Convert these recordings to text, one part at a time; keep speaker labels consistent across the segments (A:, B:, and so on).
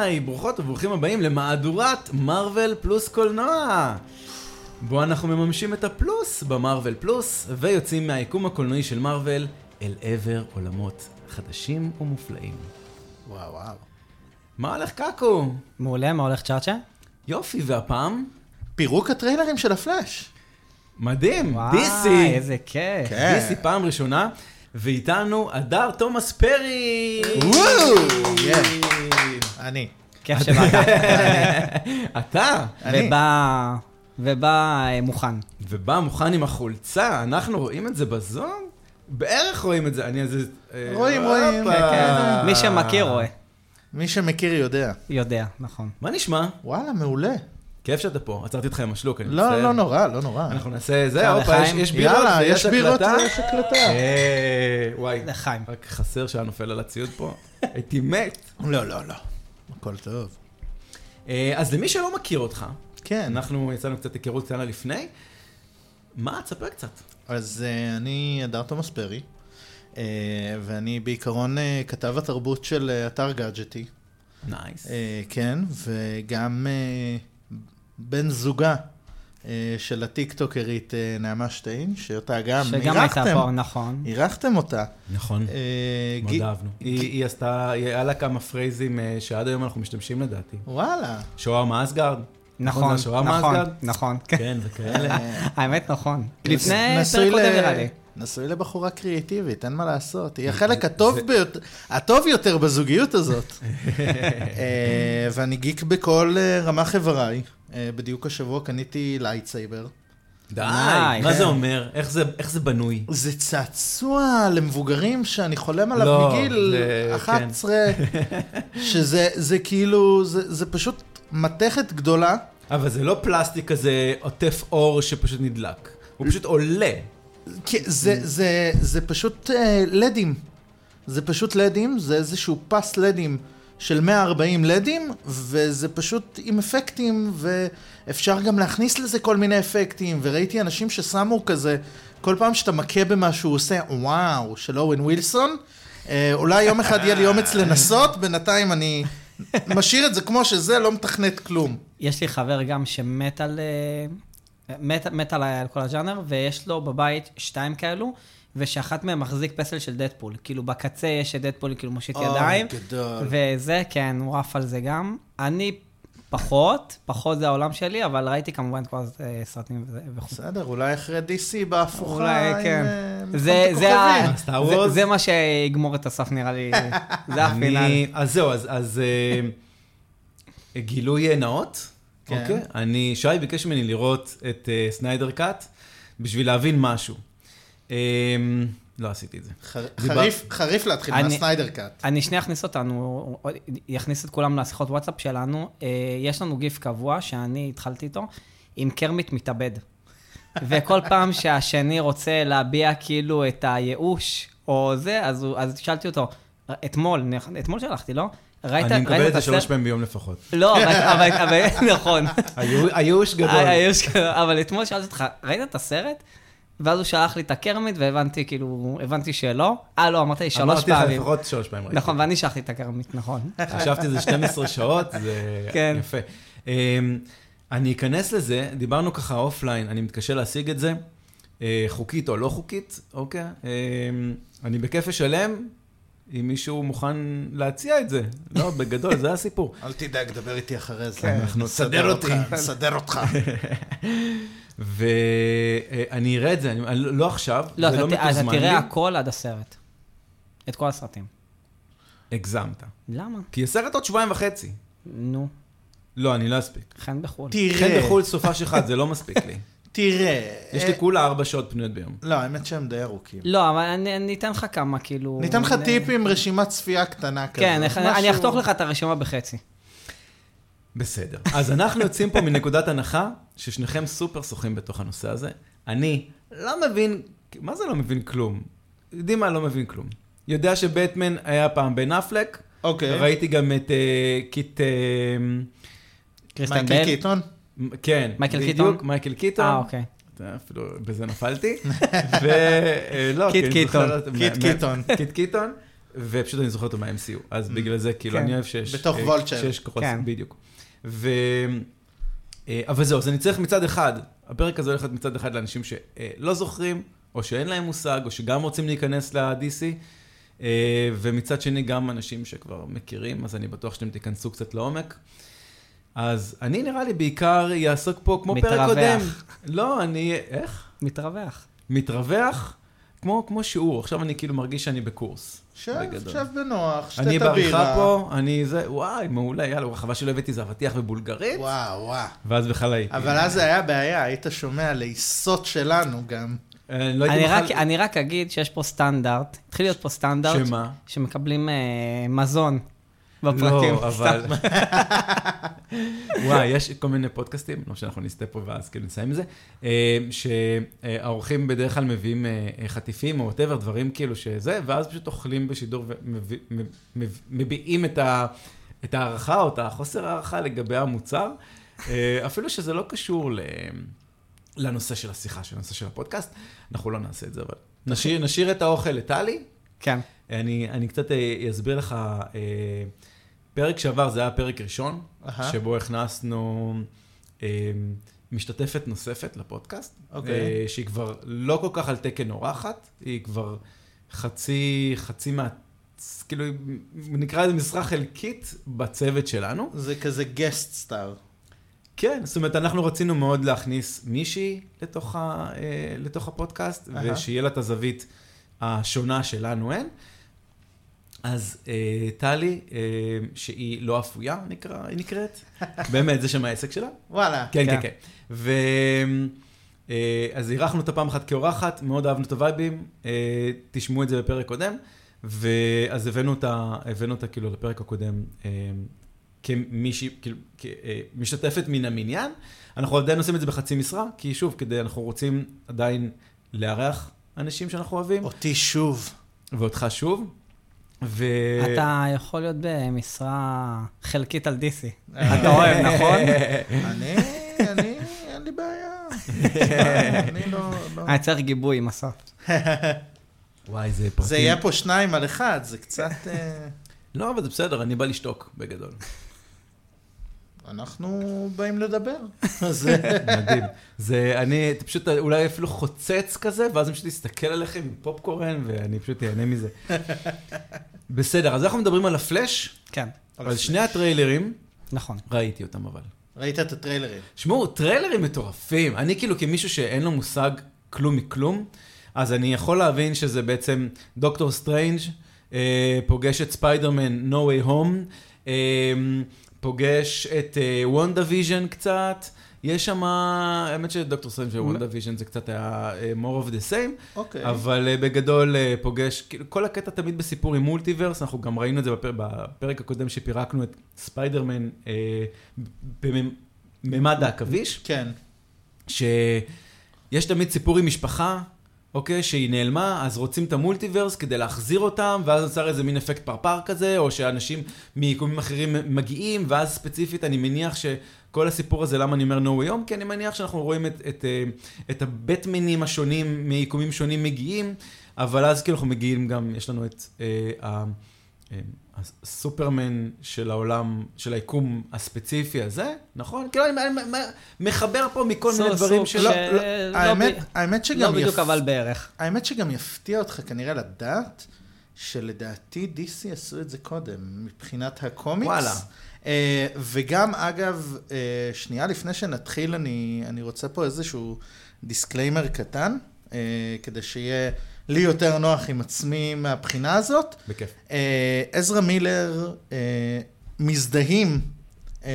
A: היי, ברוכות וברוכים הבאים למהדורת מארוול פלוס קולנוע. בו אנחנו מממשים את הפלוס במארוול פלוס, ויוצאים מהיקום הקולנועי של מארוול אל עבר עולמות חדשים ומופלאים.
B: וואו וואו.
A: מה הולך קקו?
C: מעולה, מה הולך צ'אצ'ה?
A: יופי, והפעם?
B: פירוק הטריילרים של הפלאש.
A: מדהים,
C: וואי,
A: דיסי.
C: איזה כיף.
B: כן.
A: דיסי פעם ראשונה, ואיתנו הדר תומאס פרי.
B: אני.
C: כיף שבאת.
A: אתה?
B: אני.
C: ובא... ובא אה, מוכן.
A: ובא מוכן עם החולצה, אנחנו רואים את זה בזום? בערך רואים את זה, אני איזה... אה,
B: רואים, רואים.
A: הופה.
B: כן,
C: כן, מי שמכיר רואה,
B: מי שמכיר יודע.
C: יודע, נכון.
A: מה נשמע?
B: וואלה, מעולה.
A: כיף שאתה פה, עצרתי אותך עם השלוק, אני מצטער.
B: לא, לא נורא, לא נורא.
A: אנחנו נעשה זה,
C: יאללה,
A: הופה, יש-
C: חיים.
A: יש בירות,
B: יאללה,
A: ויש
B: יש בירות
A: הקלטה.
B: ויש הקלטה.
A: אה, וואי,
C: לחיים.
A: רק חסר שהיה נופל על הציוד פה, הייתי מת.
B: לא, לא, לא. הכל טוב.
A: אה, אז למי שלא מכיר אותך,
B: כן,
A: אנחנו יצאנו קצת היכרות קטנה לפני, מה? תספר קצת.
B: אז אה, אני הדר תומאס פרי, אה, ואני בעיקרון אה, כתב התרבות של אה, אתר גאדג'טי.
A: נייס.
B: אה, כן, וגם אה, בן זוגה אה, של הטיקטוקרית אה, נעמה שטיין, שאותה גם
C: שגם הייתה פה, נכון.
B: אירחתם אותה.
A: נכון.
B: אה,
A: מאוד
B: גי-
A: אהבנו. היא היא עשתה, היא- היה לה כמה פרייזים אה, שעד היום אנחנו משתמשים לדעתי.
B: וואלה.
A: שוהר מאסגרד.
C: נכון,
A: זה שוהר
C: נכון,
A: מאסגרד?
C: נכון.
A: כן, וכאלה.
C: האמת, נכון. לפני
B: אה, נס-
C: פרק
B: כן. נשוי
C: קודם
B: ל-
C: נראה לי.
B: נשוי לבחורה קריאטיבית, אין מה לעשות. היא החלק הטוב ביותר, הטוב יותר בזוגיות הזאת. אה, ואני גיק בכל אה, רמ"ח איבריי. אה, בדיוק השבוע קניתי לייטסייבר.
A: די,
C: ניי,
A: מה
C: כן.
A: זה אומר? איך זה- איך זה בנוי?
B: זה צעצוע למבוגרים שאני חולם עליו
A: לא,
B: מגיל
A: זה-
B: 11, שזה זה כאילו, זה זה פשוט מתכת גדולה.
A: אבל זה לא פלסטיק כזה עוטף אור שפשוט נדלק. הוא פשוט עולה.
B: כי כן, זה, זה, זה פשוט אה, לדים. זה פשוט לדים, זה איזשהו פס לדים של 140 לדים, וזה פשוט עם אפקטים, ואפשר גם להכניס לזה כל מיני אפקטים, וראיתי אנשים ששמו כזה, כל פעם שאתה מכה במשהו, הוא עושה וואו, של אורן ווילסון. אה, אולי יום אחד יהיה לי אומץ לנסות, בינתיים אני משאיר את זה כמו שזה, לא מתכנת כלום.
C: יש לי חבר גם שמת על... אה, מת, מת על, על כל הז'אנר, ויש לו בבית שתיים כאלו, ושאחת מהן מחזיק פסל של דדפול. כאילו, בקצה יש את דדפול, כאילו, מושיט ידיים.
B: אוי, גדול.
C: וזה, כן, הוא עף על זה גם. אני פחות, פחות זה העולם שלי, אבל ראיתי כמובן כבר אה, סרטים וזה- וכו'.
B: בסדר, אולי אחרי DC בהפוכה.
C: אולי,
B: עם,
C: כן.
B: אה, מלחמת
C: זה, זה,
B: הכוכבים.
C: ה-
A: הכוכבים. Star
C: זה-
A: Wars.
C: זה מה שיגמור את הסף נראה לי, זה הפינאלי.
A: אני- אז זהו, אז- אז אה, גילוי נאות.
B: כן.
A: אוקיי. אני, שי ביקש ממני לראות את אה, סניידר קאט בשביל להבין משהו. אה, לא עשיתי את זה.
B: חר-
A: דיבר-
B: חריף, חריף להתחיל
C: אני-
B: מהסניידר קאט.
C: אני שנייה אכניס אותנו, יכניס את כולם לשיחות וואטסאפ שלנו. אה, יש לנו גיף קבוע שאני התחלתי איתו, עם קרמיט מתאבד. וכל פעם שהשני רוצה להביע כאילו את הייאוש או זה, אז, הוא, אז שאלתי אותו, אתמול, נכ- אתמול שלחתי, לא? ראית,
A: אני מקבל
C: ראית
A: את זה שלוש
C: הסרט?
A: פעמים ביום לפחות.
C: לא, אבל, אבל, אבל נכון.
A: היו- הייאוש
C: אה,
A: גדול.
C: יש כ- אבל אתמול שאלתי אותך, ראית את הסרט? ואז הוא שלח לי את הקרמיט והבנתי כאילו, הבנתי שלא. אה, לא, אמרת לי שלוש
A: אמרתי
C: פעמים.
A: לך לפחות שלוש פעמים. ראיתי.
C: נכון, ואני שלחתי את הקרמית, נכון.
A: חשבתי זה 12 שעות, זה
C: כן.
A: יפה. אמ, אני אכנס לזה, דיברנו ככה אופליין, אני מתקשה להשיג את זה, אה, חוקית או לא חוקית, אוקיי? אמ, אני בכיף אשלם, אם מישהו מוכן להציע את זה. לא, בגדול, זה הסיפור.
B: אל תדאג, דבר איתי אחרי זה.
C: כן.
A: אנחנו-
B: נסדר אותך, נסדר אותך.
A: ואני אראה את זה, אני, אני- לא עכשיו,
C: לא,
A: זה לא
C: אתה ת- אתה
A: מתוזמן לי.
C: תראה הכל עד הסרט. את כל הסרטים.
A: הגזמת.
C: למה?
A: כי הסרט עוד שבועיים וחצי.
C: נו,
A: לא, אני לא אספיק.
C: חן בחו"ל.
A: חן
B: תראה,
A: בחו"ל סופש אחד, זה לא מספיק לי.
B: תראה.
A: יש
B: אה,
A: לי כולה ארבע שעות פנויות ביום.
B: לא, האמת שהם די ארוכים.
C: לא, אבל אני אני אתן לך כמה, כאילו...
B: ניתן לך
C: אני-
B: טיפ עם רשימת צפייה קטנה כזאת.
C: כן, איך- אני
B: משהו-
C: אחתוך לך את הרשימה בחצי.
A: בסדר. אז אנחנו יוצאים פה מנקודת הנחה ששניכם סופר שוחים בתוך הנושא הזה. אני לא מבין, מה זה לא מבין כלום? יודעים מה? לא מבין כלום. יודע שבטמן היה פעם בן אפלק,
B: אוקיי.
A: ראיתי גם את אה, קיט... אה,
C: קריסטן
B: מייקל
C: בל?
B: קיטון?
A: מ- כן,
C: מייקל
A: בדיוק,
C: קיטון?
A: מייקל קיטון.
C: אה, אוקיי.
A: אתה- אפילו בזה נפלתי. אה, לא, ולא,
C: קיט קיטון.
B: קיט קיטון.
A: קיט קיטון. ופשוט אני זוכר אותו מה-MCU, אז בגלל זה, כאילו,
C: כן.
A: אני אוהב שיש...
B: בתוך
A: אה,
B: Vulture.
A: שיש כוחות,
C: כן.
A: בדיוק. ו... אה, אבל זהו, אז אני צריך מצד אחד, הפרק הזה הולך להיות מצד אחד לאנשים שלא זוכרים, או שאין להם מושג, או שגם רוצים להיכנס ל-DC, אה, ומצד שני גם אנשים שכבר מכירים, אז אני בטוח שאתם תיכנסו קצת לעומק. אז אני נראה לי בעיקר יעסוק פה כמו פרק
C: מתרווח.
A: קודם. לא, אני... איך?
C: מתרווח.
A: מתרווח, כמו, כמו שיעור, עכשיו אני כאילו מרגיש שאני בקורס.
B: שב,
A: בגדול.
B: שב בנוח, שתה את
A: אני
B: הבירה.
A: בעריכה פה, אני זה, וואי, מעולה, יאללה, חבל שלא הבאתי זה אבטיח ובולגרית,
B: וואו, וואו.
A: ואז בכלל לא הייתי.
B: אבל אז זה היה בעיה, היית שומע לעיסות שלנו גם.
A: אה, לא
C: אני
A: הייתי
C: רק,
A: בכלל...
C: אני רק אגיד שיש פה סטנדרט, התחיל להיות פה סטנדרט,
A: שמה?
C: שמקבלים אה, מזון בפרקים.
A: לא, אבל... וואי, יש כל מיני פודקאסטים, לא שאנחנו נסטה פה ואז כאילו נסיים עם זה, אה, שהאורחים בדרך כלל מביאים אה, אה, חטיפים או וואטאבר, דברים כאילו שזה, ואז פשוט אוכלים בשידור ומביעים את ה- את ההערכה או את החוסר הערכה לגבי המוצר, אה, אפילו שזה לא קשור ל- לנושא של השיחה, של הנושא של הפודקאסט, אנחנו לא נעשה את זה, אבל נשאיר- נשאיר את האוכל לטלי.
C: כן.
A: אני, אני קצת אה, אסביר לך, אה, פרק שעבר זה היה פרק ראשון,
B: אהה.
A: שבו הכנסנו אה, משתתפת נוספת לפודקאסט,
B: אוקיי.
A: אה, שהיא כבר לא כל כך על תקן אורחת, היא כבר חצי, חצי מה... כאילו, נקרא לזה משרה חלקית בצוות שלנו.
B: זה כזה גסט סטאר.
A: כן, זאת אומרת, אנחנו רצינו מאוד להכניס מישהי לתוך, ה, אה, לתוך הפודקאסט,
B: אהה.
A: ושיהיה לה את הזווית השונה שלנו אין. אז אה, טלי, אה, שהיא לא אפויה, נקרא, היא נקראת, באמת, זה שם העסק שלה.
B: וואלה.
A: כן, כן,
C: כן.
A: כן. ו... אה, אז אירחנו אותה פעם אחת כאורחת, מאוד אהבנו את הווייבים, אה, תשמעו את זה בפרק קודם, ואז הבאנו אותה, הבאנו אותה כאילו לפרק הקודם אה, כמישהי, כאילו, כמשתתפת מן המניין. אנחנו עדיין עושים את זה בחצי משרה, כי שוב, כדי, אנחנו רוצים עדיין לארח אנשים שאנחנו
C: כן.
A: אוהבים,
B: אותי שוב.
A: ואותך שוב. ו...
C: אתה יכול להיות במשרה חלקית על DC.
B: אה.
C: אתה אוהב, נכון?
B: אני, אני, אין לי בעיה. אני לא... לא-
C: אני צריך גיבוי עם הסוף.
A: וואי, זה פרטים.
B: זה יהיה פה שניים על אחד, זה קצת... אה,
A: לא, אבל זה בסדר, אני בא לשתוק, בגדול.
B: אנחנו באים לדבר. אז אה,
A: מדהים. זה, אני אתה פשוט אולי אפילו חוצץ כזה, ואז אני פשוט אסתכל עליכם עם פופקורן, ואני פשוט אהנה מזה. בסדר, אז אנחנו מדברים על הפלאש,
C: כן,
A: על שני הטריילרים,
C: נכון.
A: ראיתי אותם אבל.
B: ראית את הטריילרים.
A: שמעו, טריילרים מטורפים. אני כאילו כמישהו שאין לו מושג כלום מכלום, אז אני יכול להבין שזה בעצם דוקטור סטרנג' אה, פוגש את ספיידרמן, No way home, אה, פוגש את וונדה ויז'ן קצת. יש שם, האמת שדוקטור סטרנג' ווונדה ויז'ן זה קצת היה אה, more of the same,
B: אוקיי.
A: אבל אה, בגדול אה, פוגש, כאילו, כל הקטע תמיד בסיפור עם מולטיברס, אנחנו גם ראינו את זה בפר, בפרק הקודם שפירקנו את ספיידרמן אה, בממד העכביש,
B: כן.
A: שיש תמיד סיפור עם משפחה, אוקיי, שהיא נעלמה, אז רוצים את המולטיברס כדי להחזיר אותם, ואז נוצר איזה מין אפקט פרפר כזה, או שאנשים מיקומים אחרים מגיעים, ואז ספציפית אני מניח שכל הסיפור הזה, למה אני אומר no way home? כי אני מניח שאנחנו רואים את, את, אה, את הבטמנים השונים, מיקומים שונים מגיעים, אבל אז כאילו אנחנו מגיעים גם, יש לנו את אה, ה... אה, הסופרמן של העולם, של היקום הספציפי הזה, נכון? כאילו, אני אני- אני מחבר פה מכל מיני
C: סוג-
A: דברים
C: סוג
A: של...
C: של-
B: כן.
A: לא,
C: אה,
A: לא,
C: לא
B: האמת,
C: ב-
B: האמת שגם
C: לא בדיוק,
B: יפ-
C: אבל בערך.
B: האמת שגם יפתיע אותך כנראה לדעת שלדעתי DC עשו את זה קודם, מבחינת הקומיקס.
A: וואלה.
B: אה, וגם, אגב, אה, שנייה לפני שנתחיל, אני, אני רוצה פה איזשהו דיסקליימר קטן, אה, כדי שיהיה לי יותר נוח עם עצמי מהבחינה הזאת.
A: בכיף.
B: אה, עזרא מילר, אה, מזדהים, אה,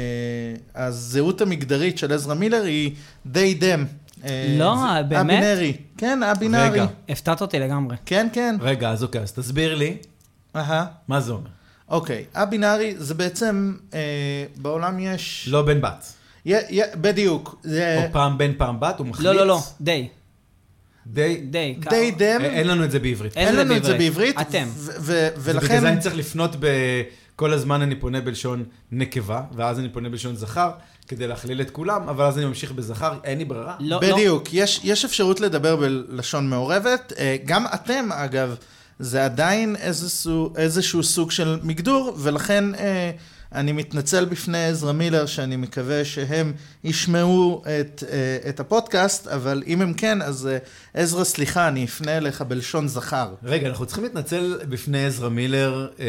B: הזהות המגדרית של עזרא מילר היא די דם. אה,
C: לא,
B: זה-
C: באמת?
B: הבינארי. כן, הבינארי.
A: רגע.
C: הפתעת אותי לגמרי.
B: כן, כן.
A: רגע, אז אוקיי, אז תסביר לי,
B: אהה.
A: מה זה אומר?
B: אוקיי, הבינארי זה בעצם, אה, בעולם יש...
A: לא אוקיי, בן בת.
B: י, י, בדיוק. זה
A: או פעם בן פעם בת, הוא מחליט.
C: אה, לא, לא, לא, די,
A: די,
C: די. כ-
B: די דם,
A: אה, אין לנו את זה בעברית.
C: אין
B: אין
C: זה
B: לנו את זה
C: בעברית.
B: בעברית.
C: אתם.
B: ו- ו-
A: ולכן... בגלל זה
B: ולכן,
A: אני צריך לפנות ב... כל הזמן אני פונה בלשון נקבה, ואז אני פונה בלשון זכר, כדי להכליל את כולם, אבל אז אני ממשיך בזכר, אין לי ברירה.
C: לא, לא.
B: בדיוק, יש, יש אפשרות לדבר בלשון מעורבת. אה, גם אתם, אגב, זה עדיין איזשהו, איזשהו סוג של מגדור, ולכן אה, אני מתנצל בפני עזרא מילר, שאני מקווה שהם ישמעו את, אה, את הפודקאסט, אבל אם הם כן, אז אה, עזרא, סליחה, אני אפנה אליך בלשון זכר.
A: רגע, אנחנו צריכים להתנצל בפני עזרא מילר. אה,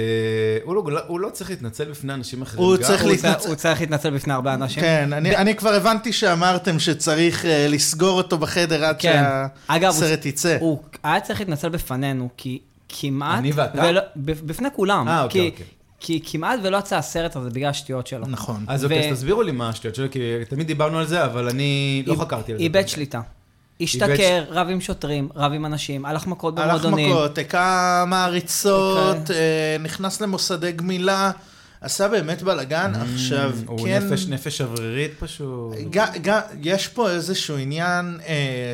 A: הוא, לא, הוא לא צריך להתנצל בפני אנשים אחרים.
B: הוא
A: גם.
B: צריך
C: הוא
B: להתנצל.
C: צר- הוא צריך להתנצל בפני הרבה אנשים.
B: כן, אני, אני כבר הבנתי שאמרתם שצריך אה, לסגור אותו בחדר עד
C: כן. אגב, הוא-
B: שהסרט יצא.
C: הוא היה צריך להתנצל בפנינו, כי כמעט...
A: אני ואתה?
C: ולא- ב- בפני כולם.
A: אה, אוקיי,
C: כי-
A: אוקיי.
C: כי כמעט ולא יצא הסרט הזה בגלל השטויות שלו.
B: נכון.
A: אז
C: ו-
A: אוקיי, אז תסבירו לי מה השטויות שלו, כי תמיד דיברנו על זה, אבל אני לא חקרתי על זה.
C: איבד שליטה. השתכר, רב עם שוטרים, רב עם אנשים, הלך מכות
B: הלך
C: במועדונים.
B: מכות, הכה מעריצות,
C: אוקיי.
B: אה, נכנס למוסדי גמילה, עשה באמת בלאגן, עכשיו
A: Mm, הוא
B: כן... אה,
A: נפש, נפש אוורירית פשוט.
B: ג- ג- יש פה איזשהו עניין אה,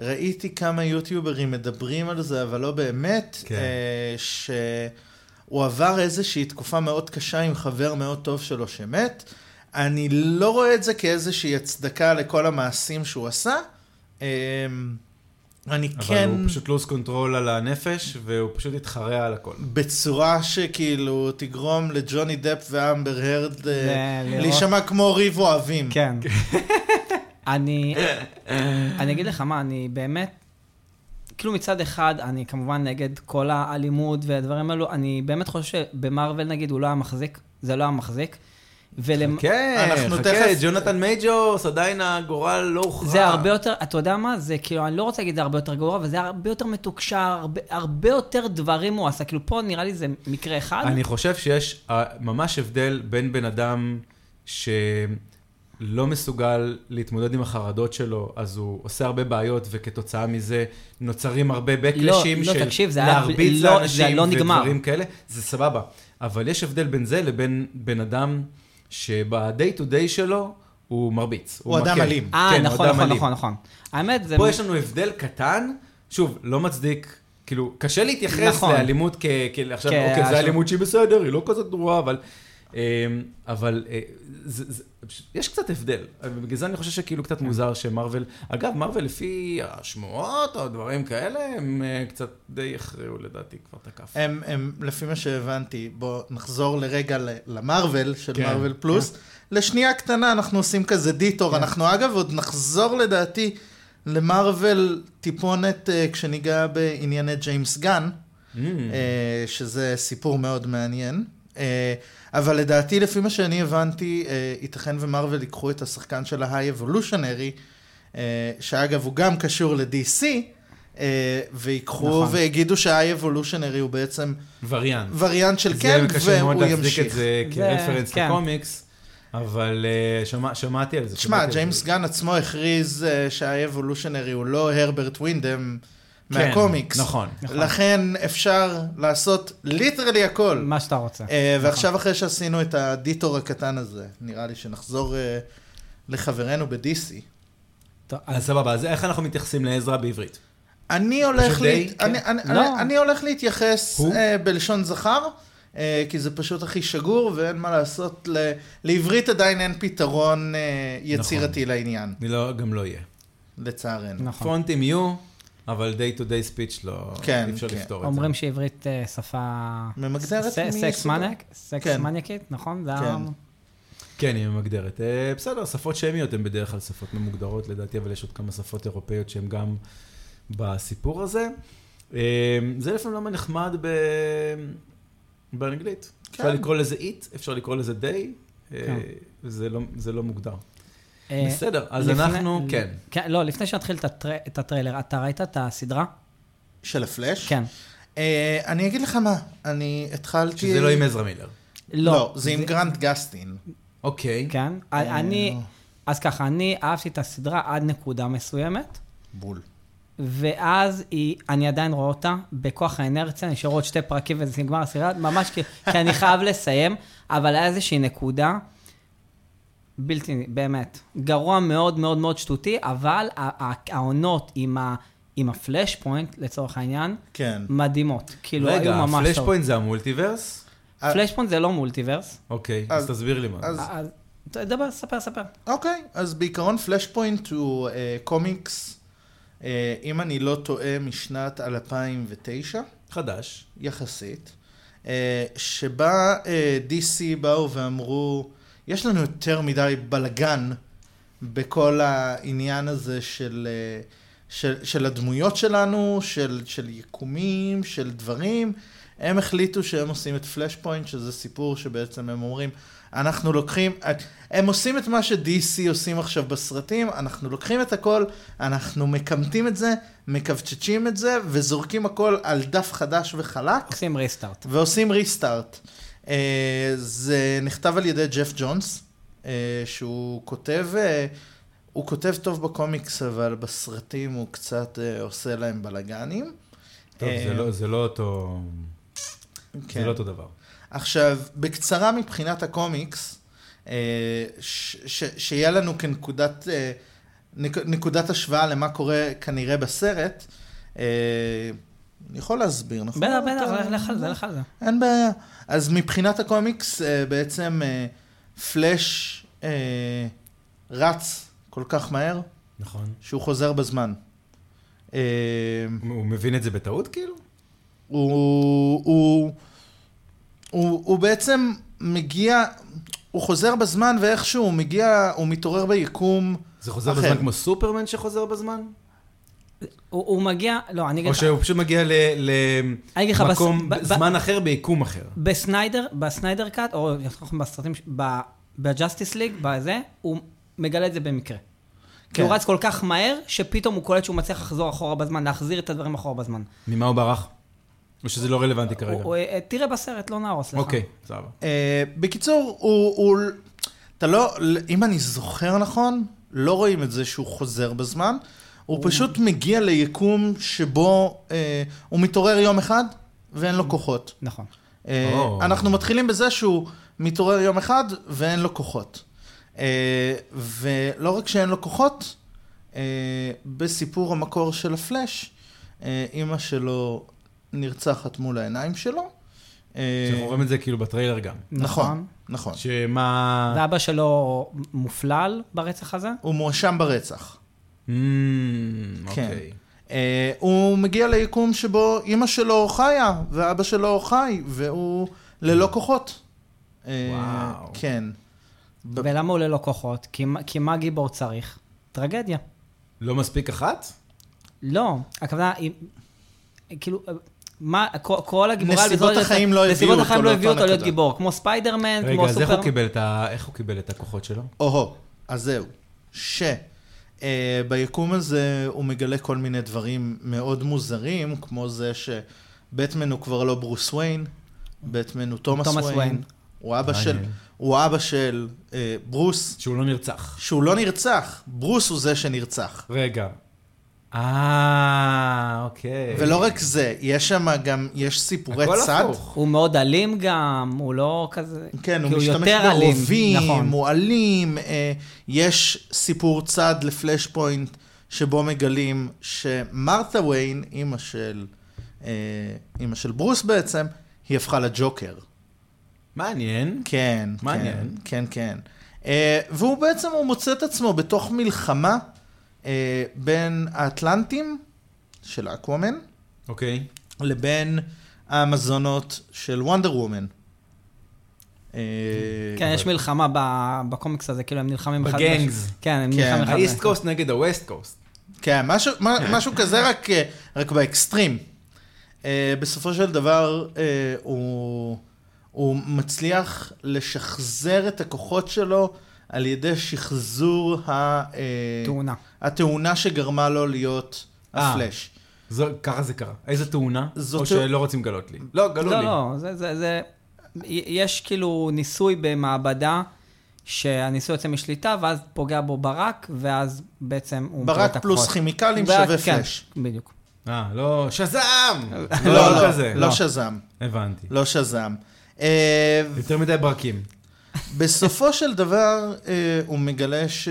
B: שראיתי כמה יוטיוברים מדברים על זה, אבל לא באמת,
A: כן.
B: אה, שהוא עבר איזושהי תקופה מאוד קשה עם חבר מאוד טוב שלו שמת. אני לא רואה את זה כאיזושהי הצדקה לכל המעשים שהוא עשה. אה, אני
A: אבל
B: כן...
A: הוא פשוט לוז קונטרול על הנפש, והוא פשוט התחרע על הכל.
B: בצורה שכאילו תגרום לג'וני דפ ואמבר הרד אה,
C: ל- לראות.
B: להישמע כמו ריב אוהבים.
C: כן. אני, אני אגיד לך מה, אני באמת, כאילו מצד אחד, אני כמובן נגד כל האלימות והדברים האלו, אני באמת חושב שבמרוויל נגיד הוא לא היה מחזיק, זה לא היה מחזיק. ולמ...
A: כן,
B: אנחנו
A: חכה,
B: תכף-
A: ג'ונתן מייג'ורס, עדיין הגורל לא הוכרע.
C: זה הרבה יותר, אתה יודע מה, זה כאילו, אני לא רוצה להגיד זה הרבה יותר גרוע, אבל זה הרבה יותר מתוקשר, הרבה, הרבה יותר דברים הוא עשה. כאילו, פה נראה לי זה מקרה אחד.
A: אני חושב שיש אה, ממש הבדל בין בן אדם שלא מסוגל להתמודד עם החרדות שלו, אז הוא עושה הרבה בעיות, וכתוצאה מזה נוצרים הרבה בקלשים
C: לא,
A: של
C: תקשיב, זה היה-
A: להרביץ
C: לא,
A: לאנשים
C: זה לא נגמר.
A: ודברים כאלה, זה סבבה. אבל יש הבדל בין זה לבין בן אדם שב-day to day שלו הוא מרביץ.
B: הוא אדם
A: מכה.
B: אלים.
C: אה,
A: כן, הוא
C: נכון,
A: אדם
C: נכון,
A: אלים.
C: נכון, נכון. האמת, זה...
A: פה יש לנו הבדל קטן, שוב, לא מצדיק, כאילו, קשה להתייחס
C: נכון.
A: נכון. לאלימות כ... כ... עכשיו,
C: כ-
A: אוקיי,
C: השלב-
A: זו אלימות שהיא בסדר, היא לא כזאת גרועה, אבל... אמ, אבל אה, זה, זה, יש קצת הבדל, בגלל זה אני חושב שכאילו קצת מוזר שמרוויל, אגב, מרוויל לפי השמועות או דברים כאלה, הם אה, קצת די הכריעו לדעתי כבר את הכף.
B: הם, הם, לפי מה שהבנתי, בואו נחזור לרגע ל- למרוויל של
A: כן,
B: מרוויל פלוס. לשנייה קטנה אנחנו עושים כזה דיטור,
C: כן.
B: אנחנו אגב עוד נחזור לדעתי למרוויל טיפונת אה, כשניגע בענייני ג'יימס גן.
A: Mm.
B: אה, שזה סיפור מאוד מעניין. אה, אבל לדעתי, לפי מה שאני הבנתי, אה, ייתכן ומרוויל ייקחו את השחקן של ההיי אבולושנרי, שאגב הוא גם קשור ל-DC, אה, ויקחו
C: נכון.
B: ויגידו שההיי אבולושנרי הוא בעצם
A: וריאנט.
B: וריאנט של
A: זה
B: קמפ,
A: קשה מאוד
B: והוא
A: להצדיק את
B: ימשיך.
A: זה
C: זה-
A: כרפרנס
C: כן.
A: לקומיקס, אבל אה, שמע- שמעתי על זה.
B: תשמע,
A: שמעתי על
B: ג'יימס
A: זה.
B: גן עצמו הכריז אה, שההיי אבולושנרי הוא לא הרברט ווינדם
A: כן,
B: מהקומיקס.
A: נכון.
B: לכן אפשר לעשות ליטרלי הכל.
C: מה שאתה רוצה.
B: אה, ועכשיו אחרי שעשינו את הדיטור הקטן הזה, נראה לי שנחזור אה, לחברנו ב-DC.
C: טוב,
A: אז סבבה, אז איך אנחנו מתייחסים לעזרא בעברית?
B: אני הולך,
A: פשוט
B: להת...
A: די, כן.
B: אני, אני,
C: לא.
B: אני, אני הולך להתייחס
A: הוא?
B: אה, בלשון זכר, אה, כי זה פשוט הכי שגור ואין מה לעשות, ל... לעברית עדיין אין פתרון אה, יצירתי נכון. לעניין,
A: אני לא, גם לא יהיה.
B: לצערנו. נכון.
C: נכון.
A: פונטים יהיו, אבל day to day speech לא,
B: כן,
A: אי אפשר
B: כן.
A: לפתור את זה.
C: אומרים שעברית אה, שפה...
B: ממגדרת
C: ס- סקס
B: מיסודה.
C: מניאק? סקס
B: כן.
C: מניאקית, נכון? זה
B: כן.
C: ה-
A: כן, היא ממגדרת. אה, בסדר, שפות שמיות הן בדרך כלל שפות ממוגדרות לדעתי, אבל יש עוד כמה שפות אירופאיות שהן גם בסיפור הזה. אה, זה לפעמים למה נחמד ב... באנגלית.
B: כן.
A: אפשר לקרוא לזה it, אפשר לקרוא לזה day, אה,
C: כן.
A: זה לא- זה לא מוגדר.
C: אה,
A: בסדר, אז
C: לפני-
A: אנחנו, כן.
C: לא, לפני שנתחיל את הטרי- את הטריילר, אתה ראית את הסדרה?
B: של הפלאש?
C: כן.
B: אה, אני אגיד לך מה, אני התחלתי...
A: שזה לא עם עזרא מילר.
B: לא, אה. זה עם גרנט גסטין.
A: אוקיי.
C: כן. אני... אז ככה, אני אהבתי את הסדרה עד נקודה מסוימת,
B: בול.
C: ואז היא, אני עדיין רואה אותה בכוח האנרציה, נשארו עוד שתי פרקים וזה נגמר הסדרה, ממש כי, כי אני חייב לסיים, אבל היה איזושהי נקודה, בלתי, באמת, גרוע מאוד מאוד מאוד שטותי, אבל ה- ה- העונות עם, ה, עם הפלאש פוינט, לצורך העניין,
B: כן.
C: מדהימות. כאילו,
A: רגע,
C: היו ממש
A: הפלאש
C: טוב.
A: פוינט זה המולטיברס?
C: פלאש פוינט זה לא מולטיברס. אה,
A: אוקיי,
B: אז-
A: אז תסביר לי מה.
B: אז-
A: זה.
C: אז דבר, ספר, ספר.
B: אוקיי, אז בעיקרון פלאש פוינט הוא אה, קומיקס אה, אם אני לא טועה, משנת 2009,
A: חדש.
B: יחסית, אה, שבה אה, DC באו ואמרו, יש לנו יותר מדי בלגן בכל העניין הזה של, אה, של, של הדמויות שלנו, של, של יקומים, של דברים. הם החליטו שהם עושים את פלאש פוינט, שזה סיפור שבעצם הם אומרים, אנחנו לוקחים, את- הם עושים את מה ש-DC עושים עכשיו בסרטים, אנחנו לוקחים את הכל, אנחנו מקמטים את זה, מכווצ'צ'ים את זה, וזורקים הכל על דף חדש וחלק.
C: עושים ריסטארט.
A: אה-
B: ועושים ריסטארט. אה, זה נכתב על ידי ג'ף ג'ונס, אה, שהוא כותב, אה, הוא כותב טוב בקומיקס, אבל בסרטים הוא קצת אה, עושה להם בלאגנים.
C: אה,
A: טוב, זה לא- זה לא אותו
C: כן.
A: זה לא אותו דבר.
B: כן. עכשיו, בקצרה מבחינת הקומיקס, אה, ש- ש- שיהיה לנו כנקודת אה, נק- נקודת השוואה למה קורה כנראה בסרט, אה, אני יכול להסביר, נכון?
C: בטח,
B: אתה-
C: בטח, לך על זה, לך על
A: אה-
C: זה.
B: אין בעיה. אז מבחינת הקומיקס, אה, בעצם אה, פלאש אה, רץ כל כך מהר,
A: נכון.
B: שהוא חוזר בזמן. אה,
A: הוא מבין את זה בטעות כאילו?
B: הוא, הוא, הוא, הוא בעצם מגיע, הוא חוזר בזמן ואיכשהו הוא מגיע, הוא מתעורר ביקום.
A: זה חוזר
B: אחר.
A: בזמן כמו סופרמן שחוזר בזמן?
C: הוא הוא מגיע, לא, אני אגיד
A: או
C: לך,
A: שהוא פשוט מגיע
C: אני אגיד לך, בס-
A: למקום,
C: ב- ב-
A: זמן אחר, ביקום אחר.
C: בסניידר, בסניידר קאט, או אנחנו בסרטים, ש- ב- בג'סטיס ליג, בזה, הוא מגלה את זה במקרה.
A: כן.
C: כי הוא רץ כל כך מהר, שפתאום הוא קולט שהוא מצליח לחזור אחורה בזמן, להחזיר את הדברים אחורה בזמן.
A: ממה הוא ברח? או שזה לא רלוונטי כרגע?
C: הוא- אה, תראה בסרט, לא נהרוס לך.
A: אוקיי, סבבה.
B: אה, בקיצור, הוא, הוא... אתה לא... אם אני זוכר נכון, לא רואים את זה שהוא חוזר בזמן. הוא פשוט מגיע ליקום שבו אה, הוא מתעורר יום אחד ואין לו כוחות.
C: נכון.
B: אה,
A: או.
B: אנחנו מתחילים בזה שהוא מתעורר יום אחד ואין לו כוחות. אה, ולא רק שאין לו כוחות, אה, בסיפור המקור של הפלאש, אה, אימא שלו נרצחת מול העיניים שלו. אה,
A: אנחנו רואים את זה כאילו בטריילר גם.
B: נכון, נכון.
A: שמה...
C: ואבא שלו מופלל ברצח הזה.
B: הוא מואשם ברצח.
A: אמ,
B: כן.
A: Mm, אוקיי.
B: אה, הוא מגיע ליקום שבו אימא שלו חיה, ואבא שלו חי, והוא ללא כוחות. אה,
A: וואו.
B: כן. ב-
C: ולמה הוא ללא כוחות? כי מה- כי מה גיבור צריך? טרגדיה.
A: לא מספיק אחת?
C: לא, הכוונה היא, כאילו, מה, כל- כל הגיבורה...
B: נסיבות החיים לא הביאו
C: נסיבות
B: אותו
C: החיים לא
B: לאותה
C: הביאו אותו להיות
B: נקודה.
C: גיבור, כמו ספיידרמן,
A: רגע,
C: כמו
A: אז איך הוא
C: סופר...
A: קיבל את ה- איך הוא קיבל את הכוחות שלו?
B: או-הו, אז זהו. ש... אה, ביקום הזה הוא מגלה כל מיני דברים מאוד מוזרים, כמו זה שבטמן הוא כבר לא ברוס וויין, בטמן הוא תומאס
C: תומאס
B: וויין.
C: וויין.
B: הוא אבא של,
A: מעניין.
B: הוא אבא של אה, ברוס,
A: שהוא לא נרצח.
B: שהוא לא נרצח, ברוס הוא זה שנרצח.
A: רגע. אה, אוקיי.
B: ולא רק זה, יש שם גם, יש סיפורי
A: הכל
B: צד.
A: הפוך.
C: הוא מאוד אלים גם, הוא לא כזה...
B: כן, הוא
C: כי
B: משתמש
C: יותר אלים,
B: ברובים,
C: נכון.
B: הוא אלים, אה, יש סיפור צד לפלאש פוינט שבו מגלים שמרתה וויין, אימא של, אה, אימא של ברוס בעצם, היא הפכה לג'וקר.
A: מעניין.
B: כן,
A: מעניין.
B: כן, כן. כן. אה, והוא בעצם, הוא מוצא את עצמו בתוך מלחמה אה, בין האטלנטים של אקוומן
A: אוקיי.
B: לבין האמזונות של וונדר וומן. אה,
C: כן, יש מלחמה ב- בקומיקס הזה, כאילו הם נלחמים אחד
A: בגנגס.
C: בשני. כן, הם
B: כן,
C: נלחמים אחד
A: האיסט קוסט נגד הווסט קוסט.
B: כן, משהו, מה- משהו כזה, רק, אה, רק באקסטרים. Uh, בסופו של דבר, uh, הוא, הוא מצליח לשחזר את הכוחות שלו על ידי שחזור ה, uh,
C: תאונה.
B: התאונה שגרמה לו להיות
A: אה.
B: הפלאש.
A: זו- ככה זה קרה. איזה תאונה?
B: זאת
A: או
B: תא-
A: שלא רוצים לגלות לי. לא, גלו לי.
C: לא, לא, זה, זה, זה... יש כאילו ניסוי במעבדה, שהניסוי יוצא משליטה, ואז פוגע בו ברק, ואז בעצם הוא... מקבל את
B: ברק פלוס
C: הכוחות.
B: כימיקלים
C: ברק,
B: שווה
C: כן,
B: פלאש.
C: בדיוק.
A: אה, לא, שזעם!
B: לא, לא,
A: כזה.
B: לא שזם,
A: הבנתי.
B: לא שזם. אה,
A: יותר מדי ברקים.
B: בסופו של דבר, אה, הוא מגלה ש...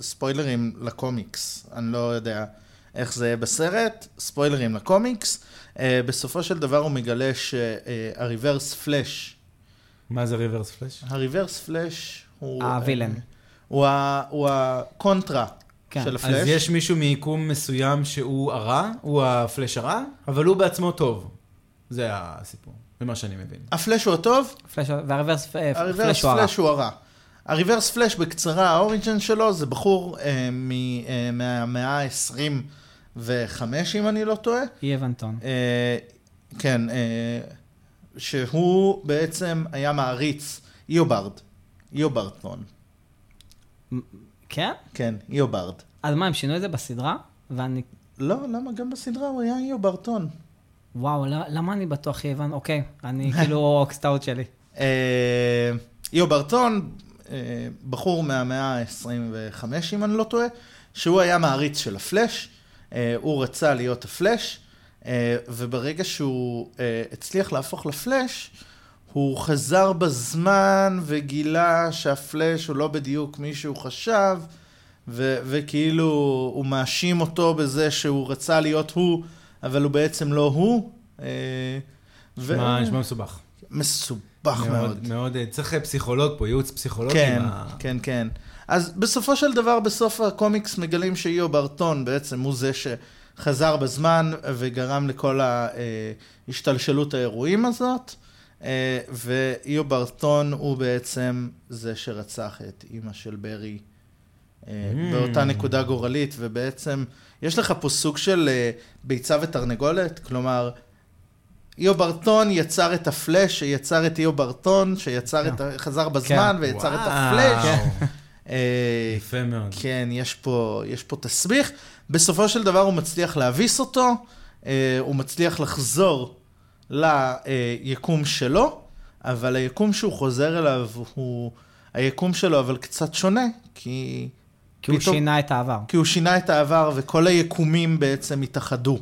B: ספוילרים לקומיקס, אני לא יודע איך זה יהיה בסרט, ספוילרים לקומיקס. אה, בסופו של דבר הוא מגלה שהריברס פלאש,
A: מה זה ריברס פלאש?
B: הריברס פלאש הוא...
C: הווילן.
B: אה, הוא ה- הוא הקונטרה
C: כן.
B: של הפלאש.
A: אז יש מישהו מיקום מסוים שהוא הרע, הוא הפלאש הרע, אבל הוא בעצמו טוב. זה הסיפור, זה מה שאני מבין.
B: הפלאש הוא הטוב,
C: פלאש, והריברס פ- אה,
B: הריברס
C: פלאש הוא הרע.
B: פלאש הוא הרע. הריברס פלאש בקצרה, האוריג'ן שלו זה בחור אה, מ- אה, מהמאה ה-25 אם אני לא טועה.
C: אי אבנטון.
B: אה, כן, אה, שהוא בעצם היה מעריץ איוברד, איוברטון,
C: כן?
B: כן, איוברד.
C: אז מה, הם שינו את זה בסדרה? ואני...
B: לא, למה גם בסדרה הוא היה איוברטון.
C: וואו, למה- למה אני בטוח אי אבנטון? אוקיי, אני כאילו אוקסטאוט שלי.
B: אה, איו ברטון, אה, בחור מהמאה ה-25, אם אני לא טועה, שהוא היה מעריץ של הפלאש, אה, הוא רצה להיות הפלאש, אה, וברגע שהוא אה, הצליח להפוך לפלאש, הוא חזר בזמן וגילה שהפלאש הוא לא בדיוק מי שהוא חשב, ו- וכאילו הוא מאשים אותו בזה שהוא רצה להיות הוא, אבל הוא בעצם לא הוא. אה, ו-
A: נשמע נשמע מסובך.
B: מסובך מאוד.
A: מאוד, אה, צריך אה, פסיכולוג פה, ייעוץ פסיכולוגי.
B: כן,
A: ב-
B: כן, כן. אז בסופו של דבר, בסוף הקומיקס מגלים שאיו ברטון בעצם הוא זה שחזר בזמן וגרם לכל ההשתלשלות האירועים הזאת, אה, ואיו ברטון הוא בעצם זה שרצח את אימא של ברי אה,
A: Mm.
B: באותה נקודה גורלית, ובעצם יש לך פה סוג של אה, ביצה ותרנגולת, כלומר... איו ברטון יצר את הפלאש, שיצר את איו ברטון, שיצר את... ה- חזר בזמן כן, ויצר את
A: וואו.
B: הפלאש.
A: כן.
B: אה,
A: יפה מאוד.
B: כן, יש פה, יש פה תסביך. בסופו של דבר הוא מצליח להביס אותו, אה, הוא מצליח לחזור ליקום שלו, אבל היקום שהוא חוזר אליו הוא היקום שלו, אבל קצת שונה, כי,
C: כי הוא
B: פתאום-
C: כאילו שינה את העבר.
B: כי הוא שינה את העבר וכל היקומים בעצם התאחדו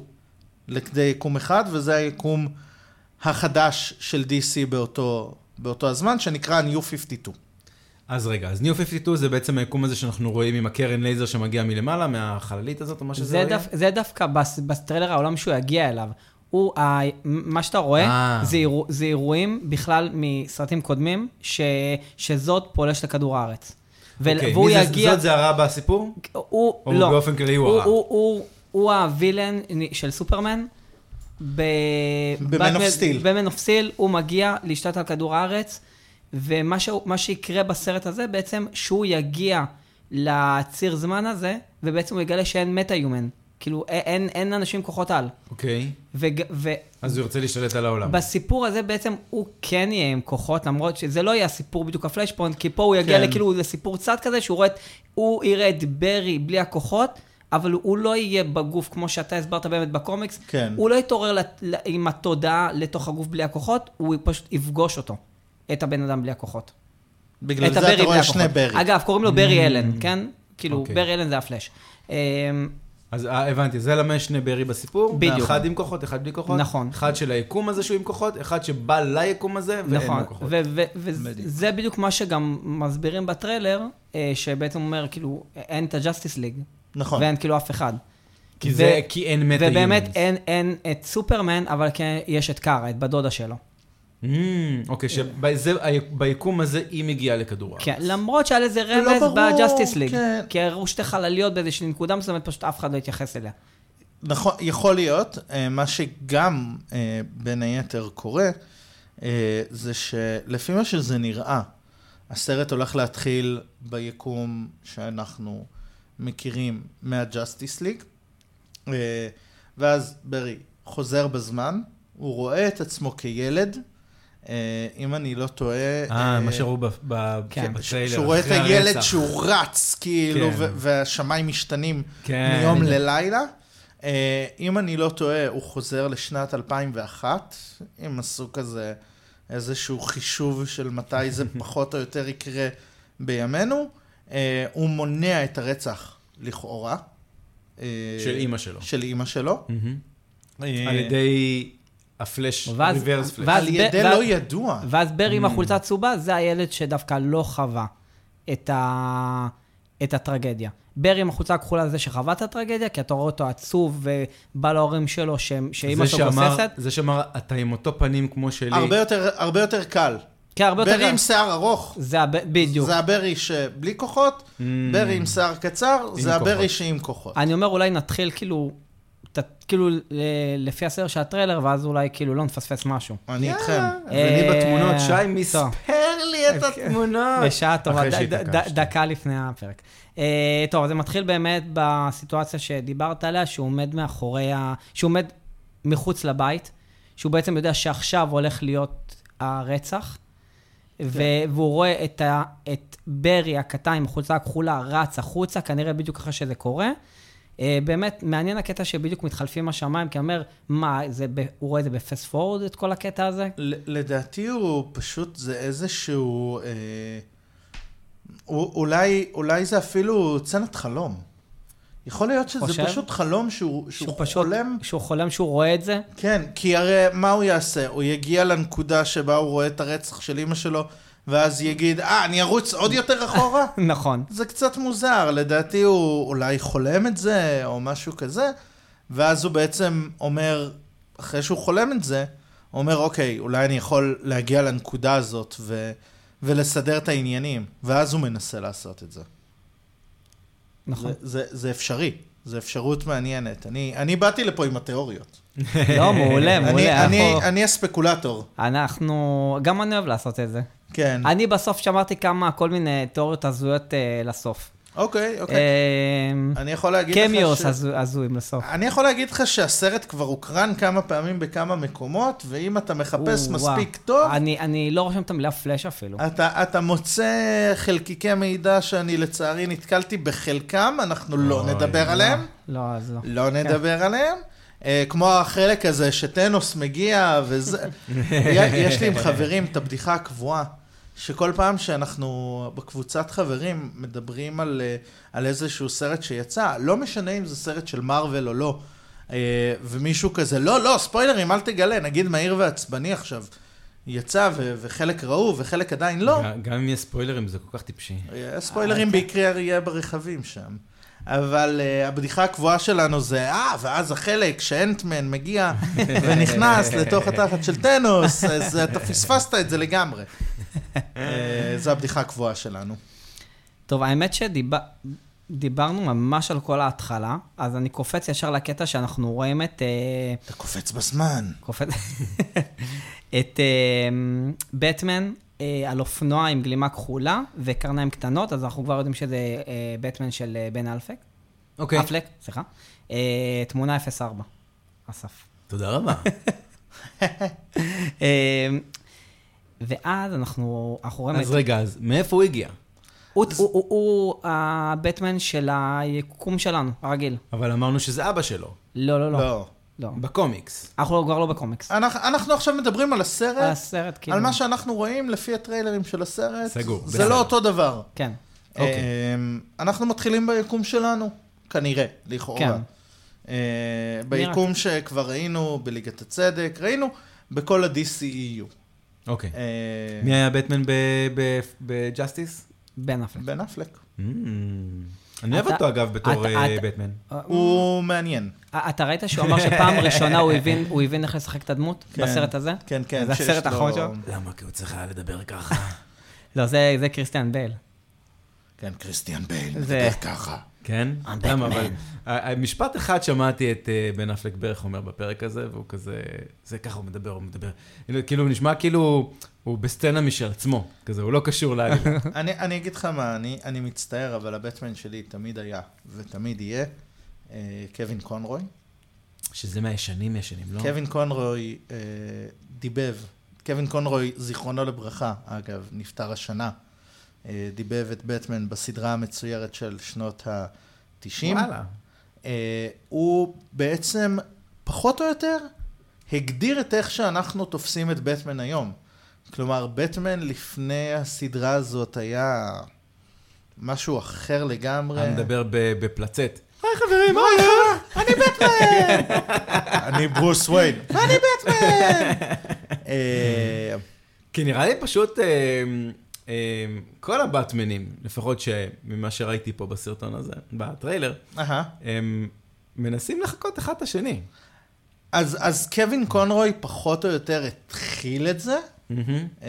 B: לכדי יקום אחד, וזה היקום החדש של DC באותו, באותו הזמן, שנקרא New 52.
A: אז רגע, אז ניו 52 זה בעצם היקום הזה שאנחנו רואים עם הקרן לייזר שמגיע מלמעלה, מהחללית הזאת או מה שזה
C: זה,
A: לא יהיה?
C: דף, זה דווקא בס, בטריילר העולם שהוא יגיע אליו. הוא, ה, מה שאתה רואה,
A: אה.
C: זה, אירוע, זה אירועים בכלל מסרטים קודמים, ש, שזאת פולש לכדור הארץ. ול-
A: אוקיי,
C: והוא
A: מי זה-
C: יגיע...
A: זאת זה הרע בסיפור?
C: הוא,
A: או
C: לא.
A: באופן כללי הוא הרע?
C: הוא, הוא, הוא הווילן של סופרמן. ב...
B: ב-Man of Steel.
C: במן אוף סטיל, הוא מגיע להשתלט על כדור הארץ, ומה ש... מה שיקרה בסרט הזה בעצם, שהוא יגיע לציר זמן הזה, ובעצם הוא יגלה שאין מטה-יומן. כאילו, א- אין, אין אנשים עם כוחות על.
A: אוקיי.
C: וג... ו...
A: אז הוא ירצה להשתלט על העולם.
C: בסיפור הזה בעצם הוא כן יהיה עם כוחות, למרות שזה לא יהיה הסיפור בדיוק הפלאשפוינט, כי פה הוא יגיע
B: כן.
C: כן. לכאילו לסיפור צד כזה, שהוא רואה את, הוא יראה את ברי בלי הכוחות, אבל הוא לא יהיה בגוף, כמו שאתה הסברת באמת בקומיקס.
B: כן.
C: הוא לא יתעורר לת, ל, עם התודעה לתוך הגוף בלי הכוחות, הוא פשוט יפגוש אותו, את הבן אדם בלי הכוחות.
B: בגלל
C: את
B: זה
C: הברי
B: אתה רואה
C: בלי
B: שני
C: הכוחות.
B: ברי. Mm.
C: אגב, קוראים לו ברי אלן, כן? כאילו,
A: אוקיי.
C: ברי אלן זה הפלאש. אמ,
A: אז אה, הבנתי, זה למה יש שני בארי בסיפור.
C: בדיוק.
A: אחד עם כוחות, אחד בלי כוחות.
C: נכון.
A: אחד של היקום הזה שהוא עם כוחות, אחד שבא ליקום הזה ואין
C: נכון,
A: לו כוחות.
B: בדיוק.
C: וזה בדיוק מה שגם מסבירים בטריילר, אה, שבעצם אומר, כאילו, אין את הג'סטיס ליג,
B: נכון.
C: ואין כאילו אף אחד.
A: כי
C: ו-
A: זה, כי אין מטה
C: ובאמת אין, אין את סופרמן, אבל כן יש את קארה, את בת דודה שלו.
A: אין... אוקיי, שביקום הזה היא מגיעה לכדור הארץ.
C: כן, למרות שהיה לזה
B: לא
C: רמז
B: ברור,
C: בג'סטיס ליג.
B: כן.
C: כי הראו שתי חלליות באיזושהי נקודה מסוימת, פשוט אף אחד לא התייחס אליה.
B: נכון, יכול להיות. אה, מה שגם אה, בין היתר קורה, אה, זה שלפי מה שזה נראה, הסרט הולך להתחיל ביקום שאנחנו מכירים מהג'סטיס ליג, אה, ואז ברי חוזר בזמן, הוא רואה את עצמו כילד, אה, אם אני לא טועה...
A: אה, מה שראו ב- ב-
C: כן.
A: בטריילר.
B: שהוא רואה את
A: אחרי
B: הילד
A: הרצח.
B: שהוא רץ, כאילו,
A: כן.
B: ו- והשמיים משתנים
A: כן.
B: מיום ללילה. אה, אם אני לא טועה, הוא חוזר לשנת 2001, אם עשו כזה איזשהו חישוב של מתי זה פחות או יותר יקרה בימינו. אה, הוא מונע את הרצח, לכאורה. אה,
A: של אימא שלו.
B: של אימא שלו.
A: מהמם.
B: אה,
A: על ידי הפלאש,
C: ואז-
A: ריברס פלאש.
C: ואז
B: על
C: ב-
B: ידי
C: ואז-
B: לא ידוע.
C: ואז ברי עם החולצה הצהובה, זה הילד שדווקא לא חווה את, ה... את הטרגדיה. ברי עם החולצה הכחולה זה שחווה את הטרגדיה, כי אתה רואה אותו עצוב ובא להורים שלו, ש... שאימא
A: זה
C: שלו
A: שאמר-
C: גוססת.
A: זה שאמר, אתה עם אותו פנים כמו שלי.
B: הרבה יותר- הרבה יותר קל.
C: כן, הרבה יותר...
B: ברי עם שיער ארוך.
C: זה הב- בדיוק.
B: זה הברי שבלי כוחות, ברי עם שיער קצר, זה הברי
A: Mm. כוחות.
B: שעם כוחות.
C: אני אומר, אולי נתחיל כאילו, ת- כאילו ל- לפי הסדר של הטריילר, ואז אולי כאילו לא נפספס משהו.
B: אני איתכם.
A: אז אני
C: אה,
A: בתמונות, שי,
C: טוב. אה,
A: מספר לי
C: כן.
A: את
B: אה,
A: התמונות.
C: בשעה טובה,
A: אחרי
C: ד- ד-
A: שהתעקשתי.
C: ד- דקה לפני הפרק. אה, טוב, זה מתחיל באמת בסיטואציה שדיברת עליה, שהוא עומד מאחורי ה... שהוא עומד מחוץ לבית, שהוא בעצם יודע שעכשיו הולך להיות הרצח, ו-
B: כן.
C: והוא רואה את, ה- את ברי הקטן עם החולצה הכחולה רץ החוצה, כנראה בדיוק אחרי שזה קורה. אה, באמת, מעניין הקטע שבדיוק מתחלפים השמיים, כי אומר, מה, זה ב- הוא רואה את זה בפסט פורוד, את כל הקטע הזה?
B: ל- לדעתי הוא פשוט, זה איזשהו... אה, הוא- אולי, אולי זה אפילו צנת חלום. יכול להיות שזה
C: חושב?
B: פשוט חלום שהוא, שהוא,
C: שהוא פשוט,
B: חולם.
C: שהוא חולם שהוא רואה את זה?
B: כן, כי הרי מה הוא יעשה? הוא יגיע לנקודה שבה הוא רואה את הרצח של אימא שלו, ואז יגיד, אה, אני ארוץ עוד יותר אחורה?
C: נכון.
B: זה קצת מוזר, לדעתי הוא אולי חולם את זה, או משהו כזה, ואז הוא בעצם אומר, אחרי שהוא חולם את זה, הוא אומר, אוקיי, אולי אני יכול להגיע לנקודה הזאת ו... ולסדר את העניינים, ואז הוא מנסה לעשות את זה.
C: נכון.
B: זה, זה, זה אפשרי, זו אפשרות מעניינת. אני, אני באתי לפה עם התיאוריות.
C: לא, מעולה,
B: אני,
C: מעולה.
B: אני,
C: אנחנו-
B: אני הספקולטור,
C: אנחנו, גם אני אוהב לעשות את זה.
B: כן.
C: אני בסוף שמרתי כמה, כל מיני תיאוריות הזויות אה, לסוף.
B: אוקיי, אוקיי.
C: אה,
B: אני יכול להגיד לך
C: קמיוס הזו- הזויים לסוף.
B: אני יכול להגיד לך שהסרט כבר הוקרן כמה פעמים בכמה מקומות, ואם אתה מחפש
C: או,
B: מספיק
C: וואו.
B: טוב,
C: אני- לא. אני לא רושם את המילה פלאש אפילו.
B: אתה, אתה מוצא חלקיקי מידע שאני לצערי נתקלתי בחלקם, אנחנו לא
A: אוי,
B: נדבר
A: לא.
B: עליהם,
C: לא, אז לא.
B: לא נדבר עליהם. אה, כמו החלק הזה שטנוס מגיע וזה, י- יש לי עם חברים את הבדיחה הקבועה, שכל פעם שאנחנו בקבוצת חברים מדברים על, אה, על איזשהו סרט שיצא, לא משנה אם זה סרט של מארוול או לא, אה, ומישהו כזה, לא, לא, ספוילרים, אל תגלה, נגיד מהיר ועצבני עכשיו, יצא ו- וחלק ראו וחלק עדיין לא,
A: ג- גם אם יש ספוילרים, זה כל כך טיפשי.
B: אה,
C: אה,
B: ספוילרים בעיקר יהיה ברכבים שם. אבל uh, הבדיחה הקבועה שלנו זה, אה, ואז החלק שאנטמן מגיע ונכנס לתוך התחת של טנוס, אז אה, אתה פספסת את זה לגמרי. uh, זו הבדיחה הקבועה שלנו.
C: טוב, האמת שדיברנו ממש על כל ההתחלה, אז אני קופץ ישר לקטע שאנחנו רואים את... אה,
B: אתה קופץ בזמן.
C: קופץ. את אה, בטמן אה, על אופנוע עם גלימה כחולה וקרניים קטנות, אז אנחנו כבר יודעים שזה אה, בטמן של אה, בן אלפק.
A: אוקיי.
C: אפלק, סליחה. אה, תמונה 04, אסף.
A: תודה רבה.
C: אה, ואז אנחנו, אנחנו רואים את...
A: אז רגע, אז מאיפה הוא הגיע?
C: הוא, הוא, הוא, הוא הבטמן של היקום שלנו, הרגיל.
A: אבל אמרנו שזה אבא שלו,
C: לא, לא, לא.
B: לא.
C: לא.
A: בקומיקס.
C: אנחנו כבר לא בקומיקס.
B: אנחנו, אנחנו עכשיו מדברים על הסרט,
C: על הסרט, כאילו.
B: על מה שאנחנו רואים לפי הטריילרים של הסרט.
A: סגור,
B: זה
A: בסדר.
B: לא אותו דבר.
C: כן.
A: אוקיי.
B: אמ, אנחנו מתחילים ביקום שלנו, כנראה, לכאורה.
C: כן.
B: כן. ביקום שכבר ראינו בליגת הצדק, ראינו בכל ה-DCEU.
A: אוקיי.
B: אה,
A: מי היה בטמן ב- ב- בג'אסטיס?
C: בן אפלק.
B: בן אפלק.
A: Mm. אני אוהב
C: אתה-
A: אותו אגב בתור
C: אתה-
A: אה,
C: אתה-
A: בטמן.
B: הוא מעניין.
C: אה, אתה ראית שהוא אמר שפעם ראשונה הוא הבין, הוא הבין איך לשחק את הדמות
B: כן.
C: בסרט הזה?
B: כן, כן.
C: זה
B: שיש
C: הסרט
B: לו-
C: האחרון שלו?
A: למה? כי הוא צריך היה לדבר ככה.
C: לא, זה, זה קריסטיאן בייל.
B: כן, כריסטיאן בייל,
C: זה-
B: מדבר ככה.
A: כן?
C: I'm
A: למה?
C: Batman.
A: אבל ה- ה- משפט אחד שמעתי את אה, בן אפלק בערך אומר בפרק הזה, והוא כזה, זה ככה הוא מדבר, הוא מדבר. כאילו- כאילו, הוא נשמע כאילו הוא בסצנה משל עצמו, כזה, הוא לא קשור לעלילה.
B: אני, אני אגיד לך מה, אני, אני מצטער, אבל הבטמן שלי תמיד היה ותמיד יהיה אה, קווין קונרוי.
A: שזה מהישנים ישנים, לא?
B: קווין קונרוי אה, דיבב, קווין קונרוי, זיכרונו לברכה, אגב, נפטר השנה, אה, דיבב את בטמן בסדרה המצוירת של שנות ה-90.
A: וואלה.
B: אה, הוא בעצם, פחות או יותר, הגדיר את איך שאנחנו תופסים את בטמן היום. כלומר, בטמן לפני הסדרה הזאת היה משהו אחר לגמרי.
A: אני מדבר ב- בפלצט.
B: היי חברים, מה קרה? אני בטמן! אני ברוס וויין. ואני בטמן! אה,
A: כי נראה לי פשוט אה, אה, כל הבטמנים, לפחות ממה שראיתי פה בסרטון הזה, בטריילר,
B: אהה.
A: הם מנסים לחקות אחד את השני.
B: אז אז קווין קונרוי פחות או יותר התחיל את זה,
A: מהמם.
B: אה,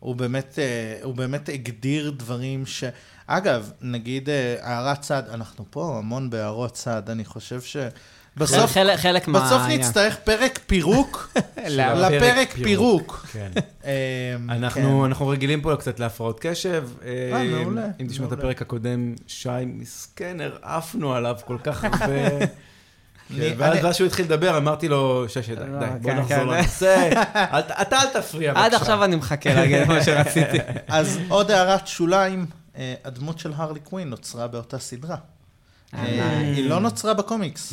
B: הוא באמת, אה, הוא באמת הגדיר דברים ש... אגב, נגיד אה, הערת צד, אנחנו פה המון בהערות צד, אני חושב שבסוף
C: חלק- חלק מה-
B: בסוף
C: העניין.
B: נצטרך פרק פירוק
A: הפרק
B: לפרק
A: פירוק.
B: פירוק.
A: כן.
B: אה,
A: אנחנו, אנחנו רגילים פה קצת להפרעות קשב.
B: אה,
A: אם-
B: מעולה,
A: אם תשמע את
B: מעולה.
A: הפרק הקודם, שי מסכן, הרעפנו עליו כל כך הרבה.
B: כן.
A: כן,
B: אני-
A: ואז
B: אני-
A: ואז שהוא התחיל לדבר, אמרתי לו, ששת, די,
C: לא,
A: די, בוא
C: כן,
A: נחזור
C: כן.
A: לנושא. אל ת- אתה אל תפריע, בבקשה.
C: עד עכשיו אני מחכה להגיד מה שרציתי.
B: אז עוד הערת שוליים, אה, הדמות של הרלי קווין נוצרה באותה סדרה. אה,
C: אה,
B: היא לא נוצרה בקומיקס.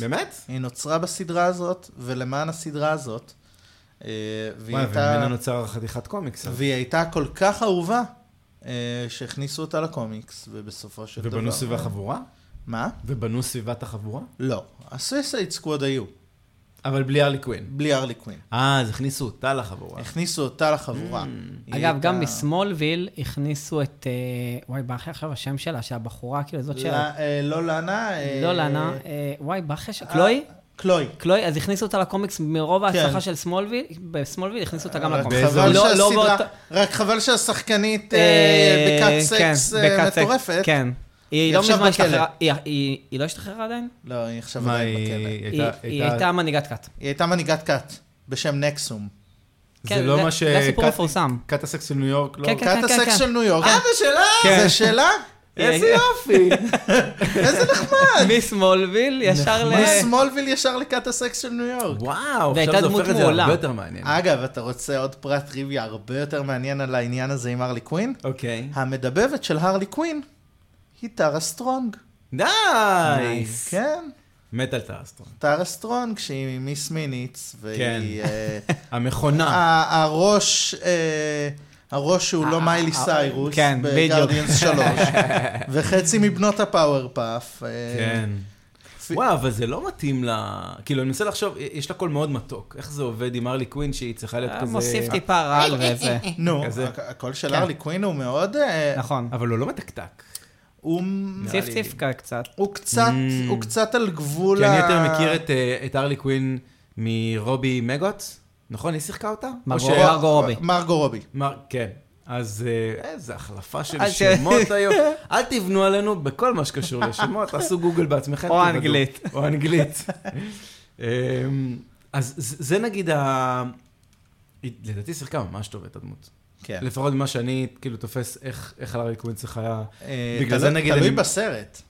A: באמת?
B: היא נוצרה בסדרה הזאת, ולמען הסדרה הזאת, אה, והיא
A: וואי,
B: הייתה...
A: וממנה נוצר חתיכת קומיקס. אז.
B: והיא הייתה כל כך אהובה, אה, שהכניסו אותה לקומיקס, ובסופו של דבר...
A: ובנו סביבה חבורה?
B: מה?
A: אה? ובנו סביבת החבורה?
B: לא. הסויסייד סקווד היו,
A: אבל בלי הרלי קווין.
B: בלי הרלי קווין.
A: אה, אז הכניסו אותה לחבורה.
B: הכניסו אותה לחבורה. היא
C: Mm. אגב, גם
B: הייתה-
C: בסמולוויל הכניסו את... אה, וואי, ברח לי עכשיו השם שלה, שהבחורה, כאילו, זאת
B: לא,
C: שלה.
B: אה, לא לנה. אה,
C: לא לנה. אה, וואי, ברח לי ש... קלוי?
B: קלוי.
C: קלוי, אז הכניסו אותה לקומיקס מרוב ההצלחה
B: כן.
C: של סמולוויל, בסמולוויל הכניסו אותה גם
B: רק
C: לקומיקס.
A: באיזו-
B: חבל
C: לא- לא
B: שהסדרה,
C: באותה-
B: רק חבל שהשחקנית
C: אה,
B: אה, בכת
C: כן,
B: סקס אה,
C: בכת סקס,
B: מטורפת.
C: כן. היא
B: היא
C: לא
B: עכשיו
C: מזמן
B: בכלא.
C: השתחררה, היא- היא היא לא השתחררה עדיין?
B: לא, היא עכשיו
A: מה,
B: עדיין
A: היא
B: בכלא.
C: היא
A: הייתה...
C: היא הייתה מנהיגת כת.
B: היא הייתה מנהיגת כת בשם נקסום.
A: זה
C: כן,
A: לא
C: זה-
A: מה ש...
C: זה הסיפור
A: כת-
C: מפורסם.
A: כת הסקס של ניו יורק, לא?
C: כן, כן.
B: כת הסקס של ניו יורק.
A: אה, זה שלה?
B: זה שלה?
A: איזה
C: אה,
A: יופי.
B: איזה נחמד.
C: מסמולוויל ישר
A: נכון.
C: ל...
B: מסמולוויל ישר לכת הסקס של ניו יורק.
A: וואו,
C: והייתה
A: עכשיו זה
C: דמות
A: הופך את זה
C: מעולה.
A: הרבה יותר
C: כן.
A: מעניין.
B: אגב, אתה רוצה עוד פרט טריוויה הרבה יותר מעניין על העניין הזה עם הרלי קווין?
A: אוקיי.
B: המדבבת של הרלי קווין היא טרה סטרונג.
A: די!
B: כן,
A: מת על טרסטרון.
B: טרה סטרונג, שהיא מיס מיניץ, והיא...
A: כן.
B: אה,
A: המכונה.
B: ה- הראש, אה, הראש שהוא לא
C: ה-
B: מיילי
C: ה-
B: סיירוס,
C: כן, בדיוק.
B: בגרדיאנס 3, וחצי מבנות הפאוור פאף. אה,
A: כן.
B: פי-
A: וואו, אבל זה לא מתאים לה... כאילו, אני מנסה לחשוב, יש לה קול מאוד מתוק. איך זה עובד עם ארלי קווין שהיא צריכה להיות כזה...
C: אה, מוסיף טיפה רעל וזה.
B: נו,
A: כזה.
B: הכ- הקול של
C: כן.
B: הרלי קווין הוא מאוד... אה,
C: נכון.
A: אבל הוא לא מתקתק.
B: הוא-
C: ציף ציף כ- קצת.
B: הוא קצת,
A: Mm.
B: הוא קצת על גבול
A: כי אני
B: ה-
A: יותר מכיר את, אה, את ארלי קווין מרובי מגוט, נכון? היא שיחקה אותה? או
C: מרגו-
A: ש-
C: מרגו- רובי.
B: מרגו רובי.
A: מר- כן. אז אה, איזה החלפה של
C: אל ת-
A: שמות היום. אל תבנו עלינו בכל מה שקשור לשמות, תעשו גוגל בעצמכם.
C: או
A: תוודאו.
C: אנגלית.
A: או אנגלית. אמ, אז זה זה נגיד ה... היא לדעתי שיחקה ממש טוב את הדמות.
B: כן.
A: לפחות ממה שאני כאילו תופס איך איך ארלי קווין צריכה...
B: אה,
A: בגלל
B: תלו-
A: זה נגיד
B: תלוי
A: אני-
B: בסרט.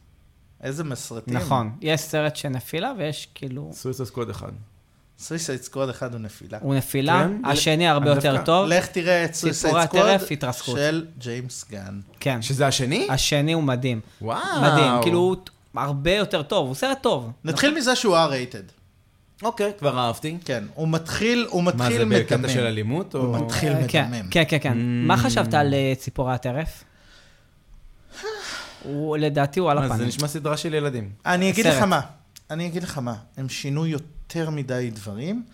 B: איזה מסרטים.
C: נכון. יש סרט שנפילה ויש כאילו...
A: סוויסס קוד אחד.
B: סויסייד סקווד אחד הוא נפילה.
C: הוא נפילה,
A: כן?
C: השני הרבה
A: אני
C: יותר
A: דווקא-
C: טוב.
B: לך תראה את סויסייד
C: סיפורי
B: סקווד
C: הטרף, התרסקות.
B: של ג'יימס גן.
C: כן.
A: שזה השני?
C: השני הוא מדהים.
A: וואו.
C: מדהים. כאילו הוא ט- הרבה יותר טוב. הוא סרט טוב.
B: נתחיל מזה שהוא R-rated.
A: אוקיי, כבר אהבתי.
B: כן, הוא מתחיל, הוא
A: מה
B: מתחיל
A: זה,
B: מדמם.
A: בקטע של אלימות? או...
B: הוא מתחיל
C: אה, כן,
B: מדמם.
C: כן, כן, כן.
A: Mm.
C: מה חשבת על אה, ציפורי הטרף? הוא, לדעתי הוא על
A: מה, זה
C: הפנים.
A: נשמע סדרה של ילדים.
B: אני אגיד
C: סרט.
B: לך מה, אני אגיד לך מה, הם שינו יותר מדי דברים.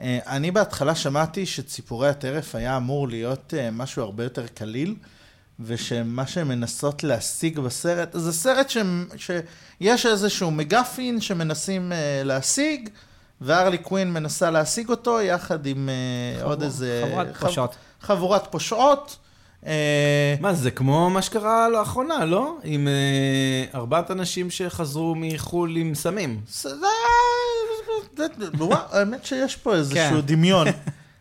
B: אה, אני בהתחלה שמעתי שציפורי הטרף היה אמור להיות אה, משהו הרבה יותר קליל, ושמה שהן מנסות להשיג בסרט, זה סרט שהם- שיש איזשהו מגפין שמנסים אה, להשיג, והרלי קווין מנסה להשיג אותו יחד עם אה, עוד איזה...
C: חבורת
B: חב-
C: פושעות.
B: חבורת פושעות. אה,
A: מה, זה כמו מה שקרה לאחרונה, לא? עם אה, ארבעת אנשים שחזרו מחו"ל עם סמים.
B: זה- זה- זה- וואו, האמת שיש פה איזשהו
C: כן.
B: דמיון.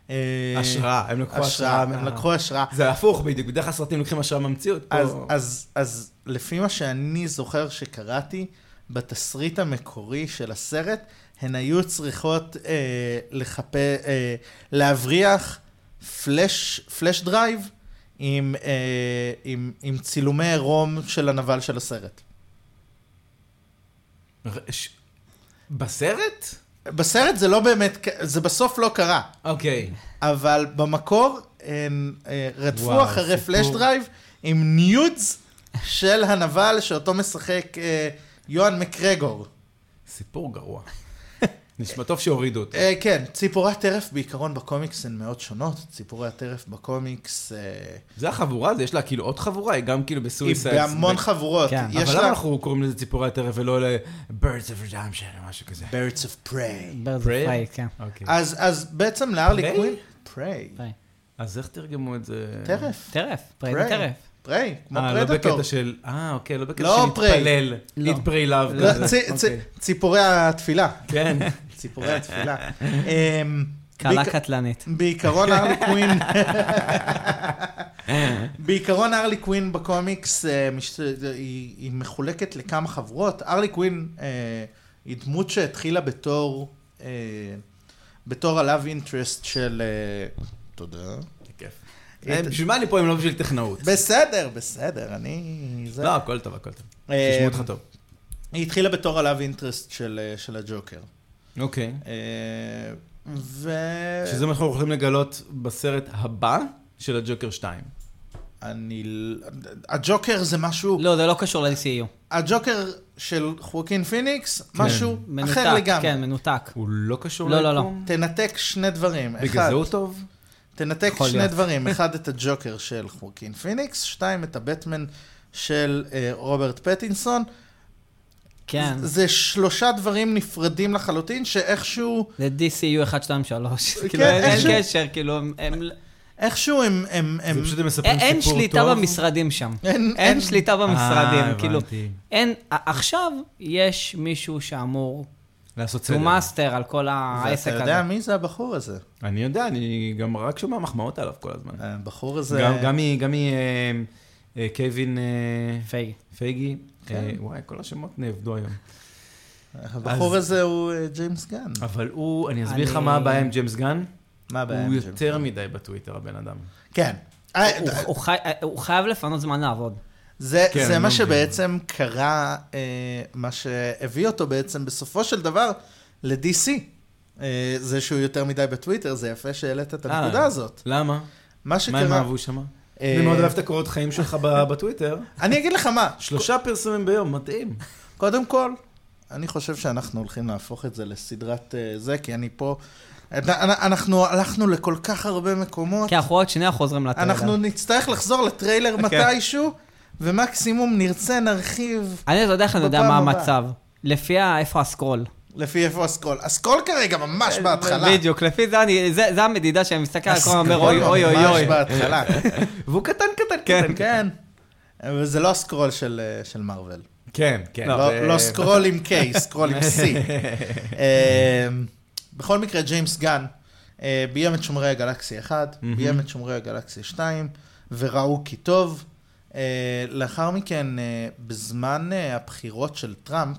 B: אה,
A: השראה, הם לקחו
B: השראה,
A: השראה. אה.
B: הם
A: מה-
B: לקחו השראה.
A: זה הפוך בדיוק, בדרך כלל סרטים לוקחים השראה מהמציאות. פה-
B: אז- אז- אז לפי מה שאני זוכר שקראתי, בתסריט המקורי של הסרט, הן היו צריכות אה, לחפה, אה, להבריח פלאש, פלאש דרייב עם, אה, עם, עם צילומי עירום של הנבל של הסרט.
A: ר- ש- בסרט?
B: בסרט זה לא באמת, ק- זה בסוף לא קרה.
A: אוקיי.
B: אבל במקור הם אה, רדפו
A: וואו,
B: אחרי
A: סיפור.
B: פלאש דרייב עם ניודס של הנבל שאותו משחק אה, יוהאן מקרגור.
A: סיפור גרוע. נשמע טוב שהורידו אותו.
B: אה, כן, ציפורי הטרף בעיקרון בקומיקס הן מאוד שונות. ציפורי הטרף בקומיקס אה,
A: זה החבורה, אז יש לה כאילו עוד חבורה, היא גם כאילו
B: היא
A: בסויסייד.
B: בהמון חבורות.
C: כן.
B: יש
A: אבל למה לא-
B: לה...
A: אנחנו קוראים לזה ציפורי הטרף ולא ל-Birds of Redemption או משהו כזה?
B: Birds of Prey.
C: ברד
A: פריי?
C: פריי, כן.
A: אוקיי.
B: אז, אז בעצם להרלי
A: Prey?
B: קווין... פריי.
C: פריי.
A: אז איך תרגמו את זה?
B: טרף.
C: טרף, פריי
B: פריי.
C: זה טרף.
B: פריי, כמו
A: אה, לא
B: פרדטור.
A: בקטע של... אה, אוקיי, לא בקטע
B: לא
A: של
B: פריי.
A: להתפלל.
C: לא.
A: Eat, pray, love.
B: לא,
A: כזה.
B: צי- צי-
A: אוקיי.
B: ציפורי התפילה.
A: כן.
B: ציפורי התפילה. אמ,
C: קלה
B: בעיק-
C: קטלנית.
B: בעיקרון הרלי קווין, בעיקרון הרלי קווין בקומיקס אה, מש- היא היא מחולקת לכמה חברות. הרלי קווין אה, היא דמות שהתחילה בתור, אה, בתור הלאו אינטרסט של... אה, תודה.
A: כיף. אה, בשביל מה אני פה אם לא בשביל טכנאות?
B: בסדר, בסדר, אני... זה-
A: לא, הכל טוב, הכל טוב.
B: אה,
A: שישמעו אותך טוב.
B: היא התחילה בתור הלאו אינטרסט של אה, של הג'וקר.
A: אוקיי.
B: אה, ו...
A: שזה מה שאנחנו הולכים לגלות בסרט הבא של הג'וקר 2.
B: אני... ל- הג'וקר זה משהו...
C: לא, זה לא קשור ל-DCU.
B: הג'וקר של חואקין פיניקס,
A: כן.
B: משהו
C: מנותק,
B: אחר לגמרי.
C: כן, מנותק.
A: הוא לא קשור
C: לא, לא, לא.
A: ליקום?
B: תנתק שני דברים.
A: בגלל
B: אחד,
A: זה הוא טוב?
B: תנתק
C: יכול
B: שני
C: להיות.
B: דברים. אחד, את הג'וקר של חואקין פיניקס, שתיים, את הבטמן של אה, רוברט פטינסון.
C: כן.
B: זה שלושה דברים נפרדים לחלוטין, שאיכשהו
C: זה DCU 1, 2, 3.
B: כן,
C: כאילו, אין-
B: איכשהו-
C: אין קשר, כאילו, הם- הם...
B: איכשהו הם... הם, הם...
A: זה פשוט הם מספרים סיפור
C: אין
A: טוב?
C: אין שליטה במשרדים שם.
B: אין,
C: אין שליטה במשרדים,
A: אה,
C: כאילו.
A: הבנתי.
C: אין, ע- עכשיו יש מישהו שאמור
A: לעשות סדר.
C: to master על כל
B: ואתה
C: העסק הזה.
B: יודע מי זה הבחור הזה?
A: אני יודע, אני גם רק שומע מחמאות עליו כל הזמן.
B: הבחור הזה...
A: גם- גם מ- אה, גם מקווין אה,
C: פייג.
A: פייגי.
B: כן.
A: אה, וואי, כל השמות נאבדו היום.
B: הבחור הזה הוא אה, ג'יימס גן.
A: אבל הוא, אני אסביר לך
C: אני-
A: מה הבעיה עם ג'יימס גן?
B: מה הבעיה?
A: הוא
B: עם ג'יימס
A: יותר
B: גן?
A: מדי בטוויטר, הבן אדם.
B: כן. אה,
C: הוא- הוא חי- הוא חייב לפנות זמן לעבוד.
B: זה,
A: כן,
B: כן, זה
A: אני
B: מה
A: לא מבין.
B: שבעצם קרה, אה, מה שהביא אותו בעצם בסופו של דבר ל-DC. אה, זה שהוא יותר מדי בטוויטר, זה יפה שהעלית את
A: אה.
B: הנקודה הזאת.
A: למה?
B: מה
A: מה הם
B: שקרה...
A: אהבו שם?
B: אה,
A: אני מאוד אוהב את הקורות חיים שלך ב- בטוויטר.
B: אני אגיד לך מה,
A: שלושה פרסומים ביום, מתאים.
B: קודם כל, אני חושב שאנחנו הולכים להפוך את זה לסדרת אה, זה, כי אני פה... אנ- אנ- אנחנו הלכנו לכל כך הרבה מקומות,
C: כי אנחנו עוד שנייה חוזרים לטרילר.
B: אנחנו נצטרך לחזור לטריילר
A: כן.
B: מתישהו, ומקסימום נרצה נרחיב
C: אני לא יודע איך אני יודע
B: בפעם
C: מה
B: הבאה.
C: המצב. לפי ה- איפה הסקרול.
B: לפי איפה הסקרול. הסקרול כרגע ממש בהתחלה.
C: בדיוק, לפי זה אני, זה זה המדידה שאני מסתכל על כל הזמן, כן, אומר אוי
B: הסקרול
C: אוי אוי
B: ממש
C: אוי.
B: בהתחלה.
A: והוא קטן קטן
B: כן, כן. אבל זה לא הסקרול של, אה, של מארוול.
A: כן, כן.
B: לא,
A: זה-
B: לא סקרול עם K, סקרול עם C. אה, בכל מקרה, ג'יימס גן אה, ביים את שומרי הגלקסיה 1,
A: מהמם.
B: ביים את שומרי הגלקסיה 2, וראו כי טוב. אה, לאחר מכן, אה, בזמן אה, הבחירות של טראמפ,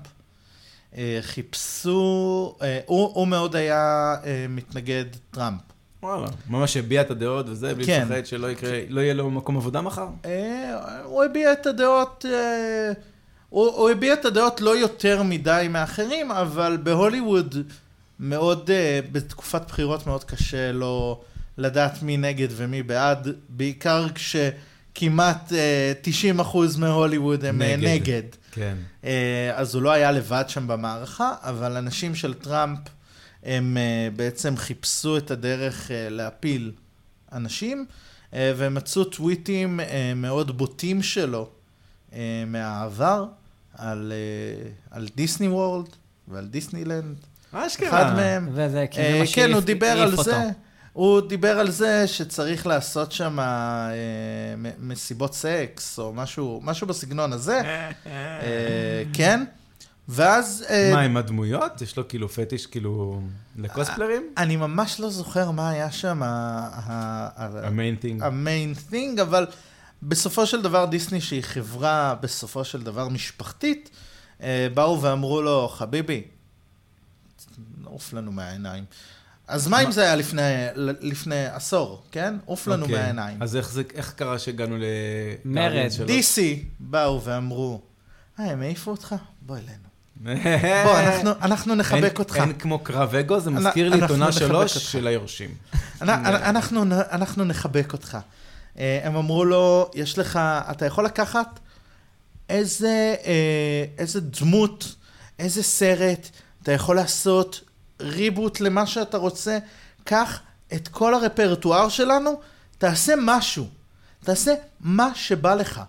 B: אה, חיפשו, אה, הוא, הוא מאוד היה אה, מתנגד טראמפ.
A: וואלה, ממש הביע את הדעות וזה, בלי
B: כן.
A: לפחד שלא יקרה, לא יהיה לו מקום עבודה מחר?
B: אה, הוא הביע את הדעות, אה, הוא, הוא הביע את הדעות לא יותר מדי מאחרים, אבל בהוליווד מאוד, אה, בתקופת בחירות מאוד קשה לו לדעת מי נגד ומי בעד, בעיקר כשכמעט אה, 90% מהוליווד הם נגד.
A: נגד.
B: נגד.
A: כן.
B: אה, אז הוא לא היה לבד שם במערכה, אבל אנשים של טראמפ, הם אה, בעצם חיפשו את הדרך אה, להפיל אנשים, אה, והם מצאו טוויטים אה, מאוד בוטים שלו אה, מהעבר, על, אה, על דיסני וורלד ועל דיסנילנד,
A: אשכרה.
B: אחד מהם.
C: וזה
B: אה,
C: כאילו כן. מה
B: כן, הוא
C: שהעיף-
B: דיבר
C: העיף
B: על
C: אותו.
B: זה. הוא דיבר על זה שצריך לעשות שם אה, מ- מסיבות סקס, או משהו, משהו בסגנון הזה. אה, כן, ואז... אה,
A: מה, עם הדמויות? יש לו כאילו פטיש כאילו לקוספלרים?
B: אני ממש לא זוכר מה היה שם ה- ה-
A: אה,
B: ה-
A: המיינטינג.
B: המיין תינג, אבל בסופו של דבר דיסני, שהיא חברה בסופו של דבר משפחתית, אה, באו ואמרו לו, חביבי, עוף לנו מהעיניים. אז מה אם זה היה לפני, לפני עשור, כן? עוף לנו
A: אוקיי.
B: מהעיניים.
A: אז לא- איך זה- איך קרה שהגענו ל...
C: מרד.
A: גרדיאנס שלוש?
B: DC באו ואמרו, אה, הם העיפו אותך? בוא אלינו. בוא, אנחנו, אנחנו נחבק
A: אה, אין-
B: אותך.
A: אין כמו קרב אגו, זה
B: אנ-
A: מזכיר לי את
B: אנחנו
A: עונה
B: נחבק
A: שלוש
B: אותך.
A: של היורשים.
B: אנ- אנ- אנחנו, נ- אנחנו נחבק אותך. אה, הם אמרו לו, יש לך, אתה יכול לקחת איזה, אה, איזה דמות, איזה סרט, אתה יכול לעשות ריבוט למה שאתה רוצה, קח את כל הרפרטואר שלנו, תעשה משהו, תעשה מה שבא לך.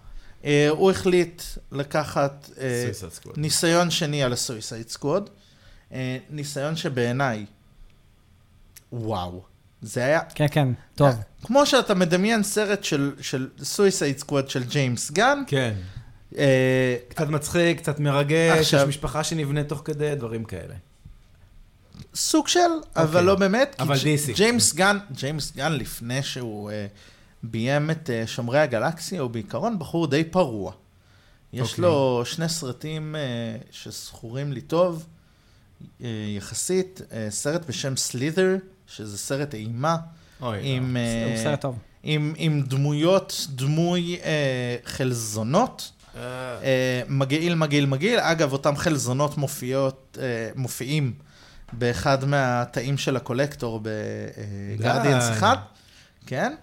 B: אה, הוא החליט לקחת אה,
A: סויסד סקוואד.
B: ניסיון שני על אה, הסויסייד סקווד, ניסיון שבעיניי, וואו, זה היה...
C: כן, כן, טוב.
B: כמו שאתה מדמיין סרט של, של סויסייד סקוואד של ג'יימס גן,
A: כן.
B: אה,
A: קצת מצחיק, קצת מרגש, יש
B: עכשיו-
A: משפחה שנבנית תוך כדי, דברים כאלה.
B: סוג של, אבל לא באמת. כי
A: אבל
B: ג'-
A: DC.
B: ג'יימס גן, ג'יימס גן לפני שהוא אה, ביים את אה, שומרי הגלקסיה, הוא בעיקרון בחור די פרוע. יש
A: אוקיי.
B: לו שני סרטים אה, שזכורים לי טוב, אה, יחסית, אה, סרט בשם סלית'ר, שזה סרט אימה,
A: אוי, לא.
B: עם, אה,
C: הוא סרט טוב.
B: עם, עם דמויות, דמוי אה, חלזונות.
A: אה,
B: אה, מגעיל, מגעיל, מגעיל. אגב, אותם חלזונות מופיעות, אה, מופיעים באחד מהתאים של הקולקטור
A: די.
B: בגרדיאנס 1, כן?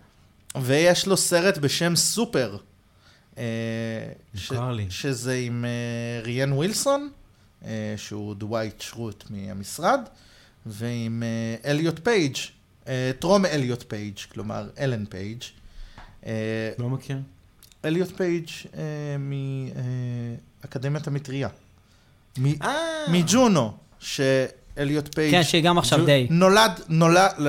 B: ויש לו סרט בשם סופר, אה,
A: מוכר לי.
B: שזה עם אה, ריאן ווילסון, אה, שהוא דווייט שרוט מהמשרד, ועם אה, אליוט פייג', אה, טרום אליוט פייג', כלומר אלן פייג'. אה,
A: לא מכיר.
B: אליוט פייג' אה, מאקדמיית המטריה. מ-
A: אה,
B: מג'ונו, שאליוט פייג'
C: כן, שהיא גם עכשיו די.
B: נולד, נולד... ל-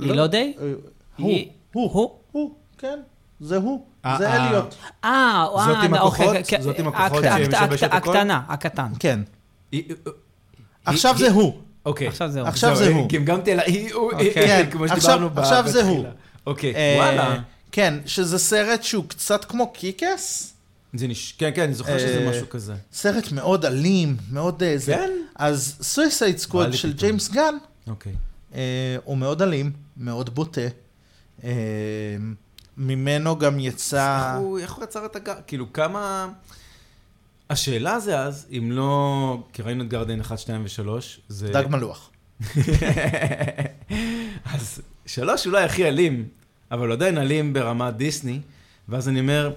C: היא לא די?
B: אה, לא- הוא,
C: היא-
B: הוא,
C: הוא?
B: הוא, כן, זה הוא,
A: אה,
B: זה
A: אה.
B: אליוט.
C: אה, אה,
A: זאת עם
C: אוקיי,
A: הכוחות?
C: כן,
A: זאת עם
C: הק-
A: הכוחות
C: הק-
A: שמשבשת
C: הק-
A: הכל?
C: הקטנה, הקטן.
B: כן.
A: היא-
B: עכשיו
A: היא-
B: זה הוא.
A: אוקיי.
C: עכשיו זהו.
B: עכשיו- זה
A: זהו,
B: הוא.
A: גמגמתי על ה-EU,
B: אוקיי.
A: כמו
B: עכשיו-
A: שדיברנו ב-
B: עכשיו זה
A: בתחילה.
B: הוא.
A: אוקיי,
B: אה,
A: וואלה.
B: כן, שזה סרט שהוא קצת כמו קיקס.
A: זה נש... כן, כן, אני זוכר שזה
B: אה,
A: משהו כזה.
B: סרט מאוד אלים, מאוד אה, זה.
A: כן?
B: אז סויסייד
A: בא
B: סקווד
A: לי
B: של
A: פתאום.
B: ג'יימס גן
A: אוקיי.
B: אה, הוא מאוד אלים, מאוד בוטה. אה, ממנו גם יצא...
A: הוא- איך הוא יצר את הגר... כאילו, כמה... השאלה זה אז, אם לא... כי ראינו את גרדיין 1, 2 ו-3, זה...
B: דג מלוח.
A: אז שלוש אולי הכי אלים, אבל הוא עדיין אלים ברמת דיסני, ואז אני אומר,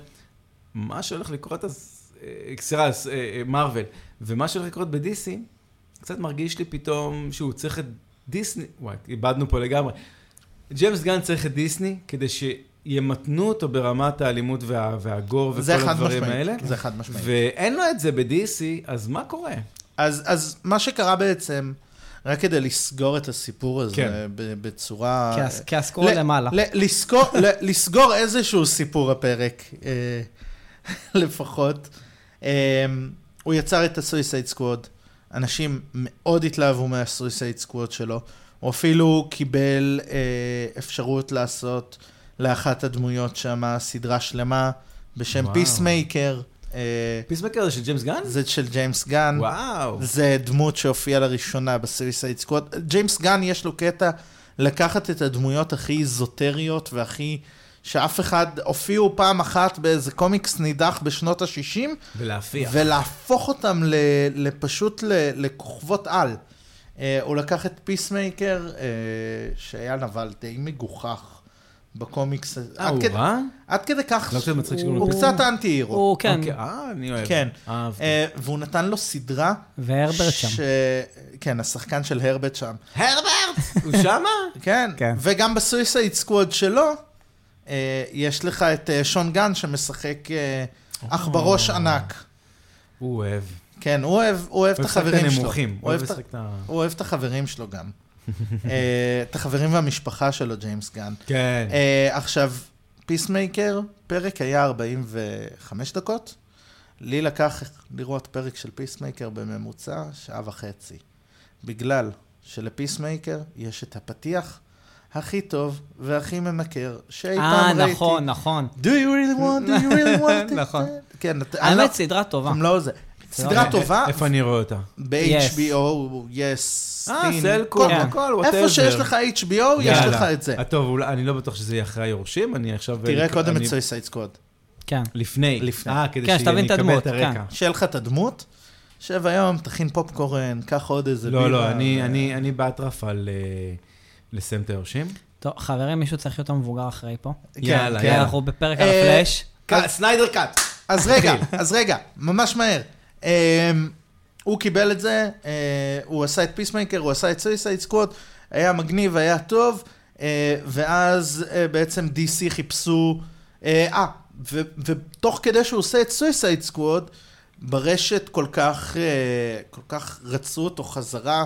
A: מה שהולך לקרות אז, אה, סליחה, אז, אה, אה, מארוול, ומה שהולך לקרות בדיסני, קצת מרגיש לי פתאום שהוא צריך את דיסני, וואי, איבדנו פה לגמרי. ג'יימס גן צריך את דיסני כדי שימתנו אותו ברמת האלימות וה, והגור וכל
B: זה חד
A: הדברים
B: משמעית.
A: האלה.
B: זה חד משמעית.
A: ואין לו את זה בדיסי, אז מה קורה?
B: אז, אז מה שקרה בעצם, רק כדי לסגור את הסיפור הזה
A: כן.
B: ב- בצורה...
C: כי הס- כי הסקרול
B: ל-
C: למעלה.
B: אה, ל- לסגור, ל- לסגור איזשהו סיפור הפרק, אה, לפחות. אה, הוא יצר את הסויסייד סקווד, אנשים מאוד התלהבו מהסויסייד סקווד שלו, הוא אפילו קיבל אה, אפשרות לעשות לאחת הדמויות שם סדרה שלמה בשם
A: וואו.
B: פיסמייקר, אה,
A: פיסמקר זה של ג'יימס גן?
B: זה של ג'יימס גן.
A: וואו.
B: זה דמות שהופיעה לראשונה בסוויסייד סקוואט. ג'יימס גן יש לו קטע לקחת את הדמויות הכי איזוטריות והכי... שאף אחד, הופיעו פעם אחת באיזה קומיקס נידח בשנות ה-60,
A: ולהפיח.
B: ולהפוך אותם ל, לפשוט ל, לכוכבות על. אה, הוא לקח את פיסמייקר, אה, שהיה נבל די מגוחך בקומיקס.
A: אה,
B: עד
A: הוא
B: כדי-
A: רע?
B: עד כדי כך,
A: לא קצת מצחיק שקוראים לו
B: הוא קצת אנטי הירו.
C: הוא, כן,
A: אוקיי, אה, אני אוהב.
B: כן.
A: אהבתי.
B: אה, והוא נתן לו סדרה
C: והרברט שם.
B: ש... כן, השחקן של אה, הרברט שם.
A: הרברט! הוא שמה?
B: כן,
C: כן.
B: וגם בסויסייד סקווד שלו, אה, יש לך את אה, שון גן שמשחק אה, אח בראש ענק.
A: הוא אוהב.
B: כן, הוא אוהב, הוא אוהב את
A: הוא משחק
B: החברים שלו.
A: הנמוכים.
B: הוא אוהב את ה-
A: לשחק את ה...
B: הוא אוהב את החברים שלו גם. אה, את החברים והמשפחה שלו, ג'יימס גן.
A: כן.
B: אה, עכשיו, פיסמייקר, פרק היה 45 דקות. לי לקח לראות פרק של פיסמייקר בממוצע שעה וחצי. בגלל שלפיסמייקר יש את הפתיח הכי טוב והכי ממכר שאי
C: אה,
B: פעם ראיתי.
C: נכון, נכון.
B: Do you really want, do you really want it?
C: נכון.
B: כן, את- אני לא-
C: האמת, סדרה טובה.
B: הם לא זה.
A: אה,
B: סדרה טובה, אה,
A: איפה אני רואה אותה?
B: ב-HBO, יס,
A: אה,
B: סטין,
A: סלקום,
C: כן.
A: הכל, וואטאבר.
B: איפה שיש לך HBO, יש לך את זה.
A: טוב, אולי- אני לא בטוח שזה יהיה אחרי היורשים, אני עכשיו...
B: תראה
A: אני-
B: קודם את
A: אני-
B: סויסייד סקווד.
C: כן.
A: לפני.
B: לפני.
A: אה, כדי
C: כן, שתבין
A: שאני
C: את
A: אקבל
C: הדמות,
A: את הרקע.
B: שיהיה לך את הדמות, שב היום, תכין פופקורן, קח עוד איזה
A: לא, לא,
B: בירה,
A: אני-
B: ו-
A: אני אני באטרף על אה, לסיים את היורשים.
C: טוב, חברים, מישהו צריך להיות המבוגר אחרי פה.
B: כן,
A: יאללה,
B: כן.
A: יאללה.
C: אנחנו בפרק על
B: אה,
C: הפלאש.
A: קאט, סניידר קאט.
B: אז רגע, אז רגע, ממש מהר. אמ, הוא קיבל את זה, אה, הוא עשה את פיסמייקר, הוא עשה את סויסייד סקווד, היה מגניב, היה טוב, אה, ואז אה, בעצם DC חיפשו... אה, אה, ו- ותוך כדי שהוא עושה את סויסייד סקווד, ברשת כל כך, אה, כל כך רצו אותו חזרה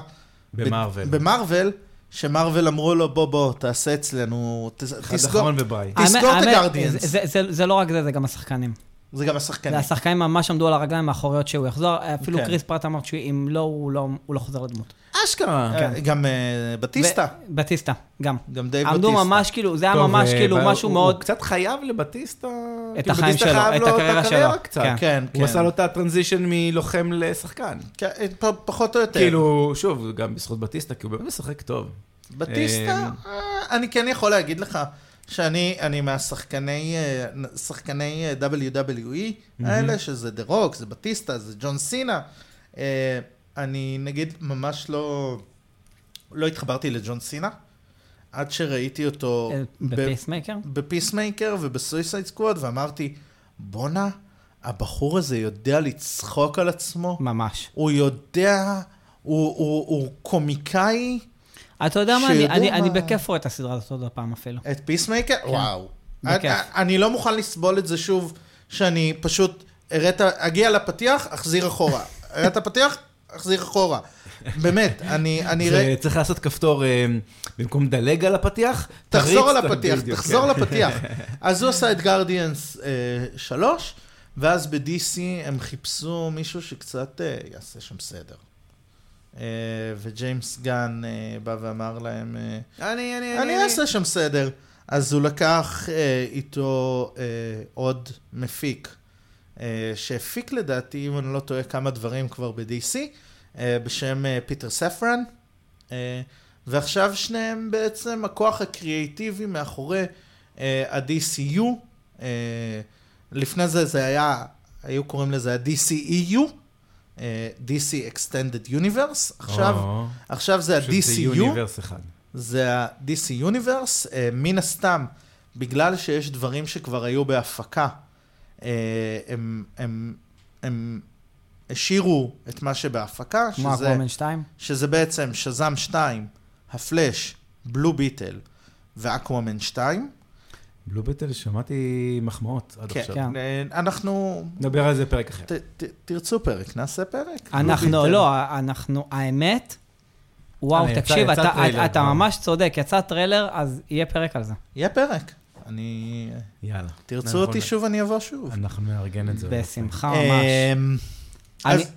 A: במארוול.
B: במרוויל, שמרוויל אמרו לו, בוא, בוא, תעשה אצלנו, תס-
A: אחד
B: תסגור.
A: אחרון וביי.
B: תסגור את
C: האמת-
B: הגרדיאנס.
C: זה- זה- זה- זה לא רק זה, זה גם השחקנים.
B: זה גם
C: זה
B: השחקנים.
C: השחקנים ממש עמדו על הרגליים האחוריות שהוא יחזור, אפילו
B: כן.
C: קריס פרט אמר שאם לא, הוא לא- הוא לא חוזר לדמות.
A: אשכרה.
B: אה, גם אה, בטיסטה,
C: כן. ו- בטיסטה, גם.
B: גם דייב בטיסטה.
C: עמדו ממש כאילו, זה היה
A: טוב,
C: ממש
A: אה,
C: כאילו
A: אבל
C: משהו
A: הוא-
C: מאוד...
A: הוא קצת חייב לבטיסטה...
C: את
A: כאילו,
C: החיים
A: בטיסטה
C: שלו,
A: חייב
C: את
A: לו
C: הקריירה שלו.
A: קצת.
C: כן.
B: כן, כן.
A: הוא עשה לו את הטרנזישן מלוחם לשחקן.
B: כן, פ- פחות או יותר.
A: כאילו, שוב, גם בזכות בטיסטה, כי הוא באמת משחק טוב.
B: בטיסטה, אה, אני כן יכול להגיד לך שאני אני מהשחקני אה, שחקני אה, WWE האלה, שזה דה רוק, זה בטיסטה, זה ג'ון סינה. אה, אני נגיד ממש לא, לא התחברתי לג'ון סינה, עד שראיתי אותו
C: אה,
B: ב-
C: בפייסמייקר?
B: בפיסמייקר ובסויסייד סקוואד, ואמרתי, בואנה, הבחור הזה יודע לצחוק על עצמו,
C: ממש.
B: הוא יודע, הוא, הוא, הוא קומיקאי.
C: אתה יודע מה, אני-
B: שיודע
C: אני-
B: מה-
C: אני בכיף רואה את הסדרה הזאת עוד הפעם אפילו.
B: את פיסמייקר?
A: כן.
B: וואו.
C: בכיף.
B: אני- אני לא מוכן לסבול את זה שוב, שאני פשוט הראת, אגיע לפתיח, אחזיר אחורה. הראת פתיח, אחזיר אחורה. באמת, אני, אני
A: זה
B: אראה...
A: צריך לעשות כפתור, אה, במקום לדלג על הפתיח,
B: תחזור
A: תריץ את-
B: לפתיח,
A: בדיוק, כן.
B: תחזור לפתיח. אז הוא עשה את גרדיאנס 3, ואז ב-DC הם חיפשו מישהו שקצת אה, יעשה שם סדר. אה, וג'יימס גן אה, בא ואמר להם, אה,
A: אני, אני,
B: אני אעשה שם סדר. אז הוא לקח אה, איתו אה, עוד מפיק, אה, שהפיק לדעתי, אם אני לא טועה, כמה דברים כבר ב-DC, אה, בשם אה, פיטר ספרן, אה, ועכשיו שניהם בעצם הכוח הקריאיטיבי מאחורי אה, ה-DCU. אה, לפני זה זה היה, היו קוראים לזה ה-DCEU, אה, DC Extended Universe, עכשיו,
A: או,
B: עכשיו זה
A: פשוט זה
B: ה-DCU.
A: יוניברס אחד.
B: זה ה-DC יוניברס, אה, מן הסתם, בגלל שיש דברים שכבר היו בהפקה, אה, הם, הם, הם השאירו את מה שבהפקה,
C: כמו
B: שזה, לא
C: אקוומן 2.
B: שזה בעצם שזאם 2, הפלאש, בלו ביטל ואקוואמן 2.
A: בלו ביטל, שמעתי מחמאות עד
B: כן,
A: עכשיו.
C: כן.
B: אה, אנחנו...
A: נדבר על זה פרק אחר.
B: ת, ת, תרצו פרק, נעשה פרק? בלו
C: אנחנו,
B: ביטל.
C: לא, אנחנו, האמת, וואו,
A: אה, יצא-
C: תקשיב,
A: יצא
C: אתה-
A: טריילר לא.
C: אתה
A: כבר.
C: ממש צודק, יצא טריילר, אז יהיה פרק על זה.
B: יהיה פרק. אני...
A: יאללה.
B: תרצו
A: אנחנו-
B: אותי שוב, אני אבוא שוב.
A: אנחנו נארגן את זה.
C: בשמחה ממש.
B: אמ,
C: אני-
B: אז-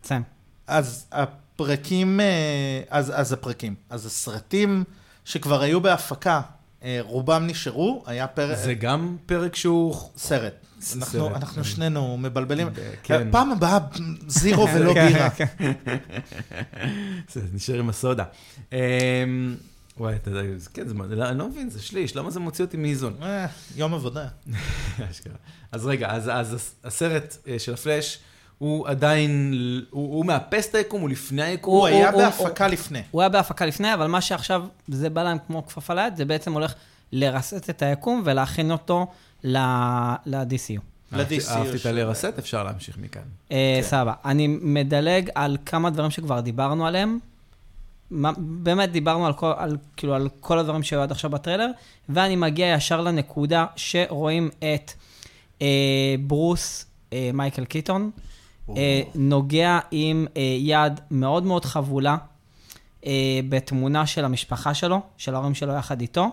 C: תסיים.
B: אז הפרקים, אה, אז, אז הפרקים, אז הסרטים שכבר היו בהפקה, אה, רובם נשארו, היה פרק,
A: זה גם פרק שהוא...
B: סרט.
A: ס-
B: אנחנו,
A: סרט,
B: אנחנו
A: כן.
B: שנינו מבלבלים.
A: כן.
B: פעם הבאה זירו ולא בירה.
A: זה נשאר עם הסודה. אמ, וואי, אתה יודע, זה- כן, זה מה- לא- אני לא מבין, זה שליש, למה זה מוציא אותי מאיזון?
B: אה, יום עבודה.
A: אשכרה. אז רגע, אז, אז הס- הסרט אה, של הפלאש, הוא עדיין, ל- הוא, הוא מאפס את היקום, הוא לפני היקום.
B: הוא היה
C: הוא-
B: בהפקה לפני.
C: הוא היה בהפקה לפני, אבל מה שעכשיו זה בא להם כמו כפפה ליד, זה בעצם הולך לרסס את היקום ולהכין אותו ל- ל-DCU.
A: אהבתי-
B: ל-DCU
A: אהבתי את
B: של-
A: הלרסט, אפשר להמשיך מכאן.
C: אה, סבבה. אני מדלג על כמה דברים שכבר דיברנו עליהם. מה- באמת דיברנו על כל, על, כאילו, על כל הדברים שהיו עד עכשיו בטריילר, ואני מגיע ישר לנקודה שרואים את אה, ברוס אה, מייקל קיטון, אה, נוגע עם אה, יד מאוד מאוד חבולה אה, בתמונה של המשפחה שלו, של ההורים שלו יחד איתו,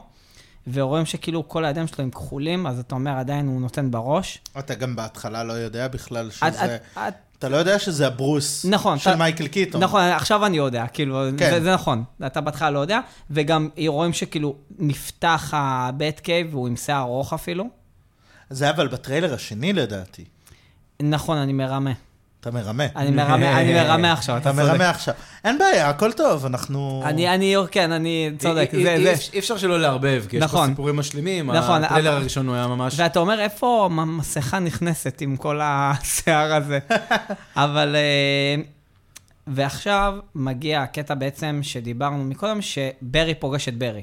C: ורואים שכאילו כל הידיים שלו הם כחולים, אז אתה אומר עדיין הוא נותן בראש.
B: אתה גם בהתחלה לא יודע בכלל
C: את-
B: שזה...
C: את- את-
B: אתה לא יודע שזה הברוס
C: נכון,
B: של
C: אתה-
B: מייקל קיטון.
C: נכון, עכשיו אני יודע, כאילו,
B: כן.
C: זה, זה נכון, אתה בהתחלה לא יודע, וגם רואים שכאילו נפתח הבט קייב והוא עם שיער ארוך אפילו.
B: זה אבל בטריילר השני לדעתי.
C: נכון, אני מרמה.
B: אתה מרמה.
C: אני מרמה, אני מרמה עכשיו,
B: אתה
C: אתה צודק.
B: מרמה עכשיו. אין בעיה, הכל טוב, אנחנו...
C: אני, אני, כן, אני צודק,
A: אי-
C: זה,
A: אי-
C: זה.
A: אי- אי אפשר שלא לערבב, כי יש פה
C: נכון.
A: סיפורים משלימים.
C: נכון,
A: הטריילר
C: אבל-
A: הראשון הוא היה ממש...
C: ואתה אומר, איפה המסכה נכנסת עם כל השיער הזה? אבל... אה, ועכשיו מגיע הקטע בעצם שדיברנו מקודם, שברי פוגש את ברי.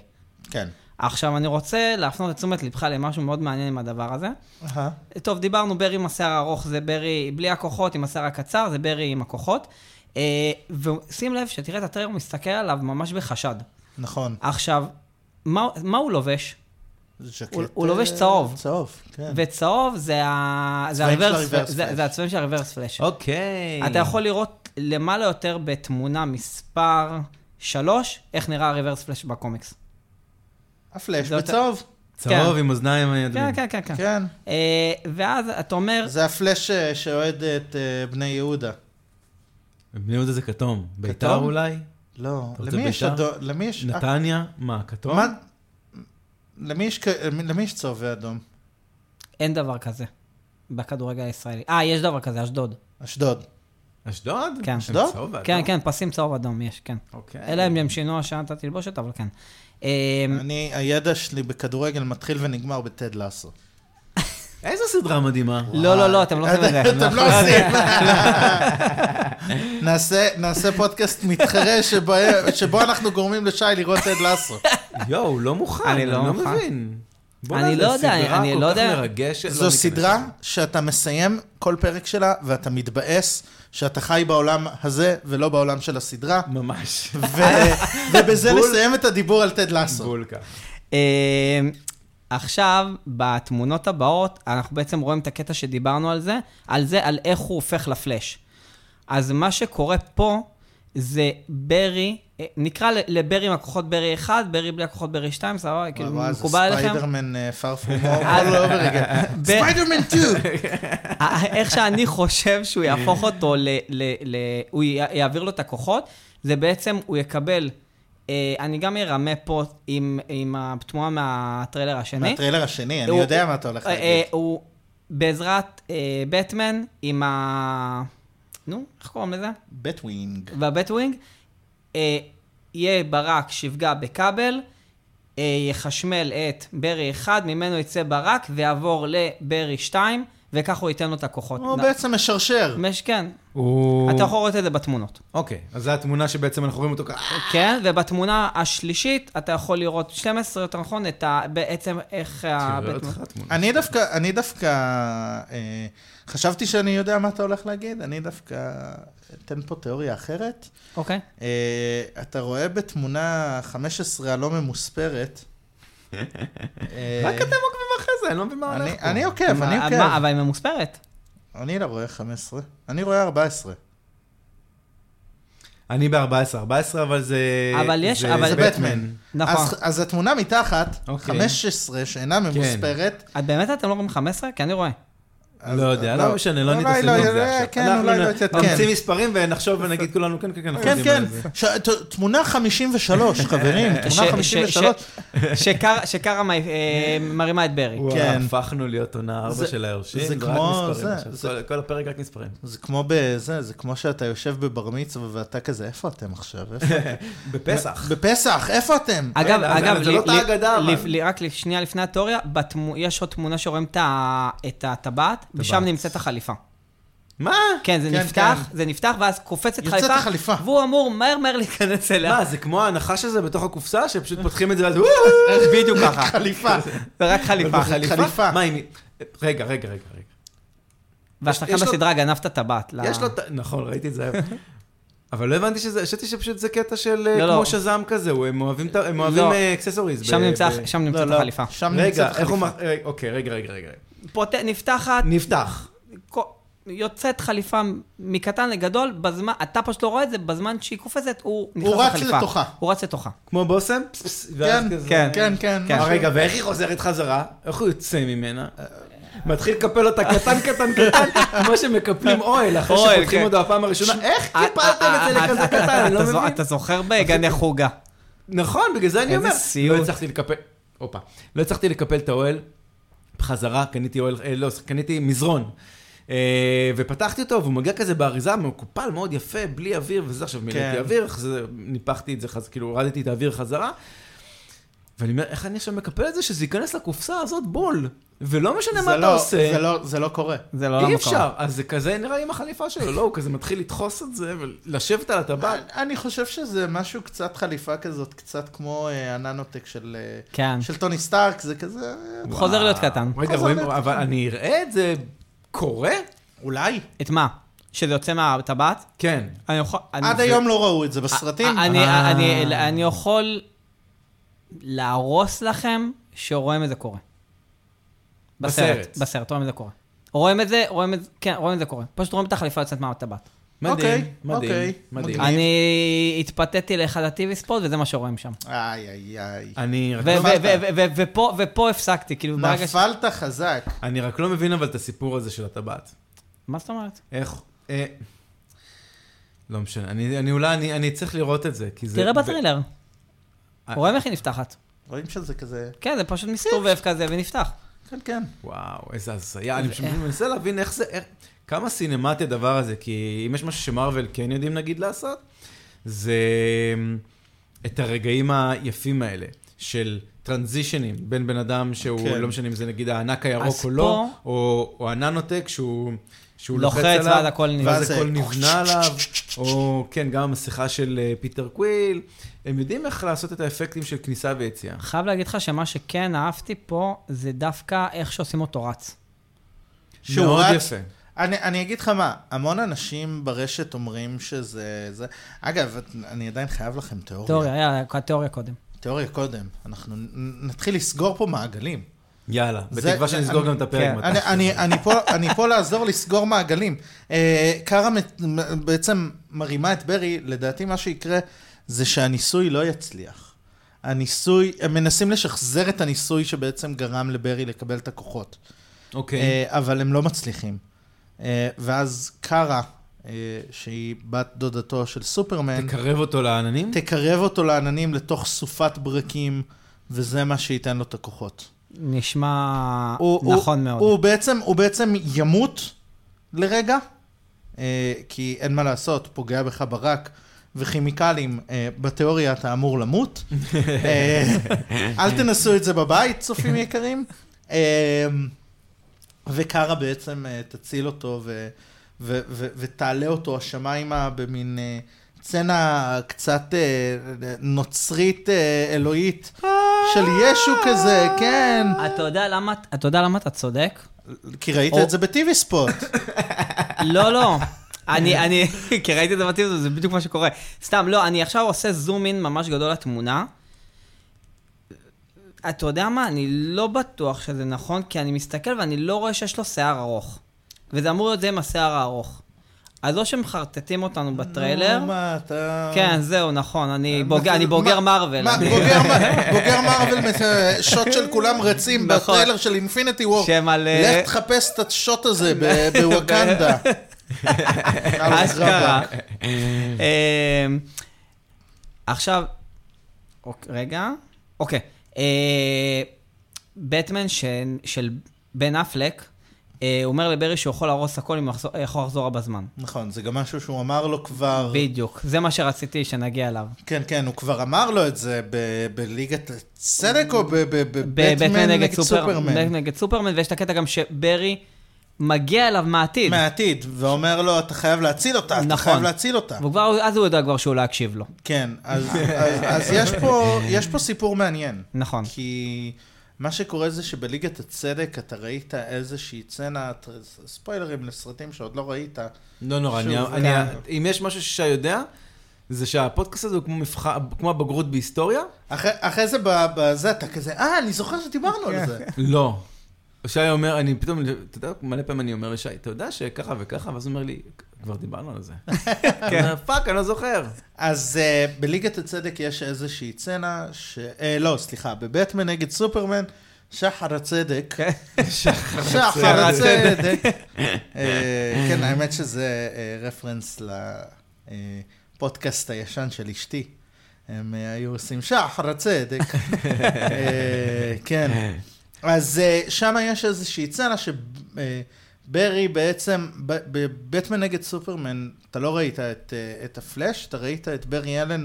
B: כן.
C: עכשיו, אני רוצה להפנות את תשומת לבך למשהו מאוד מעניין עם הדבר הזה. אה?
B: אהה.
C: טוב, דיברנו, ברי עם השיער הארוך זה ברי בלי הכוחות, עם השיער הקצר זה ברי עם הכוחות. אה, ושים לב שתראה את הטרייר, הוא מסתכל עליו ממש בחשד.
B: נכון.
C: עכשיו, מה, מה הוא לובש?
B: זה ז'קט,
C: הוא- הוא לובש
B: אה,
C: צהוב.
B: צהוב, כן.
C: וצהוב זה ה... זה
B: הצבעים של
C: הריברס-
B: ה-reverse
C: זה
B: flash.
C: זה הצבעים של הריברס פלאש.
A: אוקיי.
C: אתה יכול לראות למעלה יותר בתמונה מספר שלוש, איך נראה ריברס פלאש בקומיקס.
B: הפלאש
C: זאת-
B: בצהוב.
A: צהוב עם אוזניים
C: כן,
A: אדומים.
C: כן, כן, כן.
B: כן.
C: אה, ואז אתה אומר,
B: זה הפלאש אה, שאוהד את אה, בני יהודה.
A: בני יהודה זה כתום. ביתר אולי?
C: אה.
B: לא,
A: אתה רוצה
B: למי יש
A: בית"ר?
B: אדום? למי יש... אה,
A: נתניה? מה, כתום?
B: מה- למי יש כ- למי יש צהוב ואדום?
C: אין דבר כזה בכדורגל הישראלי. אה, יש דבר כזה, אשדוד.
B: אשדוד.
A: אשדוד?
C: כן.
A: הם
B: אשדוד?
A: צהוב ואדום.
C: כן, כן, פסים צהוב אדום יש, כן.
A: אוקיי.
C: אלא אם הם שינו השנה את התלבושת, אבל כן. אה,
B: אני, הידע שלי בכדורגל מתחיל ונגמר בטד לאסו.
A: איזו סדרה מדהימה.
C: לא, לא, לא, אתם לא עושים את זה.
B: אתם לא עושים. נעשה- נעשה פודקאסט מתחרה שבו- שבו אנחנו גורמים לשי לראות טד לאסו.
C: כן,
A: יואו, לא מוכן,
C: אני
A: אני
C: לא
A: לא
C: מוכן.
A: מבין. בוא
C: אני
A: נעשה
C: לא יודע,
A: סדרה
C: אני
A: כל כך
C: לא יודע.
A: מרגשת, לא
B: זו
A: ניכנס
B: סדרה
A: לזה.
B: שאתה מסיים כל פרק שלה ואתה מתבאס שאתה חי בעולם הזה ולא בעולם של הסדרה.
A: ממש.
B: ו- ובזה
A: בול.
B: נסיים את הדיבור על טד לאסו.
A: בול כך.
C: אה, עכשיו, בתמונות הבאות, אנחנו בעצם רואים את הקטע שדיברנו על זה, על זה, על איך הוא הופך לפלאש. אז מה שקורה פה, זה ברי, אה, נקרא ל- לברי עם הכוחות ברי 1, ברי בלי הכוחות ברי 2, סבבה? כאילו,
B: וואו, זה
C: מקובל עליכם? אה,
B: ספיידרמן אה, פרפומור, all over again.
C: לא, ב-
B: ספיידרמן 2!
C: אה, איך שאני חושב שהוא יהפוך אותו ל... ל, ל הוא י- יעביר לו את הכוחות, זה בעצם, הוא יקבל... אה, אני גם ארמה פה עם, עם התמונה מהטריילר השני.
B: מהטריילר השני, אני
C: הוא-
B: יודע מה אתה הולך
C: אה,
B: להגיד.
C: אה, הוא בעזרת אה, בטמן עם ה... נו, איך קוראים לזה?
B: בטווינג.
C: והבטווינג, אה, יהיה ברק שיפגע בכבל, אה, יחשמל את ברי 1, ממנו יצא ברק ויעבור לברי 2, וכך הוא ייתן לו את הכוחות.
B: הוא
C: נ-
B: בעצם משרשר.
C: מש- כן,
A: הוא...
C: אתה יכול לראות את זה בתמונות.
A: אוקיי, אז זו התמונה שבעצם אנחנו רואים אותו ככה.
C: כן, ובתמונה השלישית אתה יכול לראות 12, יותר נכון, את ה... בעצם איך
A: תראה
C: הבטמן...
A: אותך התמונה.
B: אני דווקא, אני דווקא, אה, חשבתי שאני יודע מה אתה הולך להגיד, אני דווקא אתן פה תיאוריה אחרת.
C: אוקיי.
B: אה, אתה רואה בתמונה 15 הלא ממוספרת. אה,
A: רק אתם עוקבים אחרי זה, אני לא מבין מה הולך
B: אני-
A: פה.
B: אני עוקב, אני
C: מה- מה,
B: עוקב.
C: אבל היא ממוספרת.
B: אני לא רואה 15, אני רואה 14.
A: אני ב-14, 14 אבל זה...
C: אבל יש- אבל-
B: זה בטמן.
C: נכון.
B: אז- אז התמונה מתחת,
A: אוקיי.
B: 15 שאינה ממוספרת,
C: את באמת אתם לא רואים 15? כי אני רואה.
B: אז-
A: לא יודע,
B: לא.
A: לא משנה, לא
B: אולי
A: נתעסק
B: לא,
A: עם
B: אולי
A: זה עכשיו.
B: כן,
A: אנחנו
B: אולי לא
A: נ-
B: יתעדכן.
A: נמציא מספרים ונחשוב ונגיד כולנו, כן, כן, כן, אנחנו
B: כן,
A: יודעים
B: כן,
A: על זה.
B: ש- ת- תמונה 53, חברים,
A: אה,
C: ש-
B: תמונה
C: ש-
B: 53.
C: ש- שקר- שקרה מה- אה, מרימה את ברי.
A: וואו,
B: כן.
A: הפכנו להיות עונה 4
B: זה-
A: של היורשים,
B: זה
A: ורק
B: כמו
A: מספרים
B: זה,
A: עכשיו.
B: זה-
A: כל- כל הפרק רק מספרים.
B: זה כמו בזה, זה כמו שאתה יושב בבר מצווה ואתה כזה, איפה אתם עכשיו? איפה אתם?"
A: בפסח.
B: בפסח, איפה אתם?
C: אגב,
A: אה,
C: אגב,
A: זה לא
C: לי-
A: את האגדה,
C: לי-
A: אבל.
C: לי- רק שנייה לפני התיאוריה, בתמו- יש עוד תמונה שרואים את ה- את הטבעת, ושם נמצאת החליפה.
A: מה?
C: כן, זה
B: כן,
C: נפתח, זה נפתח, ואז קופצת
B: יוצאת
C: חליפה,
B: החליפה.
C: והוא אמור מהר מהר להיכנס אליה.
A: מה, זה כמו הנחש הזה בתוך הקופסה, שפשוט פותחים את זה ואז...
C: בדיוק ככה.
B: חליפה.
C: זה רק חליפה.
B: חליפה.
A: מה, אם... היא- רגע, רגע, רגע. רגע.
C: והשחקן
A: יש לו-
C: בסדרה גנב את הטבעת. ל-
A: יש לו... ת- נכון, ראיתי את זה היום. אבל לא הבנתי שזה, חשבתי שפשוט זה קטע של אה,
C: לא, לא.
A: כמו שזעם כזה, הוא- הם אוהבים את ה- הם אוהבים
C: לא.
A: אה, אקססוריז. ב-
C: שם נמצא-
A: ב-
C: שם נמצאת החליפה.
B: שם
A: לא, רגע,
B: נמצאת
A: איך הוא...
B: החליפה.
A: מח- אה, אוקיי, רגע, רגע, רגע.
C: פות- נפתחת,
A: נפתח.
C: קו- יוצאת חליפה מקטן לגדול, בזמן, אתה פשוט לא רואה את זה, בזמן שהיא קופצת, הוא נכנס
B: רץ
C: לחליפה.
B: לתוכה.
C: הוא רץ לתוכה.
A: כמו בושם, פס, פס, ואז
B: כן,
A: כזה...
B: כן, כן, כן.
C: כן.
A: אה,
B: משהו.
A: רגע, ואיך היא חוזרת חזרה? איך הוא יוצא ממנה? מתחיל לקפל אותה קטן, קטן, קטן, כמו שמקפלים אוהל, אחרי
C: אוהל,
A: שפותחים
C: כן.
A: אותו הפעם הראשונה. איך קיפלתם את זה
C: אה,
A: לכזה
C: אה,
A: קטן?
C: אה,
A: אני לא
C: אתה זו-
A: מבין. אוקיי.
C: אתה זוכר בגני חוגה.
A: נכון, בגלל זה אני
C: איזה
A: אומר.
C: סיוט.
A: לא הצלחתי לקפל... הופה. לא הצלחתי לקפל את האוהל. בחזרה, קניתי אוהל... אה, לא, קניתי מזרון. אה, ופתחתי אותו, והוא מגיע כזה באריזה, מקופל מאוד יפה, בלי אוויר, וזה עכשיו מילאתי אוויר, אחרי זה ניפחתי את זה, חז- כאילו הורדתי את האוויר חזרה. ואני אומר, איך אני עכשיו מקפל את זה שזה ייכנס לקופסה הזאת בול? ולא משנה
B: זה
A: מה אתה
B: לא-
A: עושה.
B: זה לא- זה לא קורה.
C: זה לא
A: אי
C: למקום.
A: אפשר, אז זה כזה נראה לי עם החליפה שלו, לא, הוא כזה מתחיל לדחוס את זה ולשבת על הטבעת.
B: אני חושב שזה משהו קצת חליפה כזאת, קצת כמו אה, הננוטק של אה,
C: כן.
B: של טוני סטארק, זה כזה... אה,
C: הוא חוזר להיות קטן.
A: רגע,
B: חוזר
A: רואים,
B: להיות
A: אבל אני אראה את זה קורה?
B: אולי.
C: את מה? שזה יוצא מהטבעת?
A: כן.
C: אני יכול... אני-
B: עד
C: זה-
B: היום לא ראו את זה בסרטים.
C: אני-
A: אה.
C: אני- אני יכול להרוס לכם שרואים את זה קורה.
A: בסרט.
C: בסרט, רואים את זה קורה. רואים את זה, רואים את זה, כן, רואים את זה קורה. פשוט רואים את החליפה יוצאת מהטבעת.
A: מדהים,
B: אוקיי,
A: מדהים,
B: אוקיי.
A: מדהים.
B: מגניב.
C: אני התפתיתי לאחד הטיבי ספורט, וזה מה שרואים שם.
B: איי, איי, איי.
A: אני רק
C: ו-
A: לא-
C: ו- ו- ו- ו- ופה- ופה הפסקתי, כאילו, ברגע ש...
B: נפלת חזק.
A: אני רק לא מבין אבל את הסיפור הזה של הטבעת.
C: מה זאת אומרת?
A: איך... אה, לא משנה, אני אני אולי, אני- אני צריך לראות את זה, כי זה...
C: תראה
A: ב-
C: בטרילר,
A: אה,
C: רואים איך היא נפתחת.
B: רואים שזה כזה...
C: כן, זה פשוט מסתובב כזה ונפתח.
B: כן, כן.
A: וואו, איזה הזיה, אני פשוט מנסה להבין איך זה, איך, כמה סינמטי הדבר הזה, כי אם יש משהו שמרוויל כן יודעים נגיד לעשות, זה אמ, את הרגעים היפים האלה של טרנזישנים בין בן אדם שהוא,
B: כן.
A: לא משנה אם זה נגיד הענק הירוק
C: אז
A: או לא,
C: פה-
A: או, או הננוטק שהוא, שהוא לוחץ,
C: לוחץ
A: עליו,
C: ואז הכל נראה.
A: ואז
B: ואז
A: הכל
B: זה-
A: נבנה עליו, או כן, גם המסכה של אה, פיטר קוויל, הם יודעים איך לעשות את האפקטים של כניסה ויציאה.
C: חייב להגיד לך שמה שכן אהבתי פה, זה דווקא איך שעושים אותו רץ.
B: שהוא
A: מאוד
B: רץ-
A: יפה.
B: אני, אני אגיד לך מה, המון אנשים ברשת אומרים שזה... זה... אגב, את- אני עדיין חייב לכם תיאוריה. תיאוריה.
C: תיאוריה, היה תיאוריה קודם.
B: תיאוריה קודם. אנחנו נ- נתחיל לסגור פה מעגלים.
A: יאללה,
B: זה-
A: בתקווה
B: זה-
A: שנסגור
B: אני-
A: גם את הפרק.
C: כן,
A: מתישהו.
B: אני, אני, אני, פה, אני פה לעזור לסגור מעגלים. אה, קארה מת- מ- בעצם מרימה את ברי, לדעתי מה שיקרה זה שהניסוי לא יצליח. הניסוי, הם מנסים לשחזר את הניסוי שבעצם גרם לברי לקבל את הכוחות.
A: אוקיי.
B: אה, אבל הם לא מצליחים. אה, ואז קארה, אה, שהיא בת דודתו של
C: אמ,
B: סופרמן,
A: תקרב אותו לעננים?
B: תקרב אותו לעננים לתוך סופת ברקים, וזה מה שייתן לו את הכוחות.
C: נשמע
B: הוא-
C: נכון
B: הוא,
C: מאוד.
B: הוא בעצם, הוא בעצם ימות לרגע, אה, כי אין מה לעשות, פוגע בך ברק. וכימיקלים, אה, בתיאוריה אתה אמור למות. אה, אל תנסו את זה בבית, צופים יקרים. אה, וקארה בעצם אה, תציל אותו ו, ו, ו, ותעלה אותו השמיימה במין אה, צצנה קצת אה, נוצרית אה, אלוהית של ישו כזה, כן.
C: אתה יודע למה- אתה יודע למה אתה צודק?
B: כי ראית
C: או-
B: את זה בטיבי ספוט.
C: לא, לא. אני, אני, כי ראיתי את זה בטיזו, זה בדיוק מה שקורה. סתם, לא, אני עכשיו עושה זום אין ממש גדול לתמונה. אתה יודע מה, אני לא בטוח שזה נכון, כי אני מסתכל ואני לא רואה שיש לו שיער ארוך. וזה אמור להיות זה עם השיער הארוך. אז או שמחרטטים אותנו בטריילר,
B: נו, מה, אתה...
C: כן, זהו, נכון, אני בוגר-
B: אה, מה-
C: אני בוגר
B: מה-
C: מארוול.
B: מה,
C: אני-
B: בוגר מ- בוגר מארוול, מ- שוט של כולם רצים
C: נכון.
B: בטריילר של אינפיניטי וור.
C: שם על, אה,
B: לך תחפש את השוט הזה ב- בווקנדה. לא
C: אשכרה.
B: רבאק.
C: אמ, עכשיו, אוק- רגע, אוקיי. אה, בטמן ש- של בן אפלק, אה, הוא אומר לברי שהוא יכול להרוס הכל אם הוא יחזור- יכול לחזור בזמן.
B: נכון, זה גם משהו שהוא אמר לו כבר.
C: בדיוק, זה מה שרציתי שנגיע אליו.
B: כן, כן, הוא כבר אמר לו את זה ב- בליגת הצדק או
C: בבטמן
B: בבטמן נגד סופרמן?
C: נגד סופרמן, ויש את הקטע גם שברי מגיע אליו מהעתיד.
B: מהעתיד, ואומר לו, אתה חייב להציל אותה, אתה
C: נכון.
B: חייב להציל אותה.
C: וכבר, אז הוא יודע כבר שהוא לא יקשיב לו.
B: כן, אז, אז, אז יש, פה, יש פה סיפור מעניין.
C: נכון.
B: כי מה שקורה זה שבליגת הצדק אתה ראית איזושהי צנה, ת- ספוילרים לסרטים שעוד לא ראית.
A: לא נורא, אני-
B: שוב,
A: אני-
B: אה,
C: כן.
A: אם יש משהו ששי יודע, זה שהפודקאסט הזה הוא כמו מבחן, כמו הבגרות בהיסטוריה?
B: אחרי, אחרי זה ב- בזה אתה כזה, אה, אני זוכר שדיברנו על זה.
A: לא. שי אומר, אני פתאום, אתה יודע, מלא פעמים אני אומר לשי, אתה יודע שככה וככה, ואז הוא אומר לי, כבר דיברנו על זה.
C: כן.
A: אני אומר, פאק, אני לא זוכר.
B: אז uh, בליגת הצדק יש איזושהי צנה, ש... Uh, לא, סליחה, בבטמן נגד סופרמן, שחר הצדק.
C: כן.
B: שחר הצדק. אה, כן, האמת שזה אה, רפרנס לפודקאסט הישן של אשתי. הם אה, היו עושים שחר הצדק. אה, כן. אז שם יש איזושהי צנה שברי בעצם, ב- בבטמן נגד סופרמן, אתה לא ראית את, אה, את הפלאש, אתה ראית את ברי אלן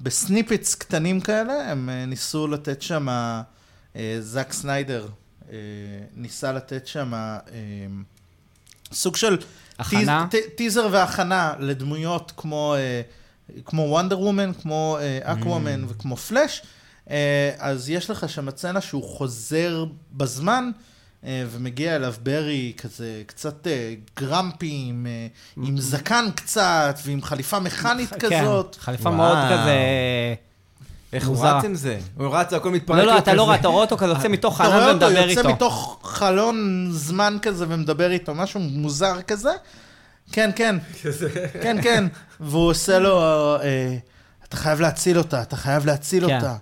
B: בסניפיץ קטנים כאלה, הם אה, ניסו לתת שם, אה, זאק סניידר אה, ניסה לתת שם אה, סוג של
C: הכנה?
B: טיז, ט, טיזר והכנה לדמויות כמו, אה, כמו וונדר וומן, כמו אקוומן וכמו פלאש. אה, אז יש לך שם צנה שהוא חוזר בזמן, אה, ומגיע אליו ברי כזה קצת אה, גרמפי, עם, אה, עם זקן קצת, ועם חליפה מכנית כזאת.
C: Mm-hmm. כן, חליפה
A: וואו.
C: מאוד כזה...
A: איך הוא
C: מוזרה.
A: רץ עם זה? הוא רץ, הכל מתפרק.
C: לא,
A: לו
C: לא, אתה
A: כזה.
C: לא רואה, אתה רואה אותו כזה יוצא מתוך
B: אתה רואה
C: חנן
B: אותו
C: ומדבר
B: יוצא
C: איתו.
B: מתוך חלון זמן כזה ומדבר איתו, משהו מוזר כזה. כן, כן, כן, כן. והוא עושה לו, אה, אתה חייב להציל אותה, אתה חייב להציל
C: כן.
B: אותה.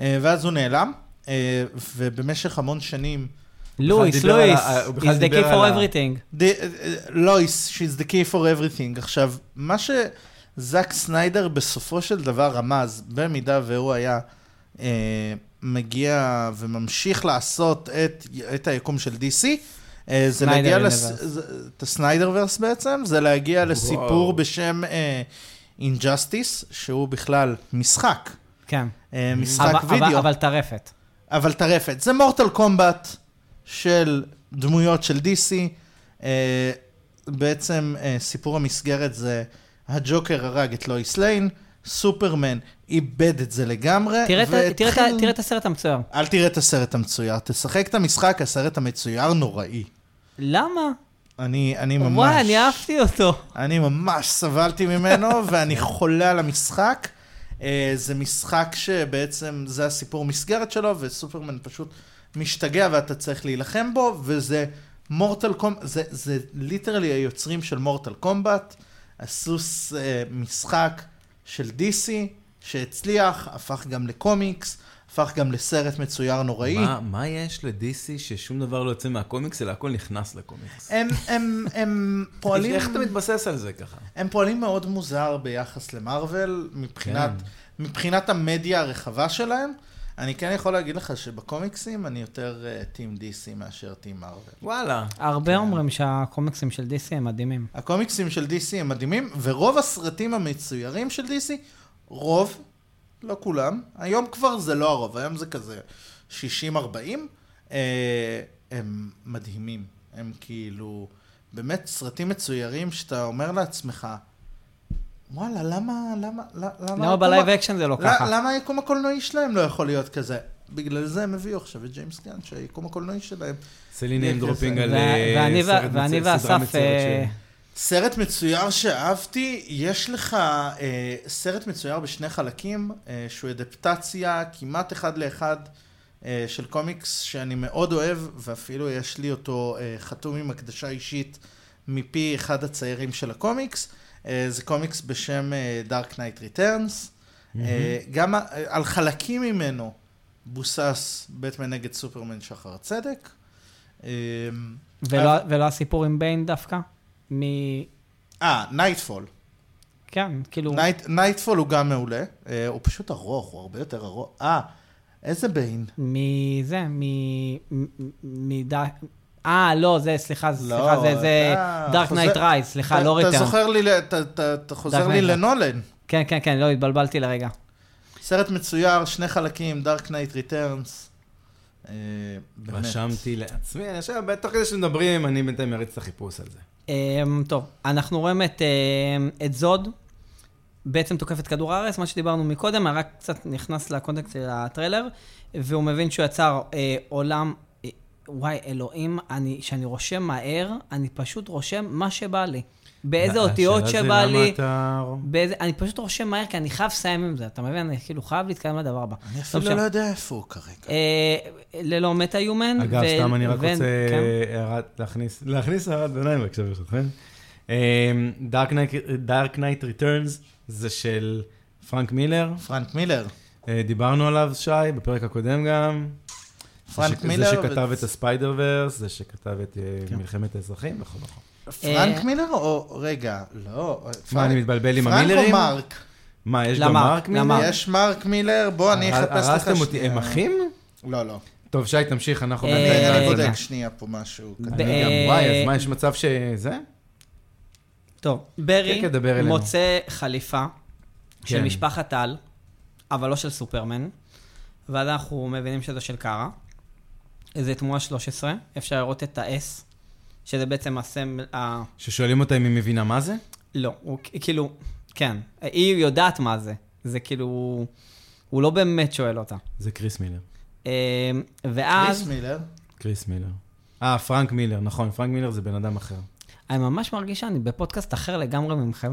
B: אה, ואז הוא נעלם, אה, ובמשך המון שנים,
C: לואיס,
A: דיבר על
C: לואיס,
A: ה- הוא בכלל
C: he's the
A: דיבר
C: key
A: על
C: for
A: ה-
C: everything.
B: the- אה, לואיס, she's the key for everything. עכשיו, מה שזאק סניידר בסופו של דבר רמז, במידה והוא היה אה, מגיע וממשיך לעשות את, את היקום של DC, אה, זה
C: סניידר
B: להגיע, לס,
C: יוניברס.
B: זה, את הסניידר ורס בעצם, זה להגיע לסיפור
A: וואו.
B: בשם אה, Injustice, שהוא בכלל משחק,
C: כן.
B: אה, משחק
C: אבל- אבל-
B: וידאו. כן,
C: אבל טרפת.
B: אבל טרפת. זה מורטל קומבט של דמויות של DC. אה, בעצם אה, סיפור המסגרת זה הג'וקר הרג את לואיס ליין, סופרמן איבד את זה לגמרי.
C: תראה את ה- תראה את ה-
B: והתחיל-
C: תראה את הסרט המצויר.
B: אל תראה את הסרט המצויר, תשחק את המשחק, הסרט המצויר נוראי.
C: למה?
B: אני, אני ממש...
C: וואי, אני אהבתי אותו.
B: אני ממש סבלתי ממנו, ואני חולה על המשחק. אה, זה משחק שבעצם זה הסיפור מסגרת שלו, וסופרמן פשוט משתגע ואתה צריך להילחם בו, וזה מורטל קומבט, זה, זה ליטרלי היוצרים של מורטל קומבט, הסוס אה, משחק של DC, שהצליח, הפך גם לקומיקס, הפך גם לסרט מצויר נוראי.
A: מה- מה יש ל-DC ששום דבר לא יוצא מהקומיקס, אלא הכל נכנס לקומיקס?
B: הם, הם, הם פועלים...
A: איך אתה מתבסס על זה ככה?
B: הם פועלים מאוד מוזר ביחס למרוויל, מבחינת, כן. מבחינת המדיה הרחבה שלהם. אני כן יכול להגיד לך שבקומיקסים אני יותר אה, טים DC מאשר טים מרוויל.
A: וואלה.
B: כן.
C: הרבה אומרים שהקומיקסים של DC הם מדהימים.
B: הקומיקסים של DC הם מדהימים, ורוב הסרטים המצוירים של DC, רוב, לא כולם, היום כבר זה לא הרוב, היום זה כזה 60-40, אה, הם מדהימים. הם כאילו, באמת סרטים מצוירים שאתה אומר לעצמך, וואלה, למה, למה, למה,
C: למה
B: היקום
C: בלייב
B: ה-
C: אקשן זה לא
B: ל-
C: ככה?
B: למה היקום הקולנועי שלהם לא יכול להיות כזה? בגלל זה הם הביאו עכשיו את ג'יימס גן, שהיקום הקולנועי שלהם
A: עושה לי name dropping
B: ו-
A: על
C: ו-
A: אה,
C: ואני ו-
A: סרט מצויר-
C: ואני
A: סדרה
C: ואסף...
A: מצוירת
C: אה,
A: ש-
B: סרט מצויר שאהבתי, יש לך אה, סרט מצויר בשני חלקים, אה, שהוא אדפטציה כמעט אחד לאחד אה, של קומיקס שאני מאוד אוהב, ואפילו יש לי אותו אה, חתום עם הקדשה אישית מפי אחד הציירים של הקומיקס. אה, זה קומיקס בשם אה, דארק נייט ריטרנס. גם ה- אה, על חלקים ממנו בוסס בטמן נגד סופרמן שחר הצדק. אה,
C: ולא- ולא הסיפור עם ביין דווקא? מ...
B: אה, נייטפול.
C: כן, כאילו...
B: נייט- נייטפול הוא גם מעולה, אה, הוא פשוט ארוך, הוא הרבה יותר ארוך. אה, איזה ביין.
C: מזה, מ... מ- מ... ד- אה, לא, זה, סליחה, זה-
B: לא,
C: סליחה, זה- זה
B: אתה
C: דארק
B: חוזר-
C: נייט רייז, סליחה,
B: אתה-
C: לא
B: אתה
C: ריטרן.
B: זוכר לי, ל- אתה- אתה אתה חוזר
C: Dark
B: לי
C: Knight.
B: לנולן.
C: כן, כן, כן, לא, התבלבלתי לרגע.
B: סרט מצויר, שני חלקים, דארק נייט ריטרנס. אה,
A: רשמתי לעצמי, אני עכשיו, תוך כדי שמדברים, אני בינתיים אריץ את החיפוש על זה.
C: אמ, טוב, אנחנו רואים את, אמ, את זוד, בעצם תוקף את כדור הארץ, מה שדיברנו מקודם, רק קצת נכנס לקונטקסט של הטריילר, והוא מבין שהוא יצר אה, עולם, אה, וואי, אלוהים, אני, שאני רושם מהר, אני פשוט רושם מה שבא לי. באיזה אותיות
A: השאלה זה
C: שבא
A: למה
C: לי,
A: אתה-
C: באיזה, אני פשוט רושם מהר, כי אני חייב לסיים עם זה, אתה מבין? אני כאילו חייב להתקדם לדבר הבא.
A: אוקיי.
B: אני
C: לא
B: אפילו
C: משנה.
B: לא יודע איפה הוא כרגע.
C: אה, ללא מטה יומן.
A: אגב,
C: ו-
A: סתם אני רק
C: ו-
A: רוצה אה,
C: כן.
A: הערת- להכניס- להכניס הערת ביניים נכון? בבקשה ברשותכם. אה, דארק נייט ריטרנס זה של פרנק מילר,
B: פרנק מילר.
A: אה, דיברנו עליו, שי, בפרק הקודם גם.
B: פרנק
A: זה ש-
B: מילר
A: זה שכתב
B: ו-
A: את הספיידר ורס, זה שכתב את אה, מלחמת האזרחים, נכון, נכון.
C: אה,
B: פרנק מילר או... רגע, לא.
A: מה,
B: פרנק-
A: אני מתבלבל עם
B: פרנק או
A: המילרים?
B: מרק?
A: מה, יש
C: למה?
A: גם מרק
C: למה?
A: מילר?
C: מרק.
B: יש מרק מילר, בוא, אני
A: הר-
B: אחפש לך
A: הרסתם אותי, הם אחים?
B: לא, לא.
A: טוב, שי, תמשיך, אנחנו...
C: אה,
A: בינתיים
B: רגע, אני
A: נעזוב.
B: בודק אה, שנייה פה משהו.
A: אני גם, וואי, אז מה, יש מצב שזה?
C: טוב, ברי
A: כן, כן, דבר אלינו.
C: מוצא חליפה של
A: כן.
C: משפחת על, אבל לא של סופרמן, ואז אנחנו מבינים שזה של קארה. זה תמונה 13, אפשר לראות את ה-S, שזה בעצם הסמל, ה...
A: ששואלים אותה אם היא מבינה מה זה?
C: לא, הוא כ- כאילו, כן, היא יודעת מה זה, זה כאילו, הוא לא באמת שואל אותה.
A: זה קריס מילר.
C: אמ,
B: קריס
C: ואז,
B: מילר.
A: קריס מילר. אה, פרנק מילר, נכון, פרנק מילר זה בן אדם אחר.
C: אני ממש מרגיש שאני בפודקאסט אחר לגמרי ממכם.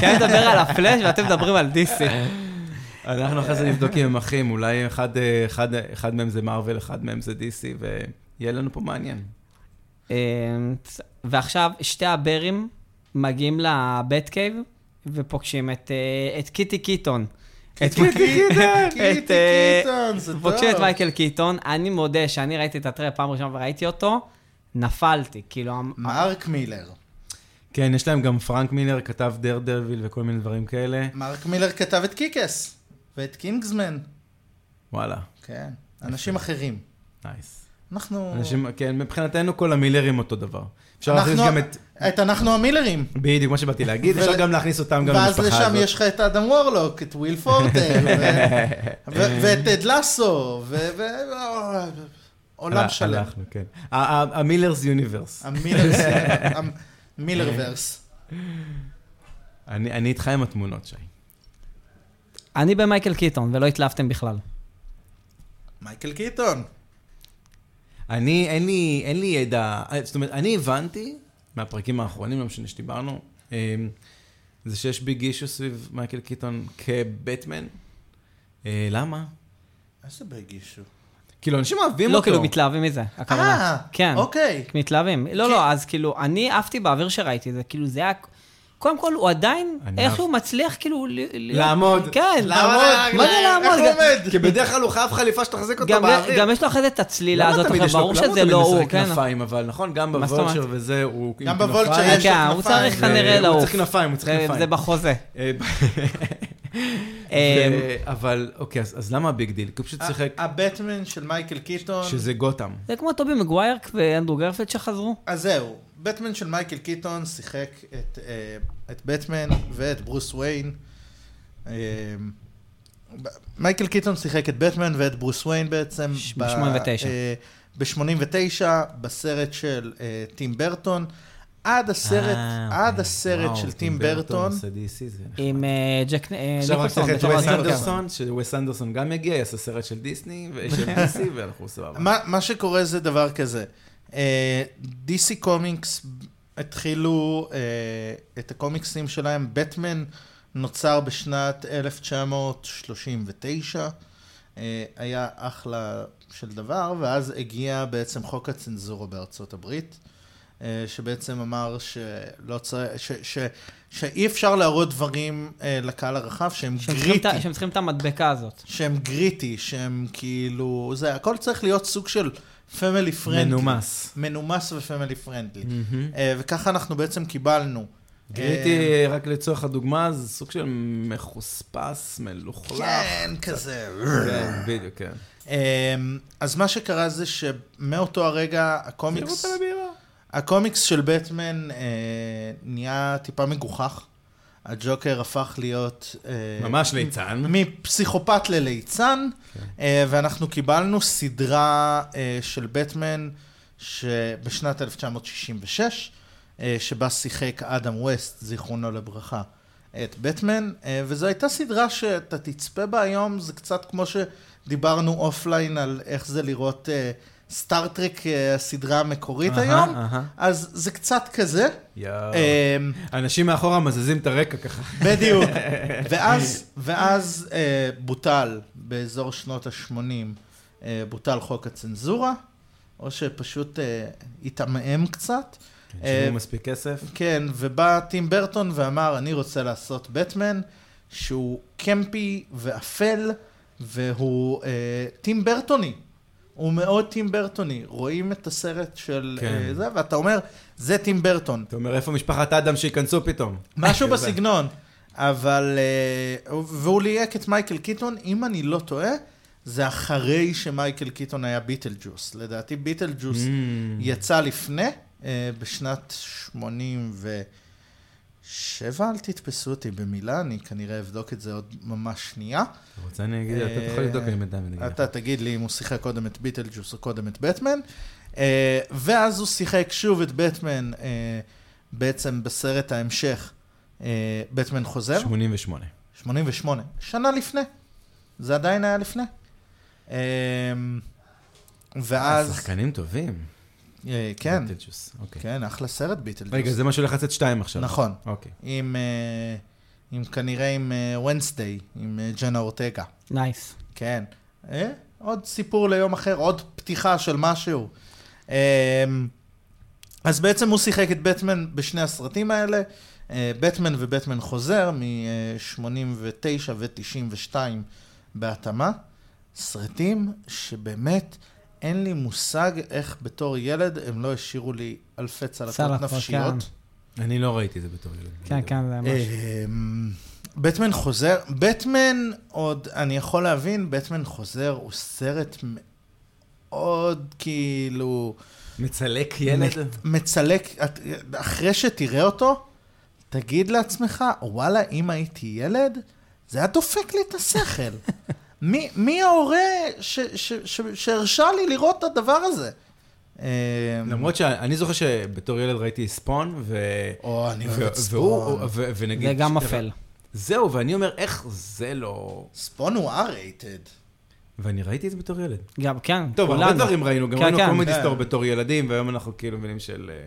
C: כי אני מדבר על הפלאש ואתם מדברים על דיסי.
A: אנחנו אחרי זה נבדוק אם הם אחים, אולי אחד, אה, אחד, אחד מהם זה מארוול, אחד מהם זה DC, ויהיה לנו פה מעניין.
C: אמ, אה, ועכשיו שתי הברים מגיעים לבט קייב ופוגשים את, אה, את קיטי קיטון. את
A: קיטי קיטון!
B: קיטי
C: את, אה,
B: קיטון, זה טוב.
C: פוגשים את מייקל קיטון. אני מודה שאני ראיתי את הטרק פעם ראשונה וראיתי אותו, נפלתי. כאילו, המ-
B: מרק מילר.
A: כן, יש להם גם פרנק מילר כתב דר דרוויל וכל מיני דברים כאלה.
B: מרק מילר כתב את קיקס ואת קינגסמן.
A: וואלה,
B: כן, אנשים אחרים.
A: נייס.
B: אנחנו...
A: אנשים, כן, מבחינתנו כל המילרים אותו דבר. אפשר להכניס
B: אנחנו...
A: גם את...
B: את אנחנו המילרים.
A: בדיוק, מה שבאתי להגיד,
B: ו-
A: אפשר גם להכניס אותם גם
B: ואז
A: למשפחה הזאת.
B: לשם יש לך את אדם וורלוק, את וויל פורטל, ו- ו- ואת טד לאסו, ו... ו- אה, עולם
A: הלך-
B: שלם.
A: הלכנו, כן. ה- ה- המילרס יוניברס.
B: המילרס, המילרוורס.
A: אני אני איתך עם התמונות, שי.
C: אני במייקל קיטון, ולא התלהבתם בכלל.
B: מייקל קיטון.
A: אני, אין לי, אין לי ידע, זאת אומרת, אני הבנתי מהפרקים האחרונים, לא משנה שדיברנו, אמ, זה שיש ביג אישו סביב מייקל קיטון כבטמן. אה, למה?
B: איזה בגישו.
A: כאילו, אנשים אוהבים
C: לא,
A: אותו.
C: כאילו, מתלהבים מזה, הכוונה.
B: אה,
C: כן.
B: אוקיי.
C: מתלהבים. לא,
A: כן.
C: לא, אז כאילו, אני עפתי באוויר שראיתי את זה, כאילו, זה היה... קודם כל, הוא עדיין,
A: אני
C: איך
A: אהב-
C: הוא מצליח כאילו... ל- ל-
A: לעמוד.
C: כן, לעמוד. מה זה לעמוד?
B: איך הוא
C: גם-
B: עומד?
A: כי בדרך כלל הוא חייב חליפה שתחזיק אותו
C: גם-
A: באוויר.
C: גם יש לו אחרי זה את הצלילה
A: למה
C: הזאת,
A: תמיד
C: אחרי
A: יש לו-
C: ברור
A: למה
C: שזה לא הוא,
A: תמיד משחק
C: כן.
A: כנפיים, אבל נכון, גם
C: מה זאת אומרת?
A: בוולצ'ר וזה, הוא עם
B: גם בוולצ'ר
A: כנפיים.
B: יש לו
C: כן, הוא
B: כנפיים. אה,
C: צריך
A: זה-
C: כנראה לא.
A: הוא
C: לעוף.
A: צריך כנפיים, הוא צריך
C: זה-
A: כנפיים.
C: זה בחוזה.
A: אה, ב-
C: אה,
A: ו- אבל, אוקיי, אז אז למה הביג דיל? כי הוא
B: אה,
A: פשוט שיחק
B: הבטמן של מייקל קיטון.
A: שזה גותם.
C: זה כמו טובי מגווייר ואנדרו גרפלד שחזרו.
B: אז זהו, בטמן של מייקל קיטון שיחק את, אה, את בטמן ואת ברוס וויין. אה, ב- מייקל קיטון שיחק את בטמן ואת ברוס וויין בעצם.
C: ש- ב-89.
B: ב-89, בסרט של אה, טים ברטון. עד הסרט,
A: אה,
B: עד
A: אוקיי.
B: הסרט
A: וואו,
B: של טים ברטון.
A: עושה DC, זה נחמד.
C: עם אה, ג'ק אה,
A: עכשיו רק
C: ניקולסון.
A: צריך את
C: בתור
A: ווס
B: ג'ק
C: הג'וקר.
A: אנדרסון, שווס אנדרסון גם יגיע, יעשה סרט של דיסני ושל DC, ואנחנו סבבה.
B: מה, מה שקורה זה דבר כזה, אה, DC קומיקס התחילו אה, את הקומיקסים שלהם, בטמן נוצר בשנת 1939, אה, היה אחלה של דבר, ואז הגיע בעצם חוק הצנזורה בארצות הברית, אה, שבעצם אמר שלא צריך, ש, ש, שאי אפשר להראות דברים אה, לקהל הרחב שהם
C: שהם צריכים את
B: גריטי.
C: ה- שהם צריכים את המדבקה הזאת.
B: שהם גריטי, שהם כאילו, זה, הכל צריך להיות סוג של פמילי פרנדלי.
A: מנומס. Mm.
B: מנומס ופמילי פרנדלי.
A: מהמם.
B: וככה אנחנו בעצם קיבלנו. אה,
A: גריטי, רק לצורך הדוגמה, זה סוג של מחוספס, מלוכלך.
B: כן, כזה.
A: כן, בדיוק, כן.
B: אה, אז מה שקרה זה שמאותו הרגע
A: תראו
B: הקומיקס,
A: אותה לבירה.
B: הקומיקס של בטמן אה, נהיה טיפה מגוחך. הג'וקר הפך להיות... אה,
A: ממש ליצן.
B: מפסיכופת לליצן, אה, ואנחנו קיבלנו סדרה אה, של בטמן שבשנת 1966, אה, שבה שיחק אדם ווסט, זיכרונו לברכה, את בטמן, אה, וזו הייתה סדרה שאתה תצפה בה היום, זה קצת כמו שדיברנו אופליין על איך זה לראות אה, סטארט-טרק, אה, הסדרה המקורית
A: אהה,
B: היום,
A: אהה.
B: אז זה קצת כזה.
A: יואו.
B: אה,
A: אנשים מאחורה מזיזים את הרקע ככה.
B: בדיוק. ואז, ואז אה, בוטל באזור שנות ה-80, אה, בוטל חוק הצנזורה, או שפשוט אה, התעמעם קצת. אה,
A: שילמו כן, מספיק כסף.
B: כן, ובא טים ברטון ואמר, אני רוצה לעשות בטמן, שהוא קמפי ואפל, והוא אה, טים ברטוני. הוא מאוד טים ברטוני. רואים את הסרט של
A: כן.
B: אה, זה, ואתה אומר, זה טים ברטון.
A: אתה אומר, איפה משפחת אדם שייכנסו פתאום? אה,
B: משהו
A: כזה.
B: בסגנון. אבל... אה, והוא ליהק את מייקל קיטון, אם אני לא טועה, זה אחרי שמייקל קיטון היה ביטל ג'וס. לדעתי ביטל ג'וס
A: Mm.
B: יצא לפני, אה, בשנת 87, אל תתפסו אותי במילה, אני כנראה אבדוק את זה עוד ממש שנייה.
A: אתה רוצה אני אגיד, אתה יכול לבדוק אני מידע ואני אגיד לך.
B: אה, אתה תגיד לי אם הוא שיחק קודם את ביטל ג'וס או קודם את בטמן. אה, ואז הוא שיחק שוב את בטמן, אה, בעצם בסרט ההמשך, אה, בטמן חוזר.
A: 88.
B: 88, שנה לפני. זה עדיין היה לפני. אמ, ואז,
A: שחקנים טובים.
B: אה, כן,
A: ביטלג'וס, אוקיי.
B: כן, אחלה סרט ביטלג'וס.
A: רגע, זה מה שהולך לצאת שתיים עכשיו.
B: נכון.
A: אוקיי.
B: עם, אה, עם כנראה עם ונסדיי, עם אה, ג'נה אורטגה.
C: נייס.
B: כן. אה, עוד סיפור ליום אחר, עוד פתיחה של משהו. אמ, אז בעצם הוא שיחק את בטמן בשני הסרטים האלה, אה, בטמן ובטמן חוזר מ-89 ו-92 בהתאמה. סרטים שבאמת אין לי מושג איך בתור ילד הם לא השאירו לי אלפי צלקות
C: צלקות,
B: נפשיות.
C: כן.
A: אני לא ראיתי את זה בתור ילד.
C: כן, כן,
A: אה,
C: זה ממש...
B: אמ, בטמן חוזר, בטמן עוד, אני יכול להבין, בטמן חוזר הוא סרט מאוד כאילו...
A: מצלק ילד?
B: מת- מצלק, את- אחרי שתראה אותו, תגיד לעצמך, וואלה, אם הייתי ילד, זה היה דופק לי את השכל. מי, מי ההורה ש- ש- ש- שהרשה לי לראות את הדבר הזה? אמ,
A: למרות שאני זוכר שבתור ילד ראיתי ספון, ו...
B: או, אני אוהב את
A: ו- והוא-
B: ספון.
A: ו- ונגיד...
C: זה גם
A: ש-
C: אפל.
A: זהו, ואני אומר, איך זה לא...
B: ספון הוא R-rated.
A: ואני ראיתי את זה בתור ילד.
C: גם, כן,
A: טוב, הרבה
C: כולנו.
A: דברים ראינו, גם
C: כן,
A: ראינו
C: כן.
A: קומדי
B: כן.
A: סטור בתור ילדים, והיום אנחנו כאילו מבינים של... אה,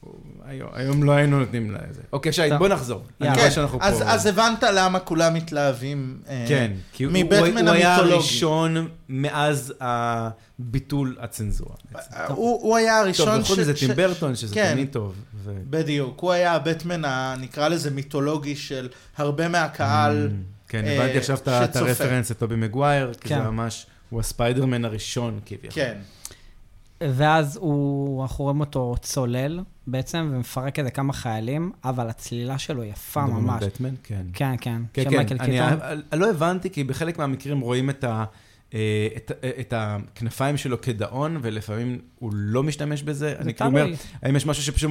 A: הוא- היום- היום לא היינו נותנים לה את זה. אוקיי, שי,
C: טוב.
A: בוא נחזור. אני
C: יאללה.
A: רואה
B: כן,
A: שאנחנו פה...
B: אז, אז הבנת למה כולם מתלהבים. אה,
A: כן, כי הוא- הוא
B: מבטמן
A: הוא היה
B: המיתולוגי.
A: הראשון מאז הביטול הצנזורה. בעצם.
B: הוא, הוא היה הראשון
A: טוב, וחוץ מזה
B: ש-
A: טים
B: ש-
A: ברטון, שזה
B: כן.
A: תמיד טוב. ו-
B: בדיוק, הוא היה הבטמן, ה- נקרא לזה מיתולוגי של הרבה מהקהל.
A: כן,
B: אה,
A: הבנתי עכשיו את ה- את
B: שצופה.
A: הרפרנס לטובי מגווייר, כי זה
C: כן.
A: ממש, הוא הספיידרמן הראשון כביכול.
B: כן.
C: ואז הוא, אנחנו רואים אותו צולל בעצם, ומפרק איזה כמה חיילים, אבל הצלילה שלו יפה
A: מדברים על
C: ממש.
A: בטמן, כן.
C: כן, כן,
A: כן,
C: של
A: כן,
C: מייקל
A: אני
C: קיטון.
A: אני לא הבנתי, כי בחלק מהמקרים רואים את ה... אה, את, אה, את הכנפיים שלו כדאון, ולפעמים הוא לא משתמש בזה. אני כאילו אומר,
C: תלוי.
A: האם יש משהו שפשוט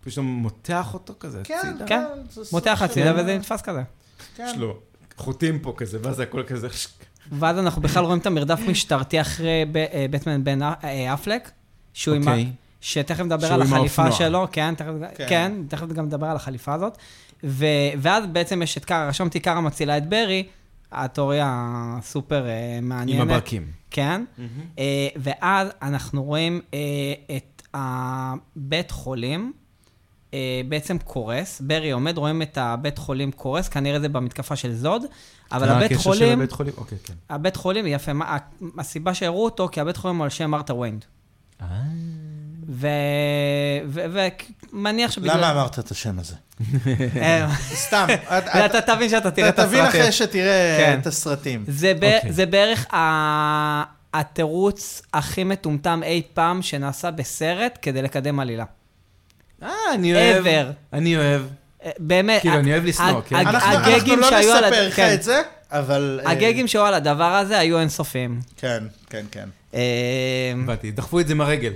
A: פשוט מותח אותו כזה
B: כן,
A: הצידה?
C: כן.
B: זה סוג
C: מותח
B: של-
C: הצידה וזה נתפס כזה.
B: כן.
A: יש לו חוטים פה כזה, ואז הכל כזה... שק.
C: ואז אנחנו בכלל רואים את המרדף משטרתי אחרי ב- אה, בטמן בן אה, אה, אפלק, שהוא עם ה-
A: אוקיי.
C: שתכף נדבר
A: שהוא
C: על
A: עם
C: החליפה
A: האופנוע.
C: שלו, כן, תכף,
B: כן.
C: כן. כן, תכף גם נדבר על החליפה הזאת. ו, ואז בעצם יש את קארה, רשמתי קארה מצילה את ברי, התיאוריה הסופר אה, מעניינת.
A: עם הברקים.
C: כן, אה, ואז אנחנו רואים אה, את הבית חולים אה, בעצם קורס, ברי עומד, רואים את הבית חולים קורס, כנראה זה במתקפה של זוד, אבל
A: מה
C: הבית
A: הקשר של
C: חולים...
A: הבית חולים? אוקיי, כן.
C: הבית חולים, יפה, מה, ה- הסיבה שהראו אותו, כי הבית חולים הוא על שם מרתה ויינד. אה. ומניח שבגלל...
B: למה אמרת את השם הזה?
C: אה,
B: סתם, את- את-
C: ואתה תבין שאתה תראה את
B: אתה
C: הסרטים.
B: תבין אחרי שתראה
C: כן.
B: את הסרטים.
C: זה ב-
A: אוקיי.
C: זה בערך ה- התירוץ הכי מטומטם אי פעם שנעשה בסרט כדי לקדם עלילה.
A: אה, אני אוהב.
C: ever.
A: אני אוהב.
C: אה, באמת.
A: כאילו,
C: ה-
A: אני אוהב לשנוא,
C: ה-
A: כן.
C: ה-
A: אנחנו-
B: אנחנו אנחנו
C: הגגים
B: לא
C: שהיו על...
B: נספר
C: הד-
B: לך
C: כן.
B: את זה, אבל... אה,
C: הגגים שהיו על הדבר הזה היו אינסופיים.
B: כן, כן, כן.
C: אה,
A: באתי, דחפו את זה מהרגל.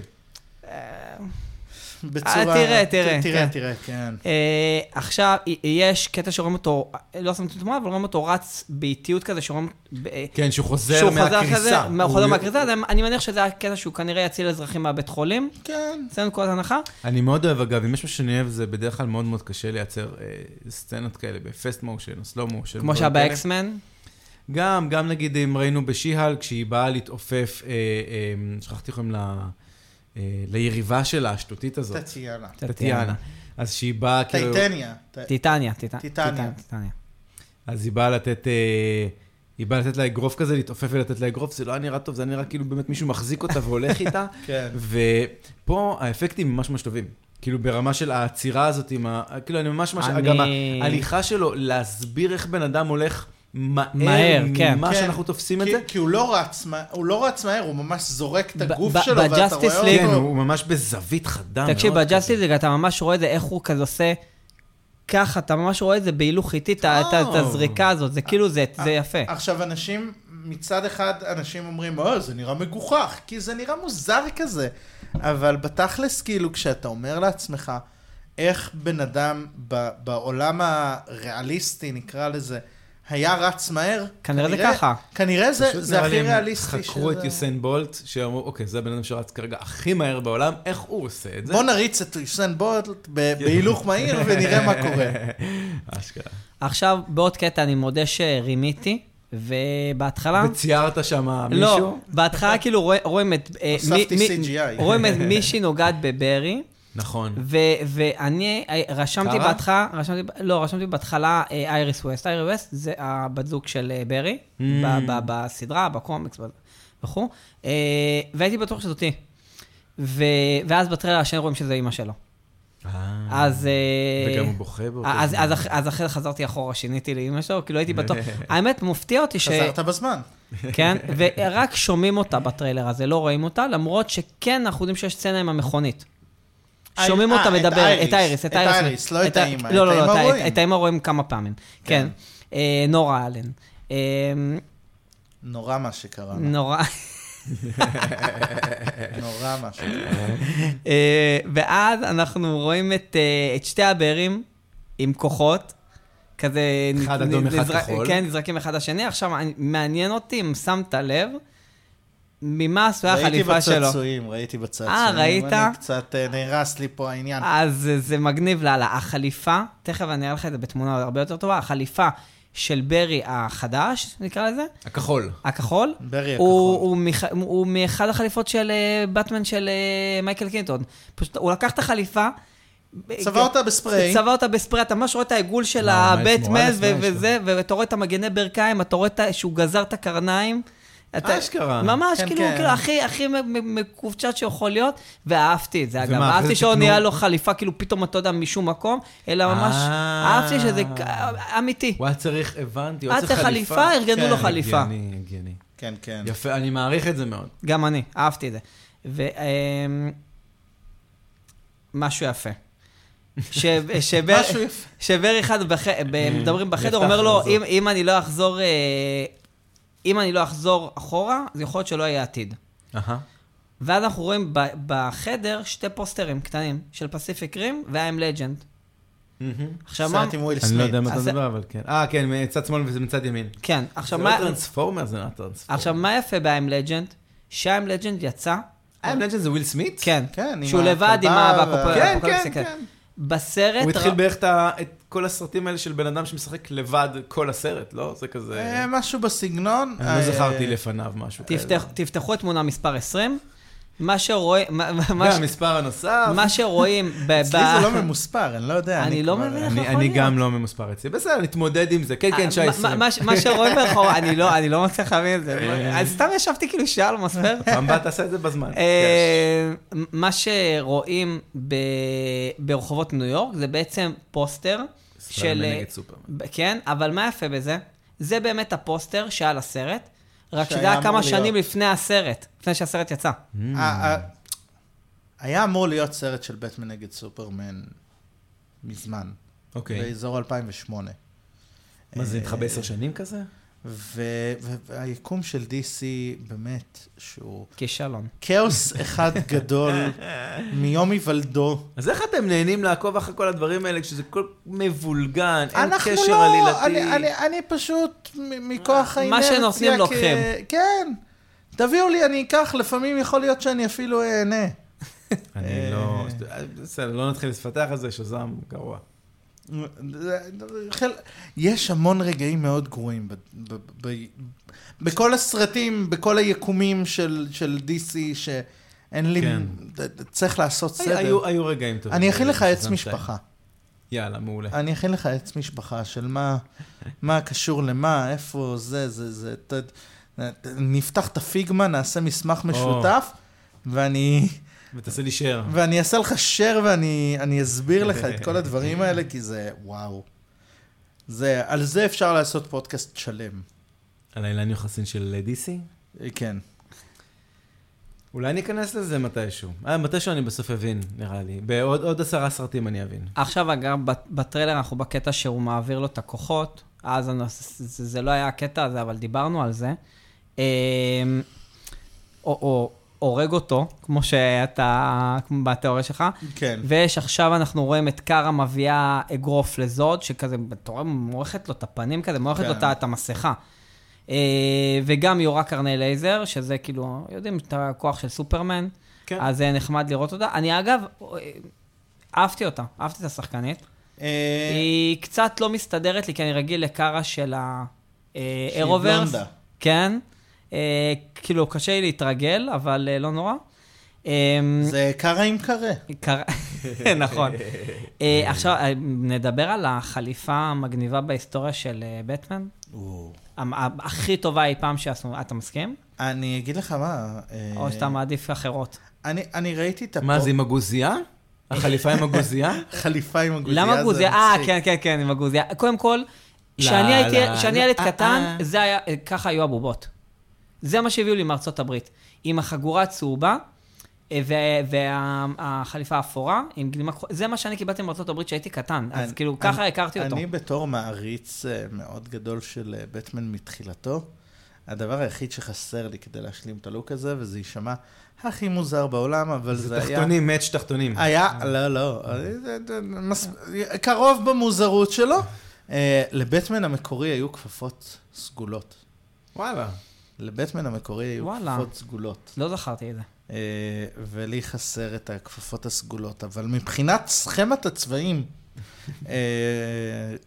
B: בצורה...
C: אה, תראה,
B: ת-
C: תראה,
B: תראה,
C: כן.
B: תראה, כן.
C: אה, עכשיו, י- יש קטע שרואים אותו, לא שמתי תמונה, אבל רואים אותו רץ באיטיות כזה, שרואים... ב- אה,
A: כן, שהוא חוזר
C: שהוא חזר כזה,
A: מהקריסה.
C: הוא חוזר מהקריסה, אז אני- אני מניח שזה הקטע שהוא כנראה יציל אזרחים מהבית חולים,
B: כן.
C: אצלנו נקודת הנחה.
A: אני מאוד אוהב, אגב, אם יש משהו שאני אוהב, זה בדרך כלל מאוד מאוד קשה לייצר אה, סצנות כאלה בפסט מושן או סלואו מושן.
C: כמו שהיה באקסמן.
A: גם, גם נגיד אם ראינו בשיהל, כשהיא באה להתעופף, אה, אה, שכחתי איך קוראים לה, אה, ליריבה שלה, השטותית הזאת,
B: טטיאנה.
A: טטיאנה. אז שהיא באה, כאילו,
B: טייטניה. ט-
C: טיטניה, טיטניה.
B: טיטניה.
C: טיטניה.
A: אז היא באה לתת, אה, היא באה לתת לה אגרוף כזה, להתעופף ולתת לה אגרוף, זה לא היה נראה טוב, זה היה נראה כאילו באמת מישהו מחזיק אותה והולך איתה.
B: כן.
A: ופה האפקטים ממש ממש טובים. כאילו ברמה של העצירה הזאת עם ה... כאילו אני ממש ממש...
C: אני-
A: גם ההליכה שלו, להסביר איך בן אדם הולך מהר,
C: מהר, כן.
A: ממה
B: כן.
A: שאנחנו תופסים את
B: כי-
A: זה.
B: כי הוא לא רץ, מה- הוא לא רץ מהר, הוא ממש זורק את
C: ב-
B: הגוף
C: ב-
B: שלו, ואתה
C: ב-Justice League-
A: כן,
B: רואה אותו.
A: הוא ממש בזווית חדה אה, מאוד.
C: תקשיב,
A: כזה.
C: בג'אסטיזיג אתה ממש רואה את זה, איך הוא כזה עושה... ככה, אתה ממש רואה את זה בהילוך איטי, את ה- את ה- את הזריקה הזאת, זה כאילו, זה זה יפה.
B: אה,
A: אה,
B: עכשיו, אנשים, מצד אחד, אנשים אומרים, או, זה נראה מגוחך, כי זה נראה מוזר כזה. אבל בתכלס, כאילו, כשאתה אומר לעצמך, איך בן אדם ב- בעולם הריאליסטי, נקרא לזה, היה רץ מהר,
C: כנראה זה ככה.
B: כנראה זה,
A: פשוט
B: זה
A: נראה לי
B: הכי
A: הם
B: ריאליסטי
A: חקרו את יוסיין בולט, שאמרו, אוקיי, זה הבן אדם שרץ כרגע הכי מהר בעולם, איך הוא עושה את זה?
B: בוא נריץ את יוסיין בולט ב- בהילוך מהיר ונראה מה קורה.
A: אשכרה.
C: עכשיו, בעוד קטע אני מודה שרימיתי, ובהתחלה...
A: וציירת שם
C: לא,
A: מישהו?
C: בהתחלה כאילו רואה- רואים את... אה,
B: הוספתי
C: מי- מי-
B: CGI.
C: רואים את מישהי נוגעת בברי,
A: נכון.
C: ו- ואני אה, רשמתי
A: קרה?
C: בהתחלה, רשמתי, ב- לא, רשמתי בהתחלה אה, אייריס ווסט. אייריס ווסט זה הבת זוג של אה, ברי,
A: Mm.
C: ב- ב- בסדרה, בקומיקס ב- וכו', אה, והייתי בטוח שזאתי. ו... ואז בטריילר השני רואים שזה אימא שלו.
A: אה,
C: אז... אה,
A: Mm. וגם הוא בוכה באותו
C: אז,
A: זמן.
C: אז, אח- אז אחרי זה חזרתי אחורה, שיניתי לאימא שלו, כאילו הייתי בטוח. האמת, מפתיע אותי ש...
B: חזרת בזמן.
C: כן, ורק שומעים אותה בטריילר הזה, לא רואים אותה, למרות שכן, אנחנו יודעים שיש סצנה עם המכונית.
B: אה,
C: שומעים אותה
B: אה, את
C: מדברת,
B: איריס.
C: את האיריס,
B: את האיריס, לא את האמא,
C: לא,
B: את
C: לא,
B: האמא
C: לא, את ה-
B: רואים.
C: את האמא רואים כמה פעמים. כן. אה, נורה אלן. אה,
B: נורא מה שקרה.
C: נורא.
B: נורא מה שקרה.
C: אה, ואז אנחנו רואים את, אה, את שתי הבארים עם כוחות, כזה...
A: אחד
C: נ-
A: אדום,
C: נ-
A: אחד
C: נזרק-
A: כחול.
C: כן, נזרקים אחד לשני. עכשיו, אני- מעניין אותי אם שמת לב, ממה עשויה החליפה שלו.
B: בצעצועים, ראיתי בצעצועים.
C: אה, ראית? אה,
B: אני קצת אה, נהרס לי פה העניין.
C: אז זה- זה מגניב לאללה. החליפה, תכף אני אראה לך את זה בתמונה הרבה יותר טובה, החליפה של ברי החדש, נקרא לזה,
A: הכחול.
C: הכחול.
B: ברי הכחול.
C: הוא, הוא, מח... הוא מאחד החליפות של אה, באטמן של אה, מייקל קינטון. פשוט הוא לקח את החליפה.
B: צבע אותה בספרי.
C: אה, צבע אותה בספרי, אתה ממש רואה את העיגול של
A: וואו,
C: הבטמן
A: ממש
C: ו-
A: מורל לפני
C: וזה, ואתה רואה את המגני ברכיים, אתה רואה את ה- שהוא גזר את הקרניים.
B: אה,
C: אתה-
A: אה, אשכרה.
C: ממש,
B: כן,
C: כאילו,
B: כן.
C: כאילו, הכי, הכי מ- מ- מקופצ'ת שיכול להיות, ואהבתי את זה, אגב.
A: ומה, אחרי
C: אהבתי
A: זה
C: שלא
A: תקנו?
C: נהיה לו חליפה, כאילו, פתאום, אתה יודע, משום מקום, אלא לא, ממש,
A: אה.
C: אהבתי שזה כ- אמיתי.
A: הוא היה צריך, הבנתי, הוא
C: היה
A: היה
C: צריך חליפה, ארגנו
B: כן,
C: לו חליפה.
A: הגיוני, הגיוני.
B: כן, כן.
A: יפה, אני מעריך את זה מאוד.
C: גם אני, אהבתי את זה. ו... אמ, משהו יפה. ש... שבר...
B: משהו יפה.
C: שבר אחד, בח...
A: אה,
C: ב- מדברים בחדר, אומר
A: הבטחנו
C: לו,
A: זאת.
C: אם, אם אני לא אחזור... אה, אם אני לא אחזור אחורה, אז יכול להיות שלא יהיה עתיד.
A: אהה.
C: ואז אנחנו רואים ב- בחדר שתי פוסטרים קטנים של פסיפיק רים ו-I'm Legend. עכשיו מה...
B: סרט עם וויל
A: אני לא
B: סמית.
A: יודע מה אתה
C: אז-
A: מדבר, אבל כן. אה, כן, מצד שמאל וזה מצד ימין.
C: כן,
A: זה
C: עכשיו
A: לא
C: מה...
A: טרנספורמר, זה לא טרנספורמר.
C: עכשיו, מה יפה ב-I'm Legend? ש-I'm Legend יצא,
A: אה, מנג'ן זה וויל סמית?
C: כן,
B: כן, עם
C: שהוא לבד עם
B: הכלבה
C: האפוקופ-
B: וה-
A: כן,
C: האפוקליפסה,
A: כן, כן.
C: בסרט...
A: הוא
C: ר-
A: התחיל בערך את ה- את כל הסרטים האלה של בן אדם שמשחק לבד כל הסרט, לא? זה כזה...
B: אה, משהו בסגנון.
A: אני
B: אה,
A: לא זכרתי לפניו משהו כזה.
C: תפתח- תפתחו את תמונה מספר 20. מה שרואה... מה-
A: כן,
C: מה- מה ש-
A: והמספר הנוסף.
C: מה שרואים... ב-
B: אצלי
C: אה, ב-
B: זה לא ממוספר, אני לא יודע.
C: אני לא
B: כבר-
C: מבין איך
A: אני-
C: יכול
A: אני
C: להיות? אה,
A: גם לא ממוספר אצלי. בסדר, נתמודד עם זה. כן, כן, שי
C: מה-
A: 20.
C: מה- מה שרואים מאחורה, אני לא, אני לא מצליח להבין את זה.
A: אה.
C: אז סתם ישבתי כאילו שעה על המספר.
A: פעם הבאה תעשה את זה בזמן.
C: אה, מה שרואים ב- ברחובות ניו יורק זה בעצם פוסטר של... אה,
A: ספיידרמן נגד סופרמן.
C: ב- כן, אבל מה יפה בזה? זה באמת הפוסטר שהיה לסרט, רק
B: שהיה
C: שזה היה
B: אמור
C: כמה
B: להיות.
C: שנים לפני הסרט, לפני שהסרט יצא.
A: Mm,
B: אה, אה, היה אמור להיות סרט של בטמן נגד סופרמן מזמן,
A: אוקיי.
B: באזור אה, 2008.
A: מה זה, נדחה בעשר שנים כזה?
B: ו- ו- והיקום של DC, באמת, שהוא
C: כישלון.
B: כאוס אחד גדול מיום היוולדו.
A: אז איך אתם נהנים לעקוב אחרי כל הדברים האלה כשזה כל מבולגן, אין
B: אנחנו
A: קשר
B: לא,
A: עלילתי?
B: אני, אני, אני פשוט מ- מכוח
C: מה
B: האינרציה
C: שנותנים
B: כ-
C: לוקחים.
B: כן. תביאו לי, אני אקח, לפעמים יכול להיות שאני אפילו אהנה.
A: אני לא... בסדר, לא נתחיל לפתח על זה, שזעם גרוע.
B: חל- יש המון רגעים מאוד גרועים ב- ב- ב- בכל הסרטים, בכל היקומים של, של DC, שאין לי...
A: כן.
B: ד- צריך לעשות
A: היו-
B: סדר.
A: היו- היו רגעים טובים.
B: אני אכין לך עץ
A: שזעם
B: משפחה.
A: שתיים. יאללה, מעולה.
B: אני אכין לך עץ משפחה של מה, מה קשור למה, איפה זה, זה, זה. ת, ת- נפתח את הפיגמה, נעשה מסמך משותף, ואני,
A: ותעשה לי שייר.
B: ואני אעשה לך share ואני אני אסביר לך את כל הדברים האלה, כי זה וואו. זה, על זה אפשר לעשות פודקאסט שלם.
A: על האילן יוחסין של DC?
B: אה, כן.
A: אולי ניכנס לזה מתישהו. אה, מתישהו אני בסוף אבין, נראה לי. בעוד עוד עשרה סרטים אני אבין.
C: עכשיו, אגב, בט- בטריילר אנחנו בקטע שהוא מעביר לו את הכוחות, אז אני- זה זה לא היה הקטע הזה, אבל דיברנו על זה. אמ, או- או הורג אותו, כמו שאתה, כמו בתיאוריה שלך.
B: כן.
C: ויש עכשיו, אנחנו רואים את קארה מביאה אגרוף לזוד, שכזה, אתה רואה, מועכת לו את הפנים כזה, מועכת לו
B: כן.
C: את ה- את המסכה. אה, וגם יורה קרני לייזר, שזה כאילו, יודעים את הכוח של סופרמן,
A: כן.
C: אז זה נחמד לראות אותה. אני אגב, אה, אהבתי אותה, אהבתי את השחקנית.
B: אה,
C: היא קצת לא מסתדרת לי, כי אני רגיל לקארה של
B: שהיא
C: האירוברס.
B: בלונדה.
C: כן. אה, כאילו, קשה לי להתרגל, אבל אה, לא נורא. אה,
B: זה קרה עם קרה.
C: קרה... נכון. אה, עכשיו, אה, נדבר על החליפה המגניבה בהיסטוריה של אה, בטמן.
B: או.
C: המ- ה- הכי טובה אי פעם שעשו, אתה מסכים?
B: אני אגיד לך מה... אה,
C: או שאתה מעדיף אחרות?
B: אני- אני ראיתי את הפו...
A: מה, זה עם הגוזייה? החליפה עם הגוזייה?
B: חליפה עם הגוזייה.
C: למה
B: זה
C: גוזיה? אה,
B: מצחיק.
C: כן, כן, כן, עם הגוזיה. קודם כל,
A: לא,
C: כשאני הייתי-
A: לא,
C: כשאני
A: לא,
C: ילד
A: אה,
C: קטן,
A: אה.
C: זה היה, ככה היו הבובות. זה מה שהביאו לי מארצות הברית. עם החגורה הצהובה אה, והחליפה האפורה, עם גלימה כחולה. זה מה שאני קיבלתי מארצות הברית כשהייתי קטן. אז
B: אני-
C: כאילו, ככה
B: אני-
C: הכרתי אותו.
B: אני בתור מעריץ אה, מאוד גדול של אה, בטמן מתחילתו, הדבר היחיד שחסר לי כדי להשלים את הלוק הזה, וזה יישמע הכי מוזר בעולם, אבל זה,
A: זה
B: היה...
A: תחתונים, מאץ' תחתונים.
B: היה, לא, לא, זה- זה- מס- קרוב במוזרות שלו. אה, לבטמן המקורי היו כפפות סגולות.
A: וואלה.
B: לבטמן המקורי היו
C: וואלה.
B: כפפות סגולות.
C: לא זכרתי את זה.
B: אה, ולי חסר את הכפפות הסגולות, אבל מבחינת סכמת הצבעים אה,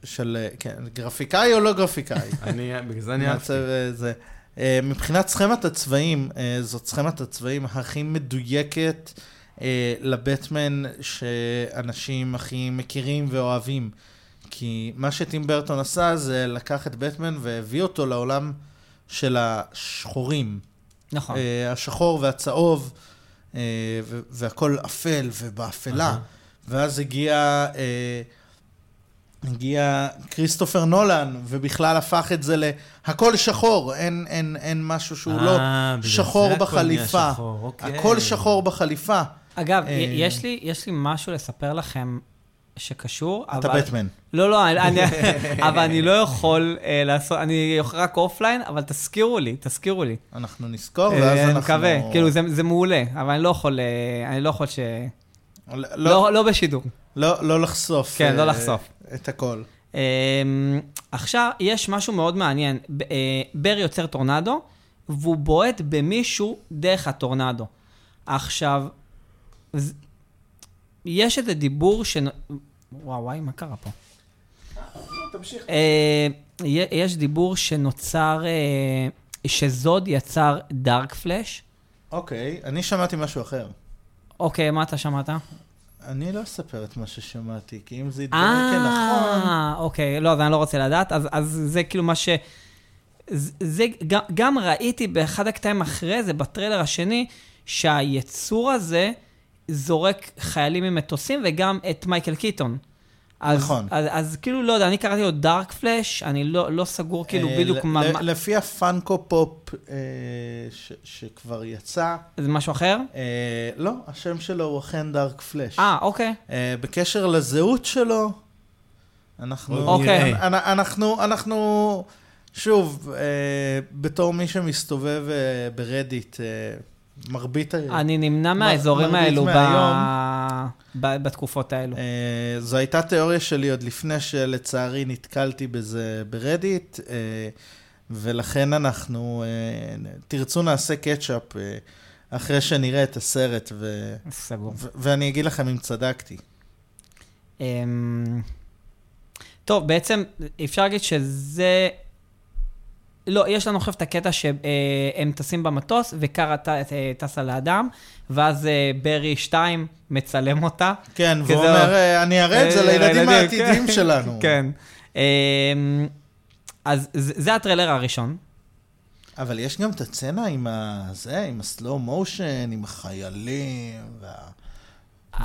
B: של, אה, כן, גרפיקאי או לא גרפיקאי?
A: אני, בגלל זה אני אהבתי.
B: מעצב, אה, זה. אה, מבחינת סכמת הצבעים, אה, זאת סכמת הצבעים הכי מדויקת אה, לבטמן שאנשים הכי מכירים ואוהבים. כי מה שטים ברטון עשה זה לקח את בטמן והביא אותו לעולם של השחורים.
C: נכון.
B: אה, השחור והצהוב, אה, ו- והכל אפל ובאפלה.
A: אהה.
B: ואז הגיע, אה, הגיע כריסטופר נולן, ובכלל הפך את זה להכל שחור, אין, אין, אין משהו שהוא לא
A: אה, בגלל
B: שחור
A: זה הכל נהיה
B: בחליפה.
A: שחור, אוקיי.
C: כן.
B: הכל שחור בחליפה.
C: אגב,
B: אה,
C: יש לי- יש לי משהו לספר לכם שקשור,
B: אתה
C: אבל...
B: בטמן.
C: לא, לא, אני- אני, אבל אני לא יכול אה, לעשות, אני רק אופליין, אבל תזכירו לי, תזכירו לי.
B: אנחנו נזכור, ואז
C: אה, אני
B: אנחנו...
C: מקווה, כאילו זה זה מעולה, אבל אני לא יכול, אה, אני לא יכול ש...
B: לא,
C: לא לא בשידור.
B: לא, לא לחשוף.
C: כן, לא
B: אה,
C: לחשוף.
B: את הכל.
C: אה, עכשיו, יש משהו מאוד מעניין, ב- אה, בר יוצר טורנדו, והוא בועט במישהו דרך הטורנדו. עכשיו, ז- יש איזה דיבור ש... וואו, וואי, מה קרה פה?
A: תמשיך.
C: אה, י- יש דיבור שנוצר, אה, שזוד יצר דארק פלאש.
B: אוקיי, אני שמעתי משהו אחר.
C: אוקיי, מה אתה שמעת?
B: אני לא אספר את מה ששמעתי, כי אם זה כן נכון. יתברר כנכון...
C: אה, אוקיי, לא, אז אני לא רוצה לדעת, אז, אז זה כאילו מה ש... זה, זה גם, גם ראיתי באחד הקטעים אחרי זה, בטריילר השני, שהיצור הזה זורק חיילים ממטוסים וגם את מייקל קיטון. אז,
B: נכון.
C: אז, אז כאילו, לא יודע, אני קראתי לו דארק פלאש, אני לא, לא סגור כאילו
B: אה,
C: בדיוק
B: ל-
C: מה...
B: ל-
C: מה-
B: לפי הפאנקו פופ אה, ש- שכבר יצא,
C: זה משהו אחר?
B: אה, לא, השם שלו הוא אכן דארק פלאש.
C: אה, אוקיי.
B: אה, בקשר לזהות שלו, אנחנו...
A: עוד
C: אוקיי.
B: אנ- אנ- אנחנו, אנחנו, שוב, אה, בתור מי שמסתובב אה, ברדיט, אה, מרבית... ה-
C: אני נמנע מהאזורים
B: מרבית
C: האלו ב...
B: אה, מהיום.
C: ב... בתקופות האלו.
B: אה, זו הייתה תיאוריה שלי עוד לפני שלצערי נתקלתי בזה ברדיט, אה, ולכן אנחנו, אה, תרצו נעשה קאצ'אפ אה, אחרי שנראה את הסרט, ו-
C: סגור.
B: ו- ואני אגיד לכם אם צדקתי.
C: אמ, טוב, בעצם אפשר להגיד שזה... לא, יש לנו עכשיו את הקטע שהם אה, טסים במטוס וקארה ט- אה, טסה לאדם, ואז אה, ברי 2 מצלם אותה.
B: כן,
C: כי
B: והוא
C: זה-
B: אומר, אה, אני אראה את זה
C: אה,
B: לילדים
C: לילדים,
B: העתידיים
C: כן.
B: שלנו.
C: כן. אמ, אז זה זה הטריילר הראשון.
B: אבל יש גם את הצצנה עם ה... זה, עם הסלואו מושן, עם החיילים, וה...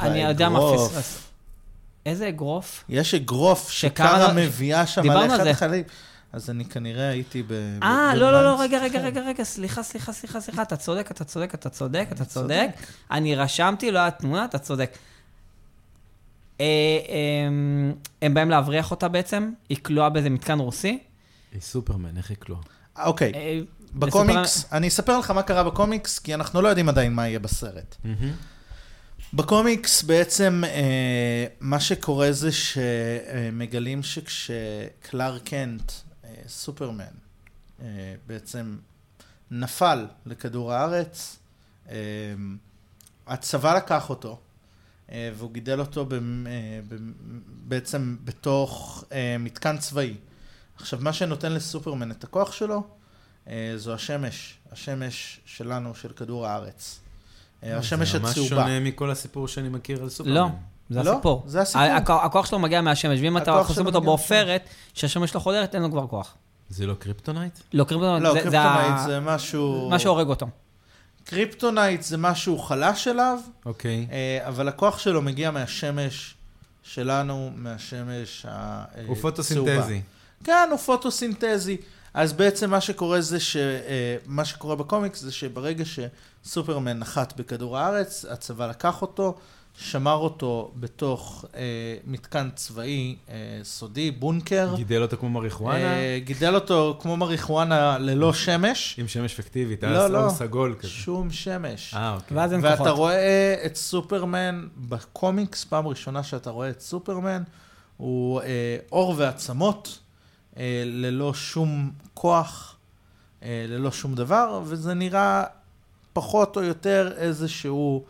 C: אני יודע מה
B: והאגרוף.
C: פספס. איזה אגרוף?
B: יש אגרוף
C: שקארה-
B: שקארה מביאה שם
C: דיברנו
B: על
C: על
B: אחד
C: זה.
B: החיילים. אז אני כנראה הייתי ב...
C: אה,
B: ב-
C: לא, לא, לא,
B: בלמ"ס.
C: רגע, רגע, רגע, רגע, סליחה, סליחה, סליחה, סליחה, אתה צודק, אתה צודק, אתה צודק, אתה צודק. אני רשמתי, לא היה תמונה, אתה צודק. אה, אמ, הם באים להבריח אותה בעצם, היא כלואה באיזה מתקן רוסי.
A: היא סופרמן, איך היא כלואה?
B: אה, אוקיי,
C: אה,
B: בקומיקס, אני אספר לך מה קרה בקומיקס, כי אנחנו לא יודעים עדיין מה יהיה בסרט. בקומיקס בעצם אה, מה שקורה זה שמגלים שכשקלאר קנט, אה, סופרמן, אה, בעצם נפל לכדור הארץ, אה, הצבא לקח אותו, אה, והוא גידל אותו במ- אה, במ- בעצם בתוך אה, מתקן צבאי. עכשיו, מה שנותן לסופרמן את הכוח שלו, אה, זו השמש, השמש שלנו, של כדור הארץ. אה, השמש הצהובה.
A: זה ממש שונה מכל הסיפור שאני מכיר על סופרמן.
C: לא. זה
B: לא,
C: הסיפור.
B: זה הסיפור.
C: ה- הכ- הכוח שלו מגיע מהשמש, ואם אתה
B: הכוח
C: חוסם
B: שלו
C: אותו
B: מגיע
C: בעופרת, שהשמש לא חודרת, אין לו כבר כוח.
A: זה לא קריפטונייט?
C: לא, קריפטונייט
B: לא,
C: זה- זה
B: קריפטונייט
C: ה-
B: זה כן. משהו...
C: מה שהורג אותו.
B: קריפטונייט זה משהו חלש אליו,
A: אוקיי.
B: אה, אבל הכוח שלו מגיע מהשמש שלנו, מהשמש הצהובה.
A: הוא פוטוסינתזי.
B: כן, הוא פוטוסינתזי. אז בעצם מה שקורה זה ש... אה, מה שקורה בקומיקס זה שברגע שסופרמן נחת בכדור הארץ, הצבא לקח אותו, שמר אותו בתוך אה, מתקן צבאי אה, סודי, בונקר.
A: גידל אותו כמו מריחואנה,
B: אה, גידל אותו כמו מריחואנה ללא שמש,
A: עם שמש פיקטיבית,
B: לא,
A: היה
B: לא.
A: אור סגול כזה.
B: שום שמש.
A: אה, אוקיי.
C: ואז אין
B: ואתה
C: כוחות.
B: רואה את סופרמן בקומיקס, פעם ראשונה שאתה רואה את סופרמן, הוא אה, עור ועצמות, אה, ללא שום כוח, אה, ללא שום דבר, וזה נראה פחות או יותר איזשהו,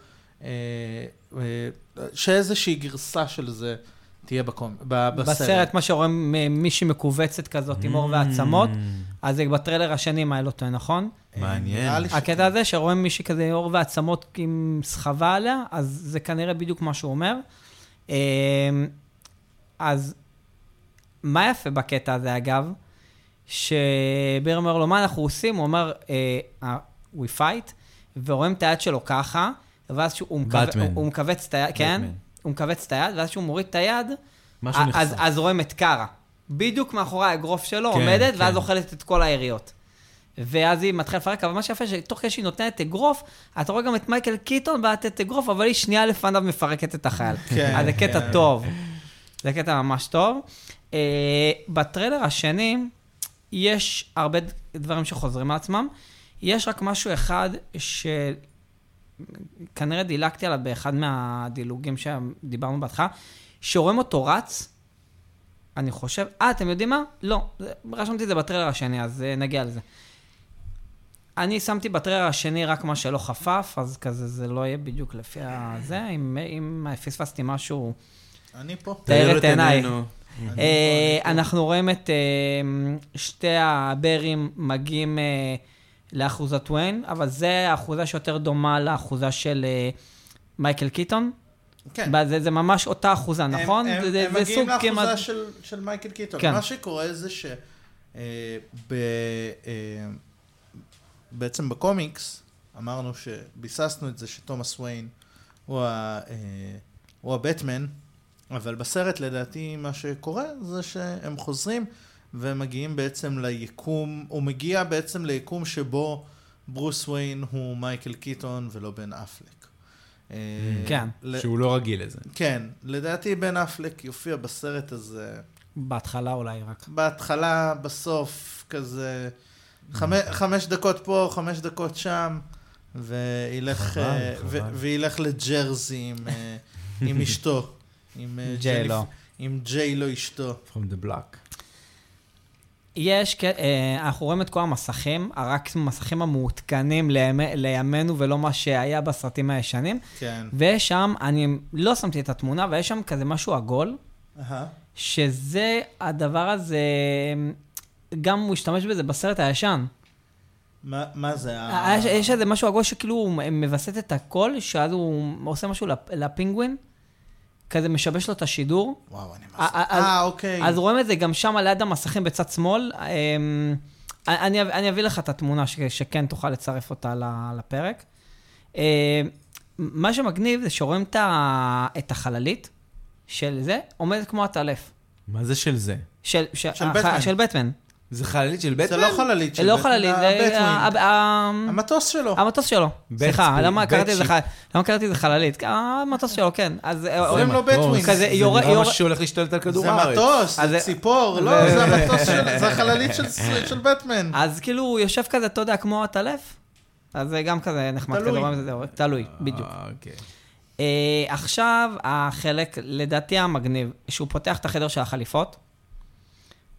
B: אה, אה, שאיזושהי גרסה של זה תהיה בקומ... ב- בסרט.
C: בסרט, מה שרואים מ- מישהי מכווצת כזאת עם עור ועצמות,
A: Mm,
C: אז זה בטריילר השני, אם אני לא טועה, נכון?
B: אה,
A: מעניין.
B: נראה לי ש-
C: הקטע הזה שרואים מישהי כזה עם עור ועצמות עם סחבה עליה, אז זה כנראה בדיוק מה שהוא אומר. אמ, אז מה יפה בקטע הזה, אגב? שביר אומר לו, מה אנחנו עושים? הוא אומר, אה, אה, we fight, ורואים את היד שלו ככה, ואז שהוא הוא מכווץ-
A: באטמן.
C: הוא מכווץ את היד, כן?
A: באטמן.
C: הוא מכווץ את היד, ואז שהוא מוריד את היד,
A: משהו
C: אה, אז-
A: נחשף.
C: אז רואים את קארה. בדיוק מאחורי האגרוף שלו
A: כן,
C: עומדת, ואז
A: כן.
C: אוכלת את כל היריות. ואז היא מתחילה לפרק, אבל מה שיפה שתוך כדי שהיא נותנת אגרוף, אתה רואה גם את מייקל קיטון בעטת אגרוף, אבל היא שנייה לפניו מפרקת את החייל.
B: כן,
C: אז זה קטע
B: כן.
C: טוב. זה קטע ממש טוב. אה, בטריילר השני, יש הרבה ד- דברים שחוזרים על עצמם. יש רק משהו אחד שכנראה דילגתי עליו באחד מהדילוגים שדיברנו בהתחלה, שרואים אותו רץ, אני חושב, אה, אתם יודעים מה? לא, זה- רשמתי את זה בטריילר השני, אז אה, נגיע לזה. אני שמתי בטריילר השני רק מה שלא חפף, אז כזה זה לא יהיה בדיוק לפי הזה, אם, אם פספסתי משהו...
B: אני פה.
C: תאר את
A: את
C: עיניי.
A: עינינו.
B: אני
C: אה,
B: פה, אני פה.
C: אנחנו רואים את אה, שתי הברים מגיעים אה, לאחוזת וויין, אבל זה האחוזה שיותר דומה לאחוזה של אה, מייקל קיטון.
B: כן.
C: זה, זה ממש אותה אחוזה,
B: הם-
C: נכון?
B: הם,
C: זה, זה-
B: הם
C: זה
B: מגיעים
C: סוג
B: לאחוזה
C: כמעט...
B: של, של מייקל קיטון.
C: כן.
B: כן. מה שקורה זה ש... אה, ב, אה, בעצם בקומיקס אמרנו שביססנו את זה שתומאס וויין הוא, ה, אה, הוא הבטמן, אבל בסרט לדעתי מה שקורה זה שהם חוזרים והם מגיעים בעצם ליקום, הוא מגיע בעצם ליקום שבו ברוס וויין הוא מייקל קיטון ולא בן אפלק. אה,
C: כן.
B: ל-
A: שהוא לא רגיל לזה.
B: כן, לדעתי בן אפלק יופיע בסרט הזה.
C: בהתחלה אולי רק.
B: בהתחלה, בסוף, כזה חמש,
A: Mm.
B: חמש דקות פה, חמש דקות שם, וילך,
A: חבל,
B: אה, ו-
A: חבל. וילך...
B: וילך לג'רזי עם, אה, עם אשתו. עם אה,
C: ג'יילו.
B: ג'ליפ- עם ג'יילו אשתו.
A: From the block.
C: יש, כן, אה, אנחנו רואים את כל המסכים, רק המסכים המעודכנים לימי- לימינו ולא מה שהיה בסרטים הישנים.
B: כן.
C: ויש שם, אני לא שמתי את התמונה, אבל יש שם כזה משהו עגול,
B: אהה.
C: שזה הדבר הזה, גם הוא השתמש בזה בסרט הישן. אה,
B: מה מה זה? ה-
C: יש- יש איזה משהו עגול שכאילו הוא מווסת את הכל, שאז הוא עושה משהו לפ- לפינגווין, כזה משבש לו את השידור.
B: וואו, אני
C: אה,
B: מה
C: אה, אז-
B: אה, אוקיי.
C: אז רואים את זה גם שם ליד המסכים בצד שמאל. אמ, אני, אני אביא לך את התמונה ש, שכן תוכל לצרף אותה ל- לפרק. אמ, מה שמגניב זה שרואים את, ה, את החללית של זה, עומדת כמו הטלף.
A: מה זה של זה?
C: של, של,
B: של בטמן.
C: של בטמן.
A: זה חללית של בטמן?
B: זה לא חללית של
C: לא
B: בטמן,
C: חללית, זה
B: הבטמן.
C: ה- ה-
B: המטוס שלו.
C: המטוס שלו.
A: בט-
C: סליחה, למה
A: בט-
C: קראתי לזה
A: שיפ.
C: חללית? למה קראתי לזה חללית? המטוס שלו, כן. אז...
B: קוראים לו בטווינג.
C: כזה יורה-
A: זה נראה
C: יורה-
A: משהו שהולך להשתלט על כדור
B: זה
A: הארץ.
B: מטוס,
C: אז
B: זה
C: זה-
B: ציפור, לא,
C: זה-
B: זה המטוס של, זה החללית של, של בטמן.
C: אז כאילו הוא יושב כזה, אתה יודע, כמו הטלף, אז זה גם כזה נחמד,
B: תלוי.
C: כזה רואים את זה, זה- תלוי, בדיוק.
A: אה, אוקיי.
C: אה, עכשיו, החלק, לדעתי המגניב, שהוא פותח את החדר של החליפות.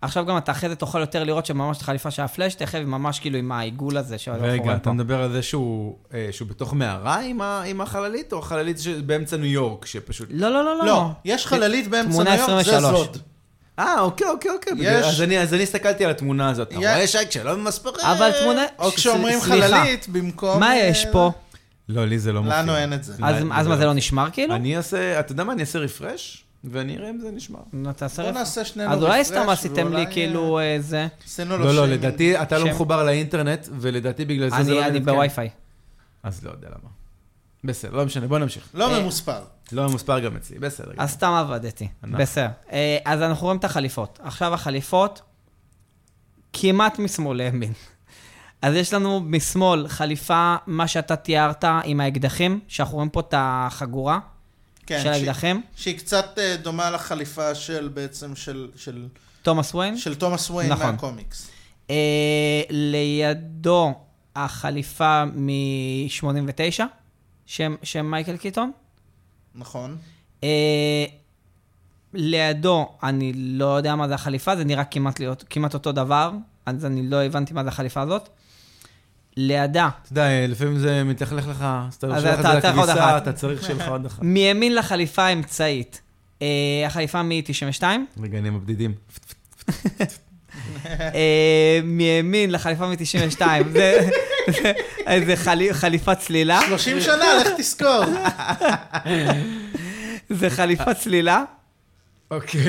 C: עכשיו גם אתה אחרי זה תוכל יותר לראות שממש את החליפה של הפלאש, תכף ממש כאילו עם העיגול הזה שאנחנו
A: רגע,
C: רואים
A: אתה
C: פה.
A: מדבר על זה שהוא אה, שהוא בתוך מערה עם ה- עם החללית, או החללית שבאמצע ניו יורק, שפשוט...
C: לא, לא, לא,
B: לא,
C: לא.
B: יש חללית באמצע
C: תמונה
B: ניו יורק, זה
C: 23.
B: זוד.
A: אה, אוקיי, אוקיי, אוקיי.
B: יש-
A: בגלל- אז אני- אז אני הסתכלתי על התמונה הזאת. אתה
B: יא-
A: רואה שי כשלא ממספרים?
C: אבל תמונה...
B: או
C: ש-
B: כשאומרים
C: סליחה.
B: חללית במקום...
C: מה יש פה?
A: לא, לי זה לא מופיע.
B: לנו אין את זה.
A: לא,
C: אז- אז מה, זה לא
A: מופיע.
C: נשמר כאילו?
A: אני אעשה, אתה יודע מה, אני אעשה רפרש, ואני אראה אם זה נשמר.
C: נו, תעשה
B: בוא
C: רפ-
B: נעשה שנינו
C: אז אולי
B: רפרש,
C: סתם עשיתם לי
B: ואולי,
C: כאילו אה, זה.
B: עשינו לו
A: לא, לא,
B: שיימינג.
A: לדעתי, אתה לא
C: שם.
A: מחובר לאינטרנט, ולדעתי בגלל זה זה לא...
C: אני אני
A: מתעדכן.
C: בווי-פיי.
A: אז לא יודע למה. בסדר, לא משנה, בוא נמשיך.
B: לא
C: אה,
B: ממוספר.
A: לא ממוספר גם אצלי, בסדר.
C: אז סתם עבדתי,
A: אנחנו.
C: בסדר. אה, אז אנחנו רואים את החליפות. עכשיו החליפות כמעט משמאל לימין. אז יש לנו משמאל חליפה, מה שאתה תיארת עם האקדחים, שאנחנו רואים פה את החגורה
B: כן,
C: של
B: שהיא-
C: האקדחים.
B: שהיא קצת אה, דומה לחליפה של בעצם של- של
C: תומאס וויין.
B: של תומאס וויין
C: נכון.
B: מהקומיקס.
C: אה, לידו החליפה מ-89, שם, שם מייקל קיטון.
B: נכון.
C: אה, לידו, אני לא יודע מה זה החליפה, זה נראה כמעט, להיות, כמעט אותו דבר, אז אני לא הבנתי מה זה החליפה הזאת. לידה,
A: אתה יודע, אה, לפעמים זה מתלכלך לך, אז אתה
C: אז
A: שולח את
C: אתה-
A: זה
C: אתה צריך עוד
A: לכביסה,
C: אחת.
A: אתה צריך שיהיה לך עוד אחת.
C: מימין לחליפה האמצעית, אה, החליפה מ-92,
A: רגע, אני עם הבדידים.
C: אה, מימין לחליפה מ-92, זה, זה, זה חלי, חליפה צלילה,
B: 30 שנה, לך תזכור.
C: זה חליפה צלילה.
A: אוקיי.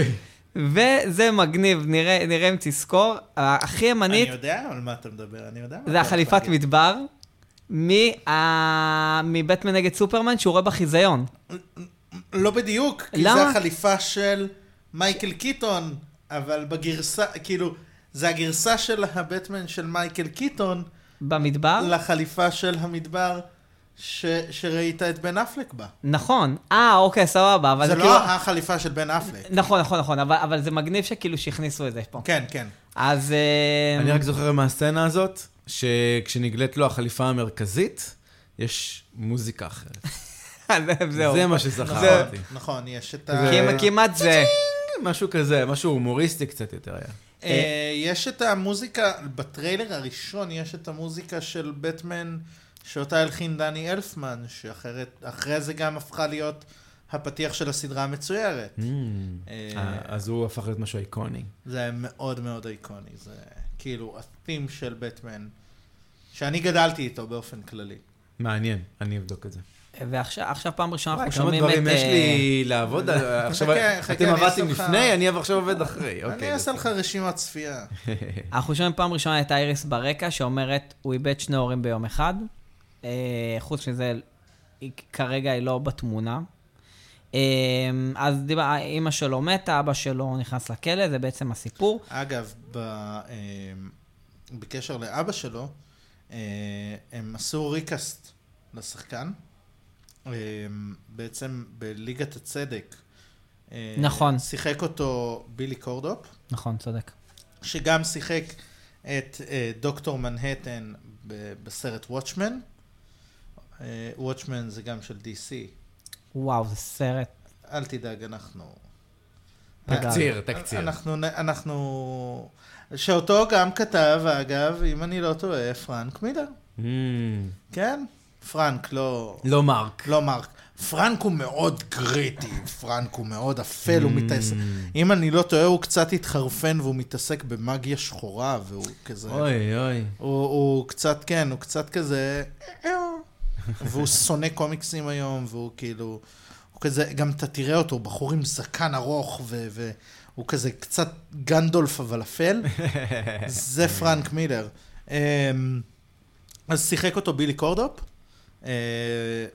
C: וזה מגניב, נראה, נראה אם תזכור. הכי
B: אני
C: ימנית
B: יודע על מה אתה מדבר, אני יודע. מה
C: זה
B: אתה
C: החליפת
B: הולך להגיד.
C: מדבר מה- מבטמן נגד סופרמן, שהוא רואה בחיזיון.
B: לא בדיוק, כי
C: למה?
B: זה החליפה של מייקל קיטון, אבל בגרסה, כאילו, זה הגרסה של הבטמן של מייקל קיטון
C: במדבר?
A: לא.
B: לחליפה של המדבר ש, שראית את בן אפלק בה.
C: נכון. אה, אוקיי, סבבה. אבל
B: זה
C: זה
B: לא
C: כאילו...
B: החליפה של בן אפלק.
C: נכון, נכון, נכון, אבל, אבל זה מגניב שכאילו שהכניסו את זה פה.
B: כן, כן.
C: אז... אה,
A: אני רק זוכר מהסצנה הזאת, שכשנגלית לו החליפה המרכזית, יש מוזיקה אחרת.
C: זהו.
A: זה מה
B: נכון,
A: שזכרתי.
B: נכון, יש את
A: זה-
B: ה...
C: כמעט- כמעט זה.
A: משהו כזה, משהו הומוריסטי קצת יותר היה.
B: אה, יש את המוזיקה, בטריילר הראשון יש את המוזיקה של בטמן שאותה הלחין דני אלפמן, שאחרת, אחרי זה גם הפכה להיות הפתיח של הסדרה המצוירת. אה,
A: אה, אז הוא הפך להיות משהו איקוני.
B: זה היה מאוד מאוד איקוני, זה כאילו ה-theme של בטמן, שאני גדלתי איתו באופן כללי.
A: מעניין, אני אבדוק את זה.
C: ועכשיו עכשיו פעם ראשונה
A: וואי,
C: אנחנו
A: כמה
C: שומעים את...
A: דברים יש
C: אה,
A: לי לעבוד על... עכשיו,
B: חכה, חכה,
A: אתם
B: אני
A: עבדתם
B: אעשה לך-
A: לפני, אני עכשיו עובד אחרי. אוקיי,
B: אני אעשה לך
A: בסדר.
B: רשימת צפייה.
C: אנחנו שומעים פעם ראשונה את אייריס ברקע שאומרת, הוא איבד שני הורים ביום אחד. אה, חוץ מזה, היא, כרגע היא לא בתמונה. אה, אז דיבה, אימא שלו מתה, אבא שלו נכנס לכלא, זה בעצם הסיפור.
B: אגב, ב, אה, בקשר לאבא שלו, אה, הם עשו ריקאסט לשחקן, אה, בעצם בליגת הצדק. אה,
C: נכון.
B: שיחק אותו בילי קורדופ,
C: נכון, צודק.
B: שגם שיחק את אה, דוקטור מנהטן ב- בסרט וואטשמן. אה, וואטשמן זה גם של DC.
C: וואו, זה סרט.
B: אל תדאג, אנחנו...
A: תקציר, תקציר.
B: אנחנו, נ- אנחנו... שאותו גם כתב, אגב, אם אני לא טועה, פרנק מילר.
A: אמ,
B: כן? פרנק, לא...
A: לא מרק.
B: לא מרק. פרנק הוא מאוד גריטי, פרנק הוא מאוד אפל,
A: Mm.
B: הוא מתעסק... אם אני לא טועה, הוא קצת התחרפן והוא מתעסק במאגיה שחורה, והוא כזה...
A: אוי, אוי.
B: הוא, הוא קצת, כן, הוא קצת כזה... והוא שונא קומיקסים היום, והוא כאילו... הוא כזה, גם אתה תראה אותו, הוא בחור עם זקן ארוך, ו- והוא כזה קצת גנדולף אבל אפל. זה פרנק מילר. אמ, אז שיחק אותו בילי קורדופ, אה,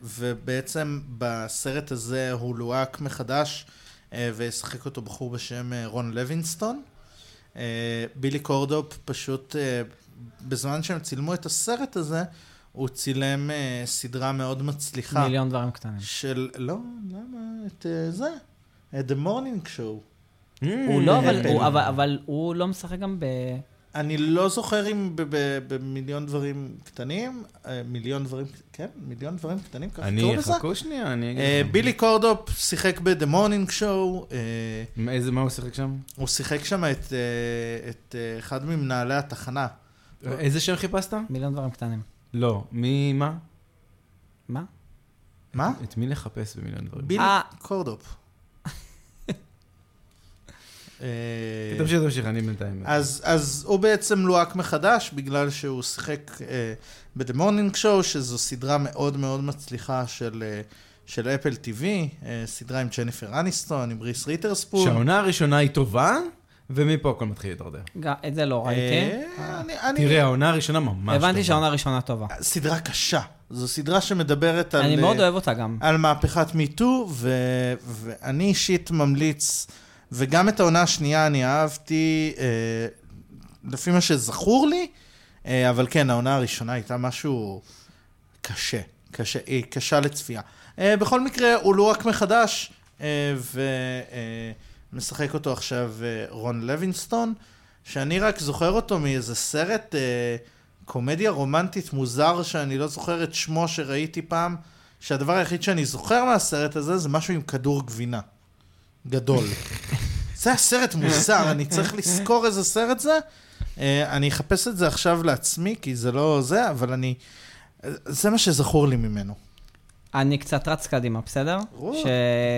B: ובעצם בסרט הזה הוא לוהק מחדש, אה, וישחק אותו בחור בשם אה, רון לוינסטון. אה, בילי קורדופ פשוט, אה, בזמן שהם צילמו את הסרט הזה, הוא צילם אה, סדרה מאוד מצליחה.
C: מיליון דברים קטנים.
B: של, לא, למה? את אה, זה, את The Morning Show. Mm.
C: הוא לא, אבל
B: אפל.
C: הוא, אבל, אבל הוא לא משחק גם ב...
B: אני לא זוכר אם ב- ב- במיליון דברים קטנים, אה, מיליון דברים, כן, מיליון דברים קטנים, ככה
A: אני,
B: קראו לזה.
A: חכו שנייה, אני אגיד
B: אה,
A: לכם.
B: בילי קורדופ שיחק ב-The Morning Show, אה,
A: מה- איזה, מה הוא שיחק שם?
B: הוא שיחק שם את, אה, את אה, אחד ממנהלי התחנה. אה,
A: איזה שם חיפשת?
C: מיליון דברים קטנים.
A: לא, מי, מה?
C: מה?
B: מה?
A: את מי לחפש במיליון דברים?
B: בילי
C: אה.
B: קורדופ. אה,
A: תמשיך, תמשיך, אני בינתיים.
B: אז, אז הוא בעצם לוהק מחדש, בגלל שהוא שיחק אה, ב-The Morning Show, שזו סדרה מאוד מאוד מצליחה של, אה, של אפל TV, אה, סדרה עם ג'ניפר אניסטון, עם ריס ריטרספול.
A: שהעונה הראשונה היא טובה, ומפה הכל מתחיל להתדרדר.
C: גם את זה לא ראיתי.
B: אה, אני, אני,
A: תראה, העונה הראשונה ממש טובה.
C: הבנתי שהעונה הראשונה טובה.
B: סדרה קשה. זו סדרה שמדברת על...
C: אני מאוד
B: אה,
C: אוהב אותה גם.
B: על מהפכת מיטו, ו- ואני אישית ממליץ, וגם את העונה השנייה אני אהבתי, אה, לפי מה שזכור לי, אה, אבל כן, העונה הראשונה הייתה משהו קשה, קשה, היא קשה לצפייה. אה, בכל מקרה, הוא לוהק מחדש, אה, ומשחק אותו עכשיו אה, רון לוינסטון, שאני רק זוכר אותו מאיזה סרט... אה, קומדיה רומנטית מוזר שאני לא זוכר את שמו שראיתי פעם, שהדבר היחיד שאני זוכר מהסרט הזה זה משהו עם כדור גבינה. גדול. זה הסרט מוזר, אני צריך לזכור איזה סרט זה. אה, אני אחפש את זה עכשיו לעצמי, כי זה לא זה, אבל אני... אה, זה מה שזכור לי ממנו.
C: אני קצת רץ קדימה, בסדר?
B: רוץ.
C: ש-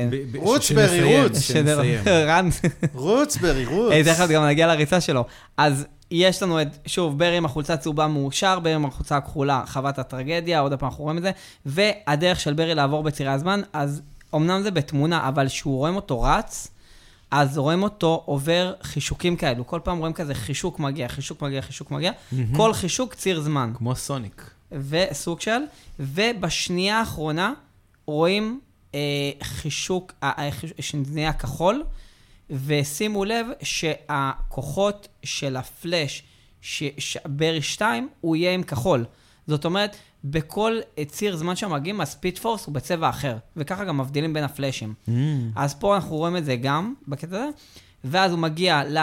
A: ב- ב-
B: רוץ,
A: שנסיים,
B: ברי, רוץ.
C: שדר-
A: שנסיים.
C: רן,
B: רוץ, ברי, רוץ.
C: אה, תכף גם נגיע לריצה שלו. אז יש לנו את, שוב, ברי עם החולצה הצהובה מאושר, ברי עם החולצה הכחולה, חוות הטרגדיה, עוד פעם אנחנו רואים את זה, והדרך של ברי לעבור בצירי הזמן, אז אמנם זה בתמונה, אבל כשהוא רואים אותו רץ, אז רואים אותו עובר חישוקים כאלו. כל פעם רואים כזה חישוק מגיע, חישוק מגיע, חישוק מגיע. כל חישוק ציר זמן.
A: כמו סוניק.
C: וסוג של, ובשנייה האחרונה רואים אה, חישוק אה, אה, חיש- שנהיה כחול, ושימו לב שהכוחות של הפלאש, ש- ש- ברי 2, הוא יהיה עם כחול. זאת אומרת, בכל אה, ציר זמן שהם מגיעים, הספיד פורס הוא בצבע אחר, וככה גם מבדילים בין הפלאשים. אז פה אנחנו רואים את זה גם, בקטע הזה, ואז הוא מגיע ל...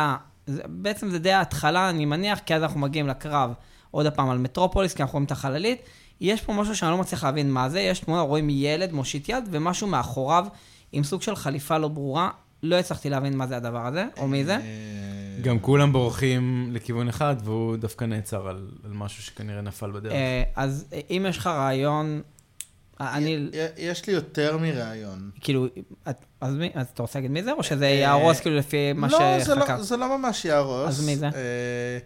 C: זה- בעצם זה די ההתחלה, אני מניח, כי אז אנחנו מגיעים לקרב עוד פעם על מטרופוליס, כי אנחנו רואים את החללית. יש פה משהו שאני לא מצליח להבין מה זה, יש תמונה, רואים ילד מושיט יד, ומשהו מאחוריו עם סוג של חליפה לא ברורה. לא הצלחתי להבין מה זה הדבר הזה, או
B: אה,
C: מי זה.
A: גם אה, כולם בורחים לכיוון אחד, והוא דווקא נעצר על על משהו שכנראה נפל בדרך.
C: אה, אז אה, אם יש לך רעיון, אה, אני,
B: י- יש לי יותר מרעיון.
C: כאילו, את- אז מי- אז אתה רוצה להגיד מי זה, או שזה
B: אה,
C: יהרוס כאילו לפי מה
B: לא, זה
C: שחקרת?
B: לא, זה לא ממש יהרוס.
C: אז מי זה?
B: אה,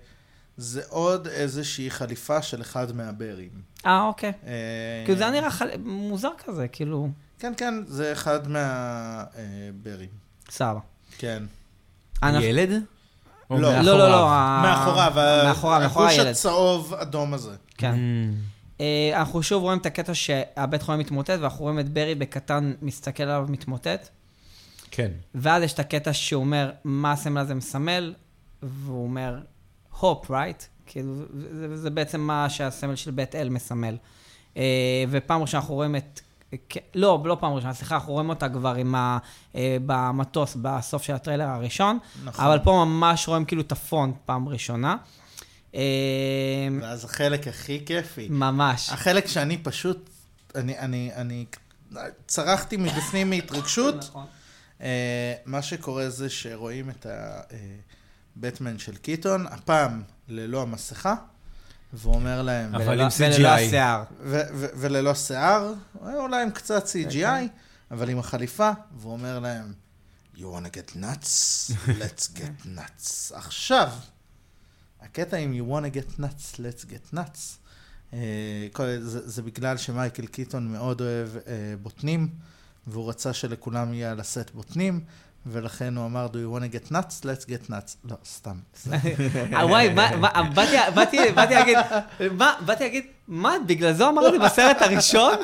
B: זה עוד איזושהי חליפה של אחד מהברים.
C: אה, אוקיי.
B: אה,
C: כאילו זה היה נראה חל- מוזר כזה, כאילו,
B: כן, כן, זה אחד אה, מהברים.
C: סבבה.
B: כן.
C: אנחנו-
A: ילד? או
B: לא.
C: לא, לא, לא.
A: מאחוריו?
C: ה-
B: מאחוריו, ה-
C: מאחוריו, מאחורי
B: החוש
C: הילד.
B: הצהוב אדום הזה.
C: כן.
A: Mm.
C: אה, אנחנו שוב רואים את הקטע שהבית חולים מתמוטט, ואנחנו רואים את ברי בקטן מסתכל עליו מתמוטט,
A: כן.
C: ואז יש את הקטע שהוא אומר, מה הסמל הזה מסמל, והוא אומר, הופ, רייט? כאילו, זה- זה- זה בעצם מה שהסמל של בית אל מסמל. אה, ופעם ראשונה אנחנו רואים את... כ- לא, לא פעם ראשונה, סליחה, אנחנו רואים אותה כבר עם ה... אה, במטוס, בסוף של הטריילר הראשון,
B: נכון.
C: אבל פה ממש רואים כאילו את הפונט פעם ראשונה. אה,
B: ואז החלק הכי כיפי.
C: ממש.
B: החלק שאני פשוט, אני, אני, אני צרחתי מבפנים מהתרגשות.
C: נכון.
B: אה, מה שקורה זה שרואים את הבטמן של קיטון, הפעם ללא המסכה, והוא אומר להם...
A: אבל
C: וללא-
A: עם
C: וללא
A: CGI.
C: השיער.
B: ו- ו- וללא שיער, אולי עם קצת CGI, אבל עם החליפה, והוא אומר להם, You want to get nuts? Let's get nuts. עכשיו, הקטע עם You want to get nuts? Let's get nuts. אה, כל- זה, זה בגלל שמייקל קיטון מאוד אוהב אה, בוטנים, והוא רצה שלכולם יהיה על הסט בוטנים, ולכן הוא אמר, Do you want to get nuts? Let's get nuts. לא, סתם. זה-
C: אה, וואי, מה- מה- באתי- באתי- באתי להגיד, מה- באתי להגיד, מה, בגלל זה אמרתי בסרט הראשון?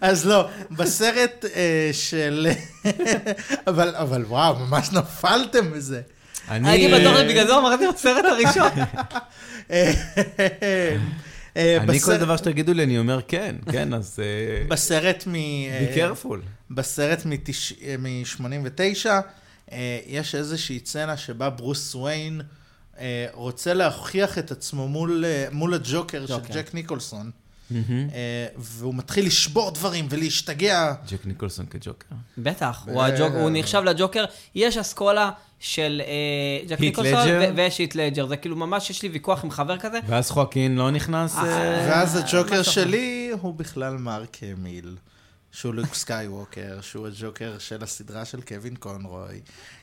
B: אז לא, בסרט אה, של... אבל, אבל וואו, ממש נפלתם מזה.
A: אני...
C: הייתי בטוח שבגלל זה אמרתי בסרט הראשון.
B: אה, אה,
A: אני כל
B: בסרט-
A: דבר שתגידו לי, אני אומר כן, כן, אז... אה,
B: בסרט מ... אה,
A: be careful.
B: בסרט אה, מ-89, אה, יש איזושהי צנה שבה ברוס וויין אה, רוצה להוכיח את עצמו מול, אה, מול הג'וקר של
C: ג'וקר.
B: ג'ק ניקולסון, אה, והוא מתחיל לשבור דברים ולהשתגע.
A: ג'ק ניקולסון כג'וקר.
C: בטח,
B: ב-
C: הוא הג'וק- הוא נחשב לג'וקר. יש אסכולה של אה, ג'ק
A: היט
C: ניקולסון
A: לג'ר.
C: ו- ויש היט לג'ר. זה כאילו ממש, יש לי ויכוח עם חבר כזה.
A: ואז חואקין לא נכנס? אה,
B: ואז הג'וקר
C: משהו.
B: שלי הוא בכלל מרק אמיל. שהוא לוק סקייווקר, שהוא הג'וקר של הסדרה של קווין קונרוי,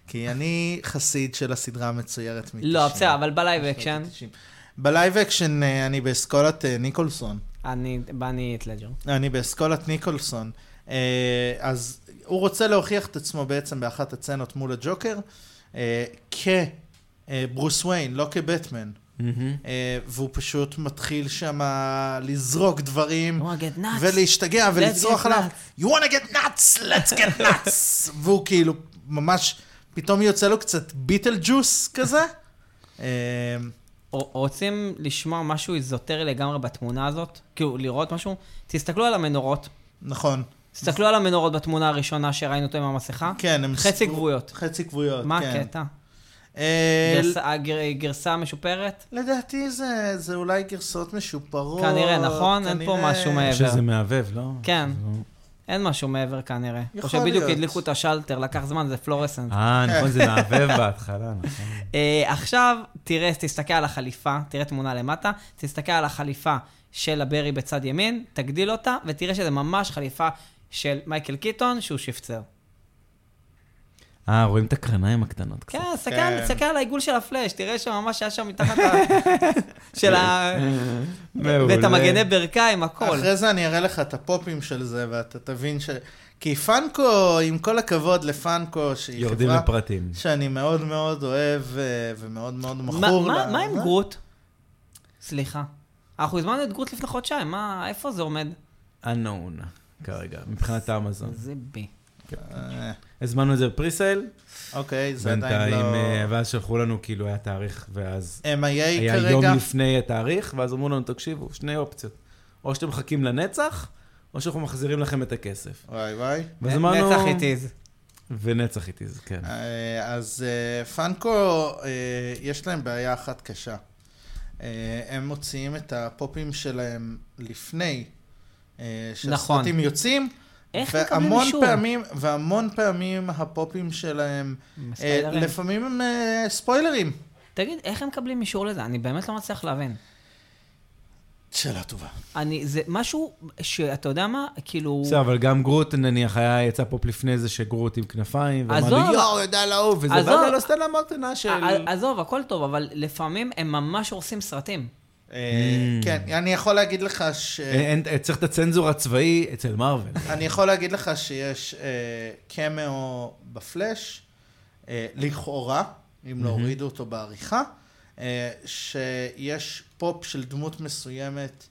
B: כי אני חסיד של הסדרה המצוירת מ-90.
C: לא, בסדר, אבל בלייב אקשן,
B: בלייב אקשן אה, אני באסכולת אה, ניקולסון.
C: אני בני את לג'ר.
B: אני באסכולת ניקולסון. אה, אז הוא רוצה להוכיח את עצמו בעצם באחת הצנות מול הג'וקר, אה, כברוס וויין, לא כבטמן.
C: Mm-hmm.
B: אה, והוא פשוט מתחיל שם לזרוק דברים.
C: I wanna get nuts.
B: ולהשתגע ולצרוח
C: get
B: עליו, you want to get nuts, let's get nuts. והוא כאילו ממש, פתאום יוצא לו קצת ביטל ג'וס כזה. אה,
C: או- רוצים לשמוע משהו איזוטרי לגמרי בתמונה הזאת? כאילו, לראות משהו? תסתכלו על המנורות.
B: נכון,
C: תסתכלו על המנורות בתמונה הראשונה שראינו אותו עם המסכה.
B: כן. הם
C: חצי
B: סיפרו-
C: גבויות.
B: חצי גבויות,
C: מה
B: כן.
C: הקטע?
B: אה,
C: גרסה- הגר- גרסה משופרת?
B: לדעתי זה, זה אולי גרסאות משופרות.
C: כנראה, נכון? אין פה
B: כנראה-
C: משהו מעבר.
A: שזה מעבב, לא?
C: כן.
A: שזה לא-
C: אין משהו מעבר כנראה. או
B: יכול
C: שבדיוק
B: להיות.
C: הדליקו את השלטר, לקח זמן, זה פלורסנט.
A: אה, נכון, זה מעבב בהתחלה, נכון.
C: אה, עכשיו, תראה, תסתכל על החליפה, תראה תמונה למטה, תסתכל על החליפה של הברי בצד ימין, תגדיל אותה, ותראה שזה ממש חליפה של מייקל קיטון, שהוא שפצר.
A: אה, רואים את הקרניים הקטנות קצת.
C: כן, תסתכל
B: כן.
C: תסתכל על העיגול של הפלאש, תראה שממש היה שם מתחת ה... של ה...
A: מעולה.
C: ואת המגני ברכיים, הכל.
B: אחרי זה אני אראה לך את הפופים של זה, ואתה תבין ש... כי פאנקו, עם כל הכבוד לפאנקו, שהיא
A: יורדים
B: חברה
A: לפרטים.
B: שאני מאוד מאוד אוהב אה, ומאוד מאוד
C: מה-
B: מכור
C: מה-
B: לה.
C: מה עם גרוט? סליחה. אנחנו הזמנו את גרוט לפני חודשיים, מה, איפה זה עומד?
A: unknown כרגע, מבחינת האמזון.
C: זה בי.
B: אה,
A: הזמנו את זה בפריסייל,
B: אוקיי, זה עדיין
A: בינתיים,
B: לא...
A: אה, ואז שלחו לנו, כאילו, היה תאריך, ואז
B: MIA
A: היה יום
B: כרגע.
A: לפני התאריך, ואז אמרו לנו, תקשיבו, שני אופציות. או שאתם מחכים לנצח, או שאנחנו מחזירים לכם את הכסף.
B: וואי וואי.
A: ואז אמרנו...
C: נצח איטיז.
A: ונצח איטיז, כן.
B: אה, אז אה, פאנקו, אה, יש להם בעיה אחת קשה. אה, הם מוציאים את הפופים שלהם לפני אה,
C: נכון.
B: שהסרטים יוצאים.
C: איך
B: והמון
C: מקבלים אישור?
B: פעמים, והמון פעמים הפופים שלהם, אה,
C: ספיילרים.
B: לפעמים הם אה, ספוילרים.
C: תגיד, איך הם מקבלים אישור לזה? אני באמת לא מצליח להבין.
B: שאלה טובה.
C: אני, זה משהו שאתה יודע מה, כאילו...
A: בסדר, אבל גם גרוט, נניח, היה, יצא פופ לפני זה שגרוט עם כנפיים, ואמר
C: עזוב.
A: לי, יואו, לא יודע לעוף, וזה, ואז
C: עזוב. אה,
A: היה לו סטלה מרטנה של...
C: ע- עזוב, הכל טוב, אבל לפעמים הם ממש הורסים סרטים.
B: אה,
A: Mm.
B: כן, אני יכול להגיד לך ש...
A: אה, אין- אין- צריך את הצנזור הצבאי אצל מארוול.
B: אני יכול להגיד לך שיש אה, קמאו בפלאש, אה, לכאורה,
A: Mm-hmm.
B: אם לא הורידו אותו בעריכה, אה, שיש פופ של דמות מסוימת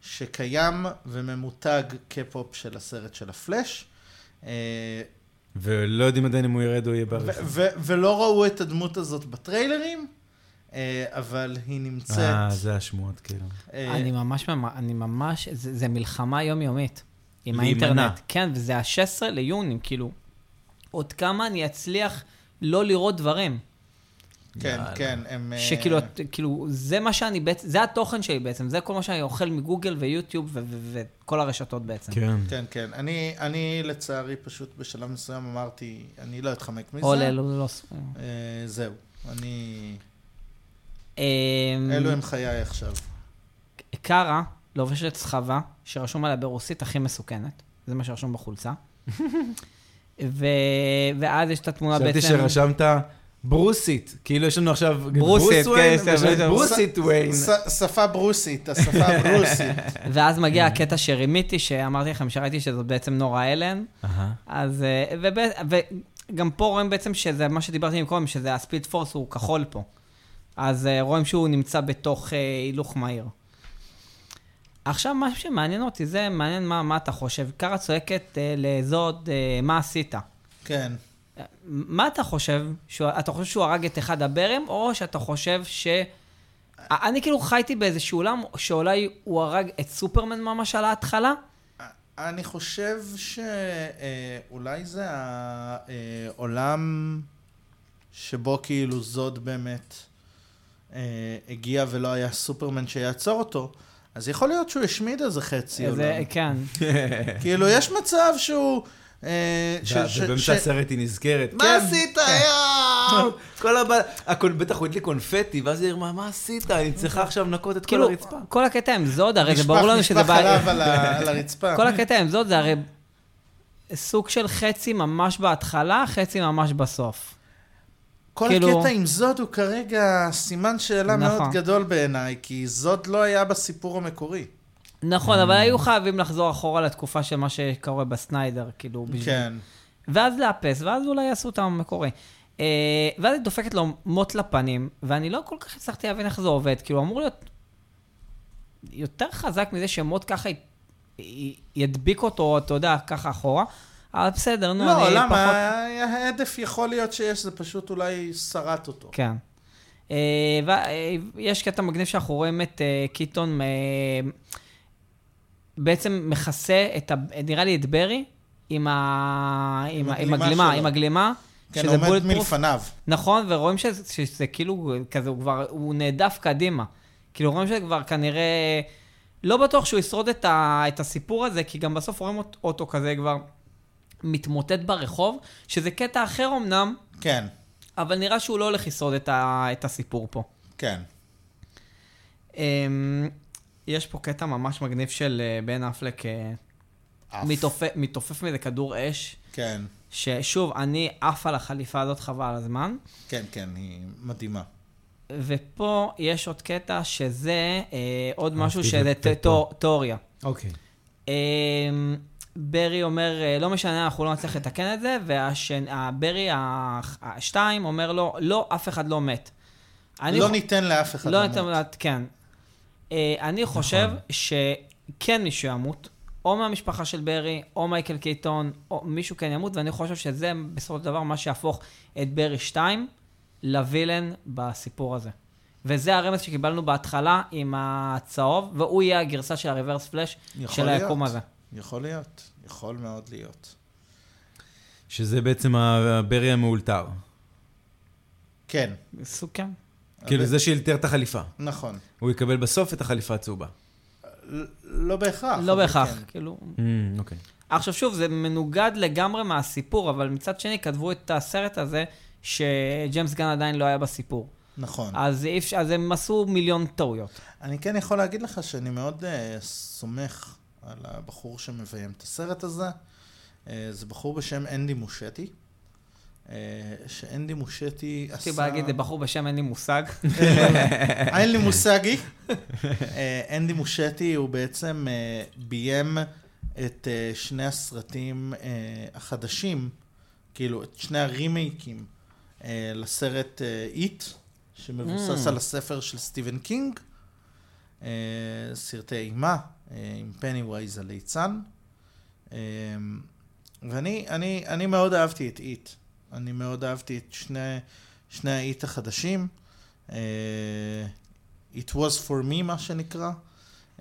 B: שקיים וממותג כפופ של הסרט של הפלאש. אה,
A: ולא יודעים עדיין אם הוא ירד או יהיה
B: ו-
A: בערך.
B: ו- ולא ראו את הדמות הזאת בטריילרים, אה, אבל היא נמצאת.
A: אה, זה השמועות, כאילו.
B: אה,
C: אני ממש, ממ- אני ממש, זה זה מלחמה יומיומית. עם
A: להימנע.
C: האינטרנט. כן, וזה ה-16 ליוני, כאילו. עוד כמה אני אצליח לא לראות דברים.
B: כן,
A: יאללה.
B: כן, הם... אה,
C: שכאילו, את- כאילו, זה מה שאני בעצם, זה התוכן שלי בעצם, זה כל מה שאני אוכל מגוגל ויוטיוב ו- ו- וכל הרשתות בעצם.
A: כן.
B: כן, כן. אני, אני לצערי פשוט בשלב מסוים אמרתי, אני לא אתחמק מזה.
C: או לאלו לא...
B: אה, זהו. אני...
C: אמ,
B: אלו הם חיי עכשיו.
C: קארה לובשת סחבה שרשום עליה ברוסית הכי מסוכנת, זה מה שרשום בחולצה. ו... ואז יש את התמונה בעצם...
A: חשבתי שרשמת ברוסית, כאילו יש לנו עכשיו
C: ברוסית,
A: ברוס וויין,
C: כן,
A: ויש
C: כן,
A: לנו
C: כן.
A: ברוסית וויין.
B: ש- שפה ברוסית, השפה הברוסית.
C: ואז מגיע הקטע שרימיתי, שאמרתי לכם שראיתי שזאת בעצם נורה אלן.
A: אהה.
C: אז... אה, וב... וגם פה רואים בעצם שזה מה שדיברתי מקודם, שזה הספיד פורס הוא כחול פה. אז אה, רואים שהוא נמצא בתוך אה, הילוך מהיר. עכשיו, מה שמעניין אותי, זה מעניין מה, מה אתה חושב. קארה צועקת אה, לזוד, אה, מה עשית?
B: כן.
C: מה אתה חושב? שהוא, אתה חושב שהוא הרג את אחד הברם, או שאתה חושב ש... אני כאילו חייתי באיזשהו עולם שאולי הוא הרג את סופרמן ממש על ההתחלה?
B: אני חושב שאולי זה העולם שבו כאילו זוד באמת אה, הגיע ולא היה סופרמן שיעצור אותו, אז יכול להיות שהוא השמיד איזה חצי
C: איזה,
B: עולם.
C: כן.
B: כאילו, יש מצב שהוא... אה, ש- ש- ש-
A: ובאמצע הסרט היא נזכרת.
B: כן.
A: מה עשית, יואו? כל הבעל... הכל- בטח הוא הדליק קונפטי, ואז היא אמרה, מה עשית? אני צריכה עכשיו לנקות את כל
C: כאילו,
A: הרצפה.
C: כל הקטע עם זוד, הרי זה
B: נשפך-
C: ברור לנו שזה
B: נשפך
C: בעיה.
B: חלב על ה- על הרצפה.
C: כל הקטע עם זאת זה הרי סוג של חצי ממש בהתחלה, חצי ממש בסוף.
B: כל
C: כאילו-
B: הקטע עם זוד הוא כרגע סימן שאלה
C: נכון.
B: מאוד גדול בעיניי, כי זוד לא היה בסיפור המקורי.
C: נכון, אבל היו חייבים לחזור אחורה לתקופה של מה שקורה בסניידר, כאילו, בשביל...
B: כן.
C: ואז לאפס, ואז אולי יעשו את המקורי. אה, ואז היא דופקת לו מוט לפנים, ואני לא כל כך הצלחתי להבין איך זה עובד. כאילו, אמור להיות יותר חזק מזה שמוט ככה י- י- ידביק אותו, אתה יודע, ככה אחורה. אבל בסדר, נו,
B: לא,
C: אני
B: למה?
C: פחות...
B: ההדף יכול להיות שיש, זה פשוט אולי שרט אותו.
C: כן. אה, ו- אה, יש קטע מגניב שאנחנו רואים את אה, קיטון אה, בעצם מכסה את, ה- נראה לי את ברי, עם, ה... עם, ה- עם
B: הגלימה
C: הגלימה,
B: שלו.
C: עם הגלימה.
B: כן,
C: שזה
B: עומד
C: bulletproof.
B: מלפניו.
C: נכון, ורואים שזה, שזה כאילו, כזה, הוא כבר, הוא נעדף קדימה. כאילו, רואים שכבר כנראה, לא בטוח שהוא ישרוד את, ה, את הסיפור הזה, כי גם בסוף רואים אות- אותו כזה כבר מתמוטט ברחוב, שזה קטע אחר אמנם,
B: כן,
C: אבל נראה שהוא לא הולך לשרוד את, ה, את הסיפור פה.
B: כן.
C: אמ, יש פה קטע ממש מגניב של אה, בן אפלק אה,
B: עף.
C: מתעופף- מתעופף מאיזה כדור אש,
B: כן,
C: ששוב, אני עף על החליפה הזאת חבל על הזמן.
B: כן, כן, היא מדהימה.
C: ופה יש עוד קטע שזה אה, עוד משהו
A: אהבתי
C: שזה
A: את זה
C: ת- תו- תיאוריה.
A: אוקיי.
C: אה, ברי אומר, אה, לא משנה, אנחנו לא נצליח לתקן את זה, וברי השתיים אומר לו, לא, אף אחד לא מת. אני
B: לא
C: חו-
B: ניתן לאף אחד
C: לא
B: למות.
C: ניתן לה, כן. אה, אני
B: נכון.
C: חושב שכן מישהו ימות, או מהמשפחה של ברי, או מייקל קיטון, או מישהו כן ימות, ואני חושב שזה בסופו של דבר מה שיהפוך את ברי 2 לווילן בסיפור הזה. וזה הרמז שקיבלנו בהתחלה עם הצהוב, והוא יהיה הגרסה של הריברס פלאש
B: יכול
C: של
B: להיות.
C: היקום הזה.
B: יכול להיות, יכול מאוד להיות.
A: שזה בעצם הברי המאולתר.
B: כן.
C: סוג כן.
A: כאילו,
B: אבל-
A: זה שאילתר את החליפה.
B: נכון.
A: הוא יקבל בסוף את החליפה הצהובה.
B: ל- לא בהכרח.
C: לא
B: אבל
C: בהכרח,
B: כן.
C: כאילו...
A: אוקיי.
C: עכשיו שוב, זה מנוגד לגמרי מהסיפור, אבל מצד שני כתבו את הסרט הזה שג'יימס גן עדיין לא היה בסיפור.
B: נכון.
C: אז, אי אפשר, אז הם עשו מיליון טעויות.
B: אני כן יכול להגיד לך שאני מאוד אה, סומך על הבחור שמביים את הסרט הזה. אה, זה בחור בשם אנדי מושטי. אה, שאנדי מושטי עשה... אה,
C: רציתי להגיד, זה בחור בשם אין לי מושג.
B: אין לי מושגי. אה, אנדי מושטי הוא בעצם אה, ביים את אה, שני הסרטים אה, החדשים, כאילו את שני הרימייקים אה, לסרט אה, איט, שמבוסס
C: Mm.
B: על הספר של סטיבן קינג, אה, סרטי אימה אה, עם פני ווייז הליצן. אה, ואני אני, אני מאוד אהבתי את איט. אני מאוד אהבתי את שני, שני האיט החדשים. אה, It was for me, מה שנקרא.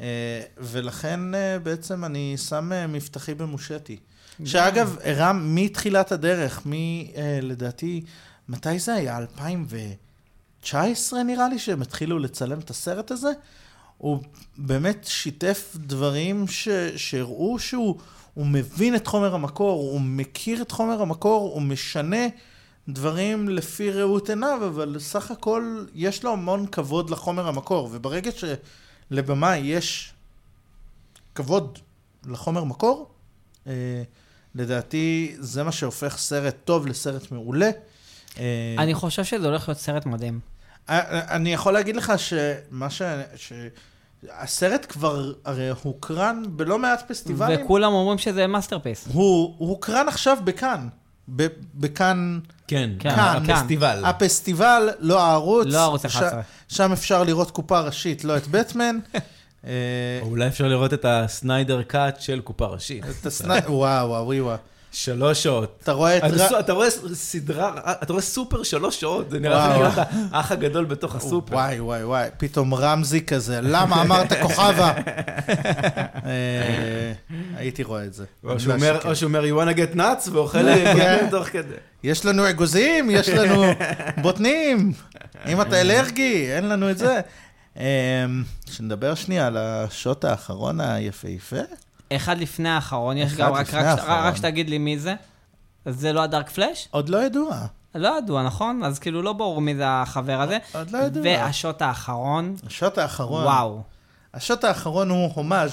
B: אה, ולכן אה, בעצם אני שם אה, מבטחי במושטי. שאגב, רם, מתחילת הדרך, מי, אה, לדעתי, מתי זה היה? 2019 נראה לי שהם התחילו לצלם את הסרט הזה? הוא באמת שיתף דברים ש... שהראו שהוא הוא מבין את חומר המקור, הוא מכיר את חומר המקור, הוא משנה דברים לפי ראות עיניו, אבל סך הכל יש לו המון כבוד לחומר המקור, וברגע שלבמאי יש כבוד לחומר מקור, אה, לדעתי זה מה שהופך סרט טוב לסרט מעולה. אה,
C: אני חושב שזה הולך להיות סרט מדהים.
B: אה, אני יכול להגיד לך שמה ש... ש... הסרט כבר הרי הוקרן בלא מעט פסטיבלים.
C: וכולם אומרים שזה מאסטרפיס.
B: הוא הוא הוקרן עכשיו בכאן. ב- בכאן,
A: כן,
C: כן,
A: כאן,
C: כאן.
A: פסטיבל.
B: אה, הפסטיבל, לא הערוץ.
C: לא ערוץ
B: ש-
C: 11.
B: שם אפשר לראות קופה ראשית, לא את בטמן. אה,
A: או אולי אפשר לראות את הסניידר קאט של קופה ראשית.
B: את הסנא... וואו, וואו, וואו.
A: שלוש שעות.
B: אתה רואה את...
A: אתה
B: ר-
A: סו- אתה רואה סדרה, אה, אתה רואה סופר שלוש שעות, זה נראה
B: וואו.
A: לי נראה האח הגדול בתוך הסופר.
B: וואי, וואי, וואי, פתאום רמזי כזה, למה אמרת כוכבה? אה, הייתי רואה את זה.
A: או
B: אני
A: שהוא
B: לא
A: אומר,
B: אשקר.
A: או שהוא אומר, you wanna get nuts, ואוכל אה,
B: כן.
A: תוך כדי.
B: יש לנו אגוזים, יש לנו בוטנים, אם אתה אלרגי, אין לנו את זה. אמ, שנדבר שנייה על השוט האחרון היפהפה.
C: אחד לפני האחרון, יש
B: אחד
C: גם, רק-
B: לפני
C: רק שת-
B: האחרון.
C: רק שתגיד לי מי זה. אז זה לא הדארק פלאש?
B: עוד לא ידוע,
C: לא ידוע, נכון? אז כאילו לא ברור מי זה החבר הזה.
B: עוד לא ידוע.
C: והשוט האחרון,
B: השוט האחרון,
C: וואו.
B: השוט האחרון הוא הומאז'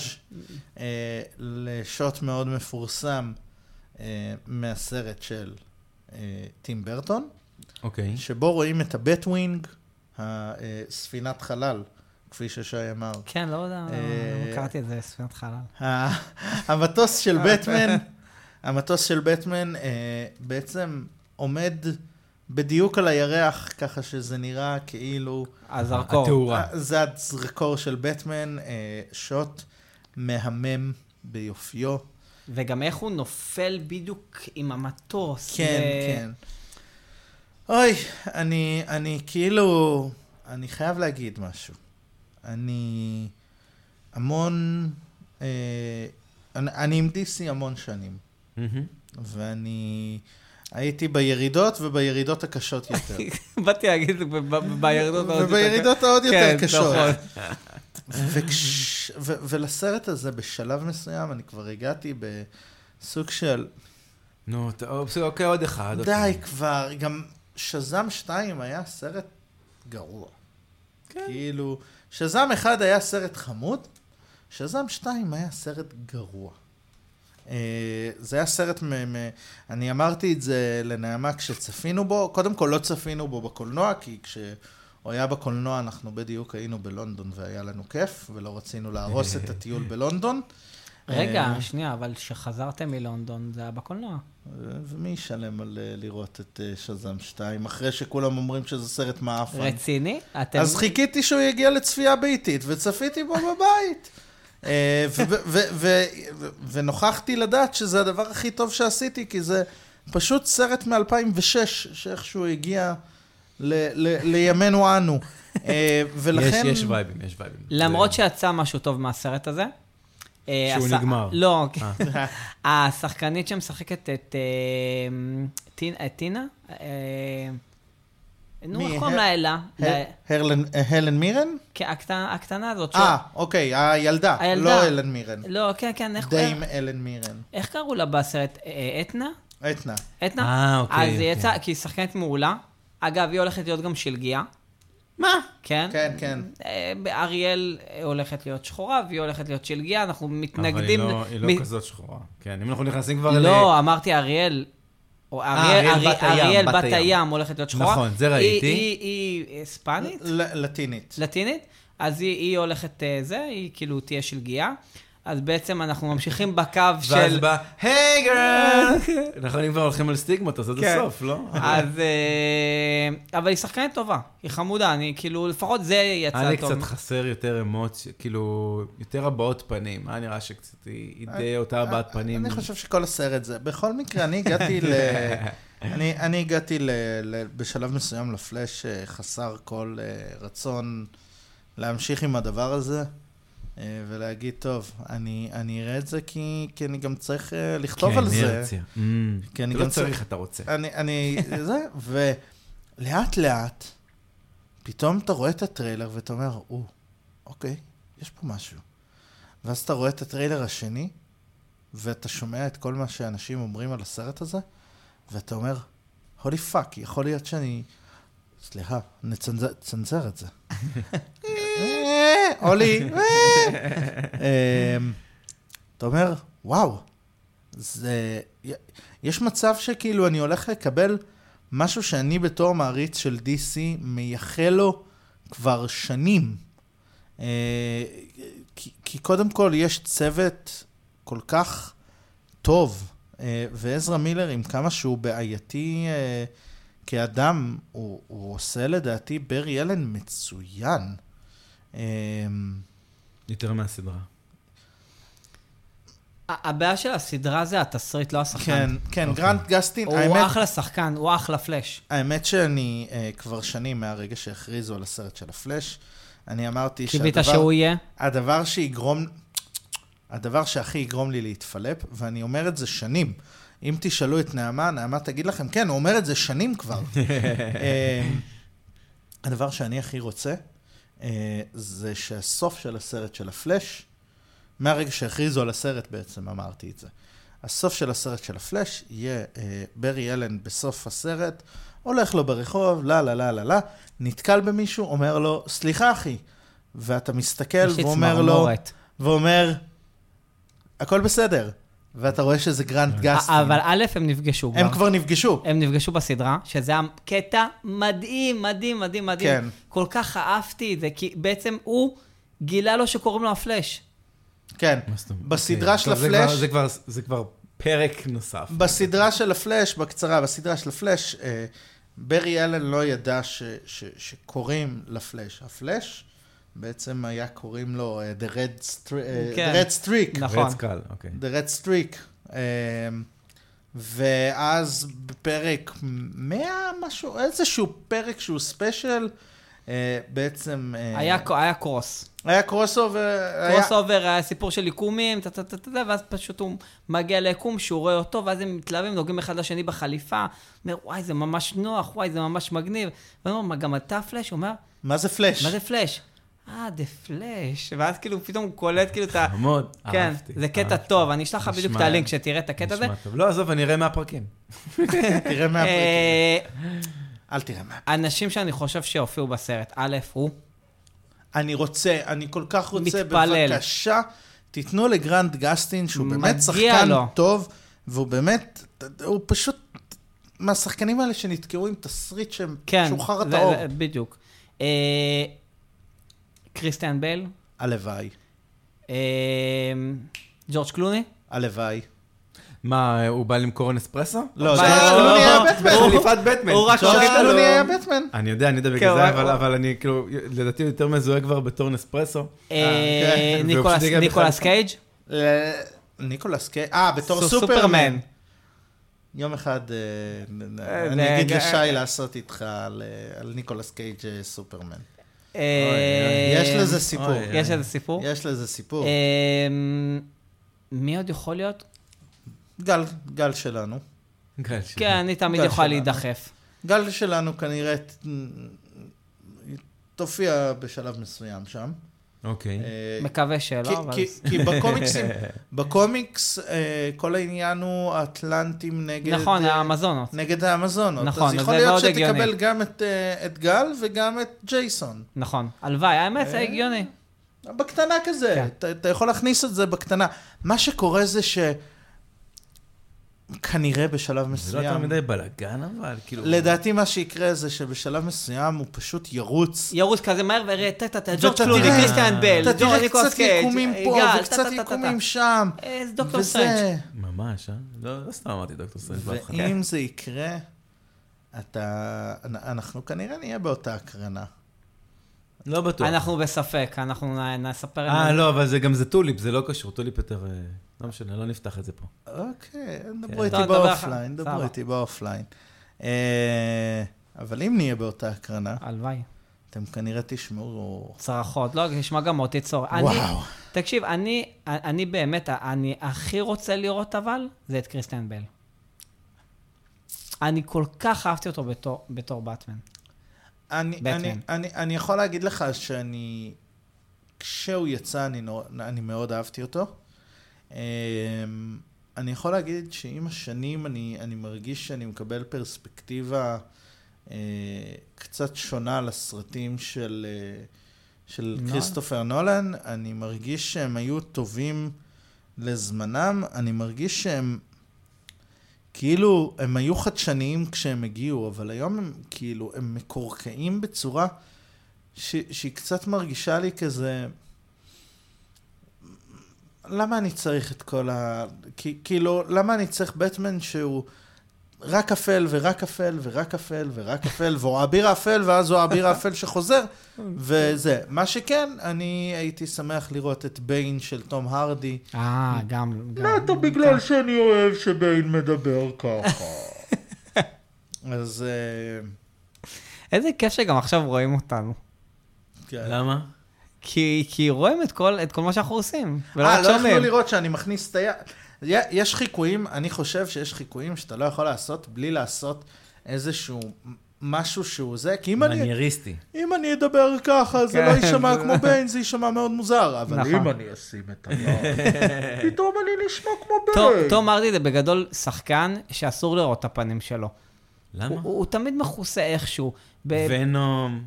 B: אה, לשוט מאוד מפורסם אה, מהסרט של אה, טים ברטון,
A: אוקיי.
B: שבו רואים את הבטווינג, הספינת אה, חלל, כפי ששי אמר.
C: כן, לא יודע,
B: אה,
C: לא קראתי את זה, ספינת חלל.
B: ה- המטוס של בטמן, המטוס של בטמן אה, בעצם עומד בדיוק על הירח, ככה שזה נראה כאילו...
C: הזרקור.
A: התאורה.
B: אה, זה הזרקור של בטמן, אה, שוט מהמם ביופיו.
C: וגם איך הוא נופל בדיוק עם המטוס.
B: כן,
C: ו-
B: כן. אוי, אני, אני כאילו, אני חייב להגיד משהו. אני המון, אה, אני, אני עם DC המון שנים,
A: מהמם.
B: ואני הייתי בירידות ובירידות הקשות יותר.
C: באתי להגיד, ב- ב- בירידות העוד יותר-
B: ובירידות העוד יותר
C: כן,
B: קשות.
C: נכון.
B: וכש... ו- ולסרט הזה בשלב מסוים אני כבר הגעתי בסוג של
A: נו, ת- אופס- אוקיי, עוד אחד.
B: די
A: אוקיי.
B: כבר, גם שזאם 2 היה סרט גרוע.
A: כן.
B: כאילו, שזאם 1 היה סרט חמוד, שזאם 2 היה סרט גרוע. אה, זה היה סרט, מ- מ- אני אמרתי את זה לנעמה כשצפינו בו, קודם כל לא צפינו בו בקולנוע, כי כשהוא היה בקולנוע אנחנו בדיוק היינו בלונדון והיה לנו כיף, ולא רצינו להרוס את הטיול בלונדון.
C: רגע,
B: אה,
C: שנייה, אבל כשחזרתם מלונדון, זה היה בקולנוע.
B: ומי ישלם על אה, לראות את אה, שזאם 2, אחרי שכולם אומרים שזה סרט
C: נכון.
B: מעפן?
C: רציני? אתם...
B: אז חיכיתי שהוא יגיע לצפייה ביתית, וצפיתי בו בבית. אה, ו- ו- ו- ו- ו- ונוכחתי לדעת שזה הדבר הכי טוב שעשיתי, כי זה פשוט סרט מ-2006, שאיכשהו הגיע ל- ל- לימינו אנו. אה, ולכן...
A: יש, יש וייבים, יש וייבים.
C: למרות
A: זה-
C: שיצא משהו טוב מהסרט הזה. אה,
A: שהוא
C: הש-
A: נגמר.
C: לא,
A: אה.
C: השחקנית שמשחקת את אה, טין- את טינה, אה, נו,
B: מי?
C: איך קוראים
B: ה-
C: לה אלה? ל-
B: ה- הרלן- אה, הלן מירן?
C: כן, הקט- הקטנה הזאת. ש-
B: אה, אוקיי, הילדה,
C: כן. הילדה.
B: לא הלן מירן.
C: לא, כן, כן, איך-
B: דיים אלן מירן.
C: איך קראו לה בסרט? אה, אתנה?
B: אתנה.
C: אתנה?
A: אה, אוקיי,
C: אז היא
A: אוקיי.
C: יצאה, כי היא שחקנית מעולה. אגב, היא הולכת להיות גם שלגיה.
A: מה? אוקיי.
C: כן?
B: כן, כן.
C: אה, אריאל אה, הולכת להיות שחורה, והיא הולכת להיות שלגיה, אנחנו
A: אבל
C: מתנגדים...
A: היא לא- היא
C: מ-
A: לא כזאת שחורה. כן, אם אנחנו נכנסים כבר ל...
C: לא, אמרתי אריאל. או אריאל,
A: אה, אריאל
C: אריאל,
A: בת הים,
C: אריאל
A: בת
C: בת
A: הים.
C: הים הולכת להיות שחורה.
A: נכון, זה
C: היא-
A: ראיתי.
C: היא- היא היספנית?
B: ל- לטינית.
C: לטינית. אז היא, היא הולכת אה, זה, היא כאילו תהיה שלגיה. אז בעצם אנחנו ממשיכים בקו
A: ואז
C: של...
A: בא, היי גרל! אנחנו אם כבר הולכים על סטיגמות, אז עד
C: כן.
A: הסוף, לא?
C: אז... אה, אבל היא שחקנית טובה, היא חמודה, אני כאילו, לפחות זה
A: היה
C: יצא
A: לי
C: טוב.
A: קצת חסר יותר אמוציה, כאילו, יותר הבעות פנים. היה נראה שקצת היא היא די אותה הבעת פנים.
B: אה, אני חושב שכל הסרט זה. בכל מקרה, אני הגעתי ל... אני, אני הגעתי ל, ל, בשלב מסוים לפלאש אה, חסר כל אה, רצון להמשיך עם הדבר הזה, אה, ולהגיד, טוב, אני, אני אראה את זה כי, כי אני גם צריך אה, לכתוב
A: כן,
B: על זה.
A: אינרציה. Mm.
B: כי אני
A: אתה
B: גם
A: לא צריך, אתה רוצה.
B: אני, אני, זה, ולאט לאט, פתאום אתה רואה את הטריילר ואתה אומר, או, אוקיי, יש פה משהו. ואז אתה רואה את הטריילר השני, ואתה שומע את כל מה שאנשים אומרים על הסרט הזה, ואתה אומר, הולי פאק, יכול להיות שאני... סליחה, נצנזר צנזר את זה. אה, הולי, אה. אמ, אתה אומר, וואו, זה... יש מצב שכאילו אני הולך לקבל משהו שאני בתור מעריץ של DC מייחל לו כבר שנים. אה, כי, כי קודם כל יש צוות כל כך טוב, אה, ועזרא מילר, עם כמה שהוא בעייתי אה, כאדם, הוא, הוא עושה לדעתי ברי אלן מצוין. אה,
A: יותר מהסדרה.
C: ה- הבעיה של הסדרה זה התסריט, לא השחקן.
B: כן, כן,
A: אוקיי.
B: גרנט גסטין,
C: הוא
B: האמת,
C: אחלה שחקן, הוא אחלה פלאש.
B: האמת שאני אה, כבר שנים מהרגע שהכריזו על הסרט של הפלאש, אני אמרתי
C: קיווית
B: שהדבר-
C: שהוא יהיה?
B: הדבר שיגרום, הדבר שהכי יגרום לי להתפלפ, ואני אומר את זה שנים. אם תשאלו את נעמה, נעמה תגיד לכם, כן, הוא אומר את זה שנים כבר. אה, הדבר שאני הכי רוצה, אה, זה שהסוף של הסרט של הפלאש, מהרגע שהכריזו על הסרט בעצם אמרתי את זה. הסוף של הסרט של הפלאש יהיה אה, ברי אלן בסוף הסרט, הולך לו ברחוב, לה לה לה לה לה, נתקל במישהו, אומר לו, סליחה אחי, ואתה מסתכל
C: יש לי
B: ואומר לא, לו,
C: צמרמורת.
B: ואומר, הכל בסדר. ואתה רואה שזה גרנט גסטין.
C: אבל א', הם נפגשו
B: הם כבר נפגשו.
C: הם נפגשו בסדרה, שזה היה קטע מדהים, מדהים, מדהים, מדהים.
B: כן.
C: כל כך אהבתי את זה, כי בעצם הוא גילה לו שקוראים לו הפלאש.
B: כן.
A: מה זאת אומרת?
B: בסדרה
A: אוקיי.
B: של
A: טוב, זה כבר-
B: הפלאש-
A: זה כבר- זה כבר פרק נוסף.
B: בסדרה של הפלאש, בקצרה, בסדרה של הפלאש, אה, ברי אלן לא ידע ש, ש, שקוראים לפלאש. הפלאש בעצם היה קוראים לו אה, The Red Streak.
C: כן.
B: The Red Streak.
C: נכון.
A: רץ קל, אוקיי.
B: The Red Streak. אה, ואז בפרק 100, משהו, איזשהו פרק שהוא ספיישל, אה, בעצם... אה,
C: היה ק- היה קרוס.
B: היה אה, קרוס אובר.
C: קרוס אובר היה סיפור של עיקומים, טה, טה, טה, טה, טה, ואז פשוט הוא מגיע ליקום שהוא רואה אותו, ואז הם מתלהבים, נוגעים אחד לשני בחליפה, אומר, וואי, זה ממש נוח, וואי, זה ממש מגניב. ואני אומר, "מה, גם אתה פלאש? הוא אומר,
B: מה זה פלאש?
C: מה זה פלאש? אה, דה פלאש. ואז כאילו פתאום הוא קולט כאילו את ה...
A: חמוד,
C: כן,
A: אהבתי.
C: זה קטע
A: אהבתי.
C: טוב, אני אשלח לך בדיוק את
A: נשמע-
C: הלינק שתראה את הקטע הזה.
A: נשמע טוב. לא, עזוב, אני אראה מהפרקים.
B: תראה מהפרק.
C: אה,
B: אל תראה מה.
C: אנשים שאני חושב שהופיעו בסרט, א', הוא,
B: אני רוצה, אני כל כך רוצה,
C: מתפלל.
B: בבקשה, תיתנו לגרנד גסטין, שהוא באמת
C: מגיע
B: שחקן
C: לו.
B: טוב, והוא באמת, הוא פשוט מהשחקנים האלה שנתקעו עם תסריט שהם,
C: כן,
B: שהוא חרא
C: זה-
B: טהור.
C: זה- בדיוק. אה, קריסטיאן בייל,
B: הלוואי,
C: אה, אמ, ג'ורג' קלוני,
B: הלוואי.
A: מה, הוא בא למכור אנספרסו?
B: לא,
C: אבל-
B: ג'ורג'
C: לא, כן,
B: קלוני
C: לא,
B: היה
C: לא.
B: בטמן.
C: הוא-
A: חליפת בטמן.
C: הוא רק
B: ג'ורג'
C: שורק
B: קלוני
C: לו.
B: היה בטמן.
A: אני יודע, אני יודע
C: כן,
A: בגלל
C: הוא
A: זה,
C: רק-
A: אבל- אבל אני כאילו, לדעתי הוא יותר מזוהה כבר בתור נספרסו.
C: אה,
B: אה, כן.
C: ניקולס-
A: והוא פשוט הגיע
C: ניקולס
A: בכלל-
C: קייג',
B: ל- ניקולס קיי, אה, בתור
C: סו-
B: סופרמן. יום אחד אה, נ-
C: אה,
B: אני אגיד
C: אה,
B: לשי לעשות איתך על אה, על ניקולס קייג' אה, סופרמן.
C: אה,
A: אוי,
B: יש לזה סיפור.
A: אוי,
C: יש לזה סיפור.
B: יש לזה סיפור. כן,
C: אה, מי עוד יכול להיות?
B: גל, גל שלנו.
A: גל שלי.
C: כן, אני תמיד
B: גל שלנו.
C: יכולה להידחף.
B: גל שלנו כנראה ת- תופיע בשלב מסוים שם.
A: אוקיי.
B: אה,
C: מקווה
B: כי-
C: שלא, לא, אבל...
B: כי- כי בקומיקסים, בקומיקס אה, כל העניין הוא אטלנטים נגד...
C: נכון,
B: אה,
C: המזונות.
B: נגד האמזונות.
C: נכון,
B: אז
C: אז
B: יכול
C: זה
B: להיות
C: מאוד
B: שתקבל
C: הגיוני.
B: גם את, אה, את גל וגם את ג'ייסון.
C: נכון. הלוואי, האמת, זה
B: אה,
C: הגיוני.
B: בקטנה כזה,
C: כן.
B: אתה, אתה יכול להכניס את זה בקטנה. מה שקורה זה ש... כנראה בשלב
A: זה לא
B: מסוים.
A: יותר מדי בלאגן אבל, כאילו...
B: לדעתי מה שיקרה זה שבשלב מסוים הוא פשוט ירוץ
C: ירוץ כזה מהר ויראה, טה טה טה, ג'ורג'
B: ואתה
C: קלוני,
B: תראה-
C: קריסטיאן בל,
B: אתה
C: ג'ורג'
B: תראה
C: ניקולס
B: קצת
C: קייג',
B: עיקומים פה
C: גל, אה, טה,
B: וקצת
C: טה, טה, טה,
B: עיקומים שם.
C: טה. אה, זה דוקטור סטרנג'.
B: וזה...
A: ממש, אה? לא לא סתם אמרתי דוקטור סטרנג' בהתחלה.
B: ואם זה יקרה, אתה... אנ- אנחנו כנראה נהיה באותה הקרנה.
A: לא בטוח.
C: אנחנו בספק, אנחנו נ- נספר...
A: אה,
C: את זה.
A: לא, אבל זה גם זה טוליפ, זה לא קשור. טוליפ יותר... אה, לא משנה, לא נפתח את זה פה.
B: אוקיי,
A: כן.
B: דברו איתי
C: טוב, דבר אחד.
B: באופליין, דברו
C: סבבה.
B: איתי באופליין. אה, אבל אם נהיה באותה הקרנה,
C: הלוואי.
B: אתם כנראה תשמעו...
C: צרחות, לא, נשמע גם אותי צור. אני-
B: וואו.
C: תקשיב, אני, אני באמת, אני הכי רוצה לראות אבל, זה את קריסטיאן בל. אני כל כך אהבתי אותו בתור, בתור באטמן.
B: אני,
C: בטמן.
B: אני, אני, אני יכול להגיד לך שאני, כשהוא יצא, אני, נור, אני מאוד אהבתי אותו. אמ, אני יכול להגיד שעם השנים אני, אני מרגיש שאני מקבל פרספקטיבה אה, קצת שונה לסרטים של, אה, של
C: נולן.
B: כריסטופר נולן. אני מרגיש שהם היו טובים לזמנם. אני מרגיש שהם כאילו, הם היו חדשניים כשהם הגיעו, אבל היום הם כאילו, הם מקורקעים בצורה ש, שהיא קצת מרגישה לי כזה... למה אני צריך את כל ה... כי- כאילו, למה אני צריך בטמן שהוא רק אפל ורק אפל ורק אפל ורק אפל, והוא האביר האפל, ואז הוא האביר האפל שחוזר, וזה. מה שכן, אני הייתי שמח לראות את ביין של תום הרדי.
C: אה, גם, גם.
B: נטו לא, בגלל שאני אוהב שביין מדבר ככה. אז אה,
C: איזה כיף שגם עכשיו רואים אותנו.
B: כן.
A: למה?
C: כי, כי רואים את כל, את כל מה שאנחנו עושים. ולא
B: אה,
C: רק
B: לא יכלו
C: שומעים.
B: לראות שאני מכניס את היד. י- יש חיקויים, אני חושב שיש חיקויים שאתה לא יכול לעשות בלי לעשות איזשהו משהו שהוא זה, כי אם אני...
A: מנייריסטי.
B: אם אני אדבר ככה, זה
C: כן,
B: לא יישמע
C: זה-
B: כמו ביין, זה יישמע מאוד מוזר. אבל
C: נכון.
B: אם אני אשים את היד, פתאום אני נשמע כמו
C: תום-
B: ביין.
C: תום הרדי זה בגדול שחקן שאסור לראות את הפנים שלו. הוא,
A: למה?
C: הוא, הוא תמיד מכוסה איכשהו. ב-
A: ונום.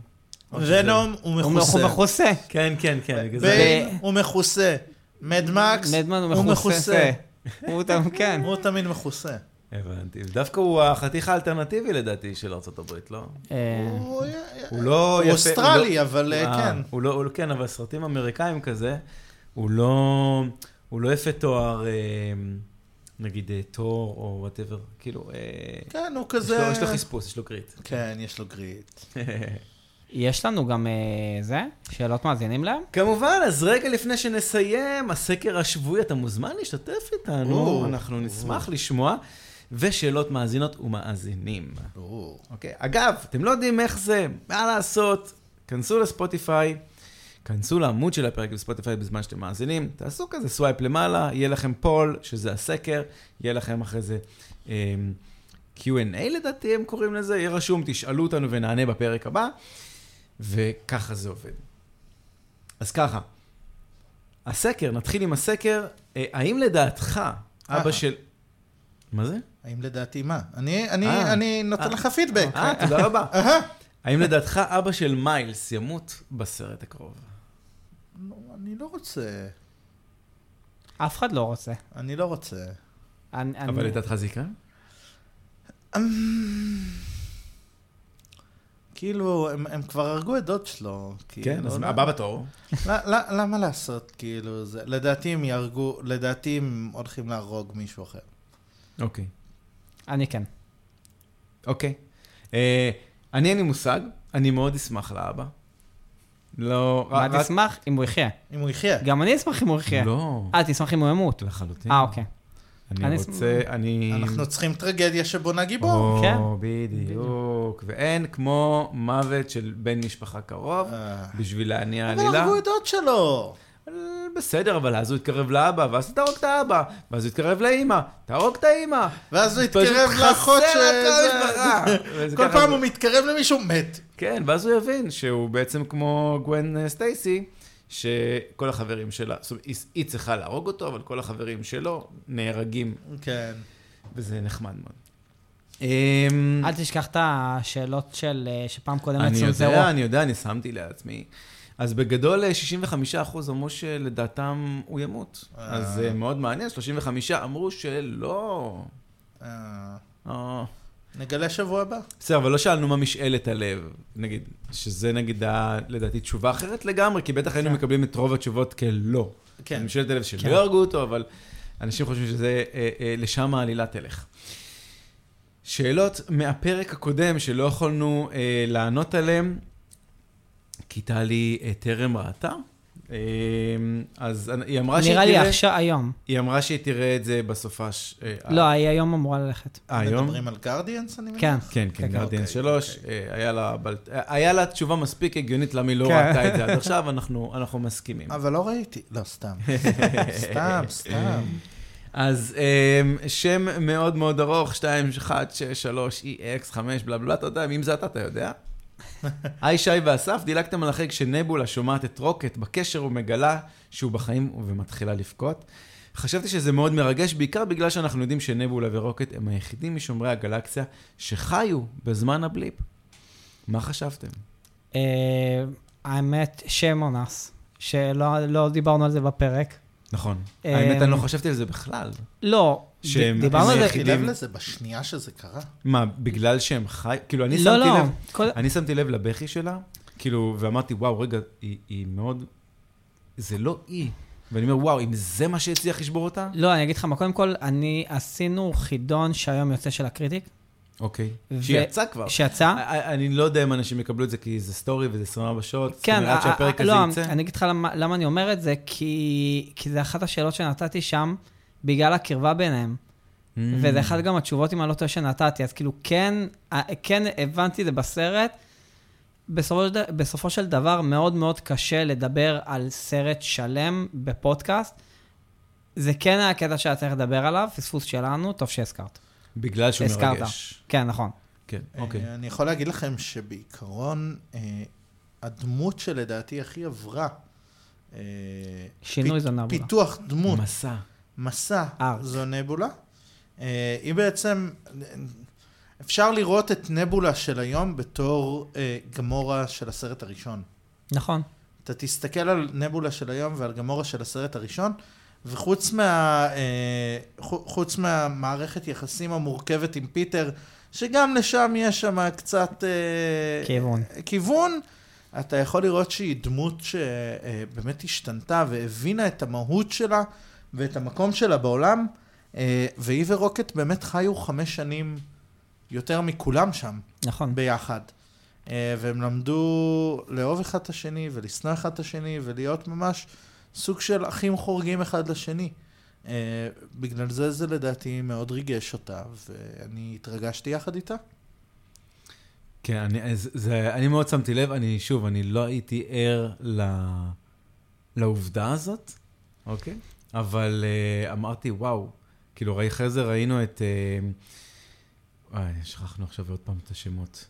B: ונום הוא
C: הוא
B: מכוסה.
C: מכוסה.
A: כן, כן, כן, בגלל זה.
B: ביין הוא מכוסה. מדמקס
C: נדמן הוא מכוסה. הוא אותם, כן.
B: הוא תמיד מכוסה.
A: הבנתי. דווקא הוא החתיך האלטרנטיבי לדעתי של ארה"ב, לא?
C: אה,
B: הוא
A: הוא לא
B: הוא
A: יפה.
B: אוסטרלי,
A: לא-
B: אבל אה,
A: אה,
B: כן.
A: הוא לא, הוא, כן, אבל סרטים אמריקאים כזה, הוא לא, הוא לא יפה תואר, אה, נגיד אה, תור או וואטאבר, כאילו, אה,
B: כן, הוא
A: יש,
B: כזה...
A: לו, יש לו חספוס, יש לו גריט.
B: כן, יש לו גריט.
C: יש לנו גם אה, זה? שאלות מאזינים להם?
A: כמובן, אז רגע לפני שנסיים, הסקר השבועי, אתה מוזמן להשתתף איתנו,
B: או,
A: אנחנו נשמח לשמוע, ושאלות מאזינות ומאזינים.
B: ברור.
A: אוקיי. אגב, אתם לא יודעים איך זה, מה לעשות? כנסו לספוטיפיי, כנסו לעמוד של הפרק בספוטיפיי בזמן שאתם מאזינים, תעשו כזה סווייפ למעלה, יהיה לכם פול, שזה הסקר, יהיה לכם אחרי זה אמ, Q&A לדעתי הם קוראים לזה, יהיה רשום, תשאלו אותנו ונענה בפרק הבא, וככה זה עובד. אז ככה, הסקר, נתחיל עם הסקר, אה, האם לדעתך, אבא
B: אה.
A: של... מה זה?
B: האם לדעתי מה? אני, אני,
A: אה.
B: אני נותן
A: אה.
B: לך פידבק.
C: אוקיי.
A: אה, תודה רבה.
B: אהה.
A: האם לדעתך אבא של מיילס ימות בסרט הקרוב?
B: לא, אני לא רוצה.
C: אף אחד לא רוצה.
B: אני לא רוצה.
C: אני- אני-
A: אבל לדעתך זה יקרה?
B: כאילו, הם, הם כבר הרגו את דוד שלו.
A: כן,
B: כאילו,
A: אז
B: לא-
A: הבא בתור.
B: ל- ל- למה לעשות, כאילו, זה... לדעתי הם יהרגו, לדעתי הם הולכים להרוג מישהו אחר.
A: אוקיי.
C: אני כן.
A: אוקיי. אה, אני אין לי מושג, אני מאוד אשמח לאבא. לא...
C: מה
A: רק- רק-
C: תשמח? אם הוא יחיה.
B: אם הוא יחיה.
C: גם אני אשמח אם הוא יחיה.
A: לא.
C: אה, תשמח אם הוא ימות.
A: לחלוטין.
C: אה, אוקיי.
A: אני
C: אני
A: רוצה, אני...
B: אנחנו צריכים טרגדיה שבונה גיבור.
A: או,
C: כן.
A: בדיוק. ואין כמו מוות של בן משפחה קרוב,
B: אה.
A: בשביל להניע
B: אבל
A: עלילה.
B: הרגו את דוד שלו.
A: בסדר, אבל אז הוא יתקרב לאבא, ואז תהרוג את האבא, ואז הוא יתקרב לאמא, תהרוג את האמא.
B: ואז הוא
A: פשוט
B: יתקרב לאחות
A: חסר
B: ש...
A: הכל
B: זה-
A: משפחה. וזה
B: כל
A: ככה
B: פעם
A: זה.
B: הוא מתקרב למישהו, מת.
A: כן, ואז הוא יבין שהוא בעצם כמו גוון אה, סטייסי, שכל החברים שלה, זאת אומרת, היא- היא צריכה להרוג אותו, אבל כל החברים שלו נהרגים,
B: כן.
A: וזה נחמד מאוד. אמ,
C: אל תשכח את השאלות של אה, שפעם קודמת
A: אני
C: צונזרו.
A: יודע, אני יודע, אני שמתי לעצמי. אז בגדול, אה, 65% אמרו שלדעתם הוא ימות. אז אה, מאוד מעניין, 35 אמרו שלא.
B: אה,
A: אה.
B: נגלה שבוע הבא.
A: בסדר, אבל לא שאלנו מה משאלת הלב, נגיד, שזה נגיד, ה- לדעתי, תשובה אחרת לגמרי, כי בטח היינו מקבלים את רוב התשובות כלא.
B: כן.
A: משאלת הלב שלא
C: כן.
A: יהרגו אותו, אבל אנשים חושבים שזה, אה, אה, לשם העלילה תלך. שאלות מהפרק הקודם שלא יכולנו אה, לענות עליהן, כי טלי אה, טרם ראתה. אה, אז אני- היא אמרה, שהיא
C: נראה לי
A: תראה,
C: עכשיו, היום.
A: היא אמרה שהיא תראה את זה בסופש. אה,
C: לא, היא היום אמורה ללכת.
A: אה, היום?
B: מדברים על גרדיאנס, אני מבין?
C: כן.
A: כן, כן,
C: כן,
A: גרדיאנס
B: אוקיי,
A: 3, אה, היה לה בל- אה, היה לה תשובה מספיק הגיונית למה היא לא
C: כן.
A: ראתה את זה עד עכשיו, אנחנו אנחנו מסכימים.
B: אבל לא ראיתי. לא, סתם. סתם, סתם.
A: אז אה, שם מאוד מאוד ארוך, 2163EX5, בלה בלה בלה, אתה יודע, אם זה אתה, אתה יודע. היי, שי ואסף, דילגתם על החלק שנבולה שומעת את רוקט בקשר ומגלה שהוא בחיים ומתחילה לבכות. חשבתי שזה מאוד מרגש, בעיקר בגלל שאנחנו יודעים שנבולה ורוקט הם היחידים משומרי הגלקסיה שחיו בזמן הבליפ. מה חשבתם?
C: אה, האמת, שם אונס, שלא לא דיברנו על זה בפרק.
A: נכון.
C: אמ,
A: האמת, אני לא חשבתי על זה בכלל.
C: לא, ד-
A: שהם-
C: דיברנו על
A: אני
C: זה.
A: היחיד.
B: שמתי
A: היחידים-
B: לב לזה בשנייה שזה קרה.
A: מה, בגלל שהם חי... כאילו, אני
C: לא,
A: שמתי
C: לא.
A: לב...
C: כל-
A: אני שמתי לב לבכי שלה, כאילו, ואמרתי, וואו, רגע, היא- היא מאוד... זה לא היא. ואני אומר, וואו, אם זה מה שהצליח לשבור אותה?
C: לא, אני אגיד לך מה, קודם כל, אני, עשינו חידון שהיום יוצא של הקריטיק,
A: אוקיי.
C: ו-
A: שיצא כבר.
C: שיצא.
A: א- א- אני לא יודע אם אנשים יקבלו את זה, כי זה סטורי וזה 24 שעות. זאת
C: כן,
A: אומרת, עד
C: א-
A: שהפרק
C: א-
A: הזה
C: לא,
A: יצא.
C: אני אגיד לך למה, למה אני אומר את זה, כי, כי זה אחת השאלות שנתתי שם, בגלל הקרבה ביניהם.
A: Mm.
C: וזה אחת גם התשובות, אם אני לא טועה, שנתתי. אז כאילו, כן, אה, כן הבנתי את זה בסרט. בסופו של, ד- בסופו של דבר, מאוד מאוד קשה לדבר על סרט שלם בפודקאסט. זה כן היה הקטע שהיה צריך לדבר עליו, פספוס שלנו, טוב שהזכרת.
A: בגלל שהוא
C: הזכרת.
A: מרגש.
C: כן, נכון.
A: כן, אוקיי.
B: אה, אני יכול להגיד לכם שבעיקרון, אה, הדמות שלדעתי הכי עברה, אה,
C: שינוי
B: פ-
C: זו נבולה.
B: פיתוח דמות,
A: מסע.
B: מסע,
C: ארק.
B: זו נבולה. אה, היא בעצם, אפשר לראות את נבולה של היום בתור אה, גמורה של הסרט הראשון.
C: נכון.
B: אתה תסתכל על נבולה של היום ועל גמורה של הסרט הראשון, וחוץ מה, אה, חו- חוץ מהמערכת יחסים המורכבת עם פיטר, שגם לשם יש שם קצת... אה,
C: כיוון.
B: כיוון, אתה יכול לראות שהיא דמות שבאמת השתנתה והבינה את המהות שלה ואת המקום שלה בעולם, אה, והיא ורוקט באמת חיו חמש שנים יותר מכולם שם
C: נכון.
B: ביחד. אה, והם למדו לאהוב אחד את השני ולשנוא אחד את השני ולהיות ממש סוג של אחים חורגים אחד לשני. אה, בגלל זה זה לדעתי מאוד ריגש אותה, ואני התרגשתי יחד איתה.
A: כן, אני, אז, זה, אני מאוד שמתי לב, אני שוב, אני לא הייתי ער ל, לעובדה הזאת, אוקיי? אבל uh, אמרתי, וואו, כאילו, ראי אחרי זה ראינו את... אה, אה, שכחנו עכשיו עוד פעם את השמות.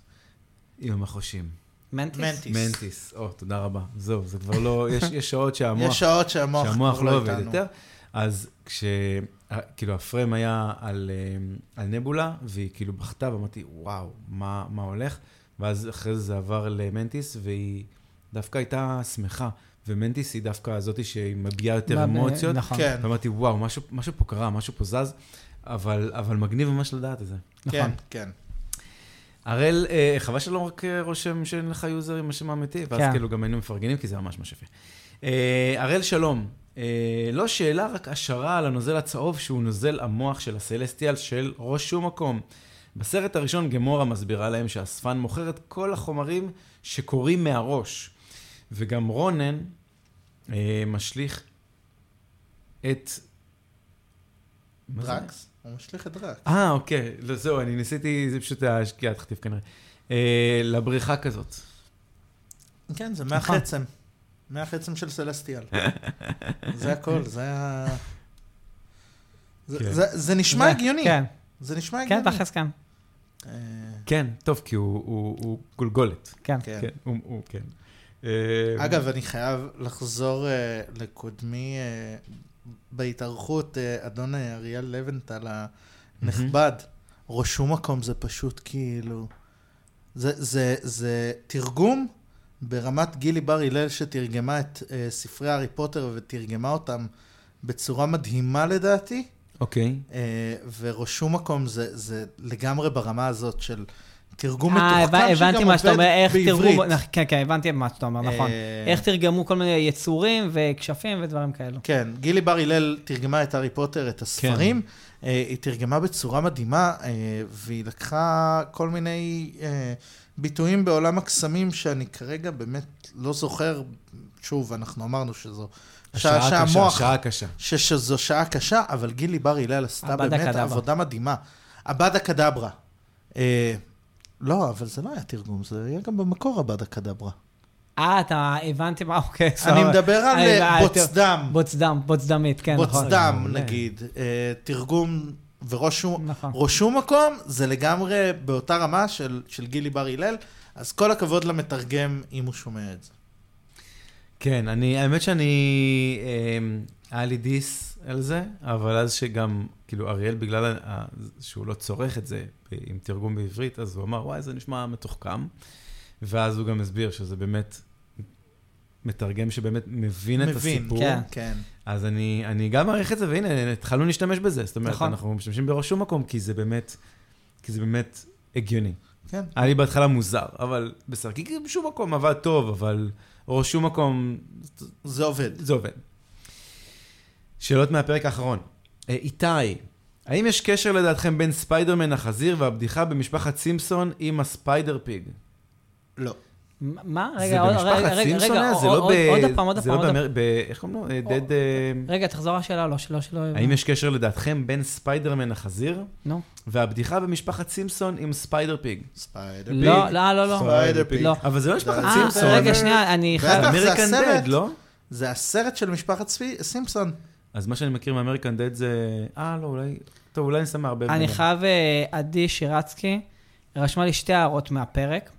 A: עם המחושים.
C: מנטיס?
B: מנטיס.
A: מנטיס, או, תודה רבה. זהו, זה כבר לא, יש, יש שעות שהמוח...
B: יש שעות שהמוח,
A: שהמוח
B: כבר
A: לא עובד
B: איתנו.
A: יותר. אז כש... אה, כאילו, הפריים היה על, אה, על נבולה, והיא כאילו בכתה, ואמרתי, וואו, מה, מה הולך? ואז אחרי זה זה עבר למנטיס, והיא דווקא הייתה שמחה. ומנטיס היא דווקא זאתי שהיא מביעה יותר
C: מה, ב-
A: אמוציות.
C: נכון.
B: כן,
A: ואמרתי, וואו, משהו, משהו פה קרה, משהו פה זז, אבל, אבל מגניב ממש לדעת את זה.
B: כן,
C: נכון.
B: כן.
A: הראל, אה, חבל שלא רק אה, רושם שאין לך יוזר עם השם האמיתי, ואז
C: כן.
A: כאילו גם היינו מפרגנים, כי זה ממש ממש יפה. אה, הראל, שלום. אה, לא שאלה, רק השערה על הנוזל הצהוב, שהוא נוזל המוח של הסלסטיאל של ראש שום מקום. בסרט הראשון גמורה מסבירה להם שהאספן מוכר את כל החומרים שקורים מהראש. וגם רונן אה, משליך את... מה זה?
B: דרקס? הוא משליך את דרקס.
A: אה, אוקיי, לא, זהו, אני ניסיתי, זה פשוט היה שגיאת חטיף כנראה. אה, לבריכה כזאת.
B: כן, זה
C: נכון.
B: מהחצם. מהחצם של סלסטיאל. זה הכל, זה ה... זה-
A: כן.
B: זה- זה נשמע
C: זה-
B: הגיוני.
C: כן,
B: זה נשמע
C: כן,
B: הגיוני.
C: תכלס כן.
B: אה,
A: כן, טוב, כי הוא, הוא, הוא גולגולת.
C: כן.
B: כן.
A: כן, הוא, הוא כן. אה,
B: אגב, אני חייב לחזור אה, לקודמי אה, בהתארכות, אה, אדון אה, אריאל לבנטל הנכבד. רשום מקום זה פשוט כאילו... זה, זה, זה תרגום ברמת גילי בר הלל שתרגמה את אה, ספרי הארי פוטר ותרגמה אותם בצורה מדהימה לדעתי.
A: אוקיי.
B: אה, ורשום מקום זה, זה לגמרי ברמה הזאת של תרגום
C: אה,
B: מתוחכם
C: הבנ-
B: שגם
C: הבנתי מה שאתה אומר,
B: עובד
C: איך תרגום...
B: בעברית.
C: נכ- כן, כן, הבנתי מה שאתה אומר, נכון.
B: אה,
C: איך תרגמו כל מיני יצורים וכשפים ודברים כאלו.
B: כן, גילי בר הלל תרגמה את הארי פוטר, את הספרים. כן. היא תרגמה בצורה מדהימה, אה, והיא לקחה כל מיני אה, ביטויים בעולם הקסמים, שאני כרגע באמת לא זוכר. שוב, אנחנו אמרנו שזו שעה
A: השעה קשה,
B: שהמוח,
A: השעה קשה.
B: ש- שזו שעה קשה, אבל גילי בר הלל עשתה
C: עבדה
B: באמת
C: קדברה.
B: עבודה מדהימה. עבדה קדברה. אה, לא, אבל זה לא היה תרגום, זה היה גם במקור עבדה קדברה.
C: אה, אתה הבנתי מה, אוקיי,
B: אני מדבר על
C: אני-
B: אה,
C: אה,
B: בוצדם.
C: בוצדם, בוצדמית, כן, נכון.
B: בוצדם,
A: מעולה.
B: נגיד, אה, תרגום וראש שום-
C: נכון.
B: ראש שום מקום, זה לגמרי באותה רמה של, של גילי בר הלל, אז כל הכבוד למתרגם אם הוא שומע את זה.
A: כן, אני, האמת שאני, אה, היה לי דיס על זה, אבל אז שגם, כאילו, אריאל, בגלל ה- ה- שהוא לא צורך את זה ב- עם תרגום בעברית, אז הוא אמר, וואי, זה נשמע מתוחכם. ואז הוא גם הסביר שזה באמת מתרגם שבאמת מבין, את
B: מבין,
A: הסיפור.
C: כן.
B: כן.
A: אז אני, אני גם מעריך את זה, והנה, התחלנו להשתמש בזה. זאת אומרת,
C: נכון.
A: אנחנו משתמשים בראש שום מקום, כי זה באמת, כי זה באמת הגיוני.
B: כן.
A: היה לי בהתחלה מוזר, אבל בסדר, כי בשום מקום עבד טוב, אבל ראש שום מקום,
B: זה עובד.
A: זה עובד. שאלות מהפרק האחרון. אה, איתי, האם יש קשר לדעתכם בין ספיידרמן החזיר והבדיחה במשפחת סימפסון עם הספיידר פיג?
B: לא.
C: מה?
A: זה
C: רגע, עוד- רגע,
A: במשפחת
C: רגע,
A: סימפסון
C: רגע,
A: היה? זה
C: עוד
A: לא ב...
C: עוד פעם, עוד
A: זה לא
C: פעם, עוד פעם.
A: באמר- ב... איך קוראים לו? אה, דד... אה,
C: רגע, תחזור לשאלה, לא, שלא, שלא...
A: האם יש קשר לדעתכם בין ספיידרמן החזיר
C: נו.
A: והבדיחה במשפחת סימפסון עם ספיידר פיג?
B: ספיידר פיג.
C: לא, לא, לא, לא.
B: ספיידר פיג.
C: לא.
A: אבל זה לא משפחת
B: אה,
A: סימפסון.
C: אה, רגע, שנייה, אני חייב...
B: בטח, זה
A: אמריקן
B: הסרט.
A: דד, לא?
B: זה הסרט של משפחת ספי- סימפסון.
C: אה,
A: אז מה שאני מכיר מאמריקן דד זה... אה, לא, אולי... טוב, אולי אני שם מערבב.
C: אני
A: ביניהם.
C: חייב... אה, עדי שירצקי רשמה לי שתי הערות מהפרק.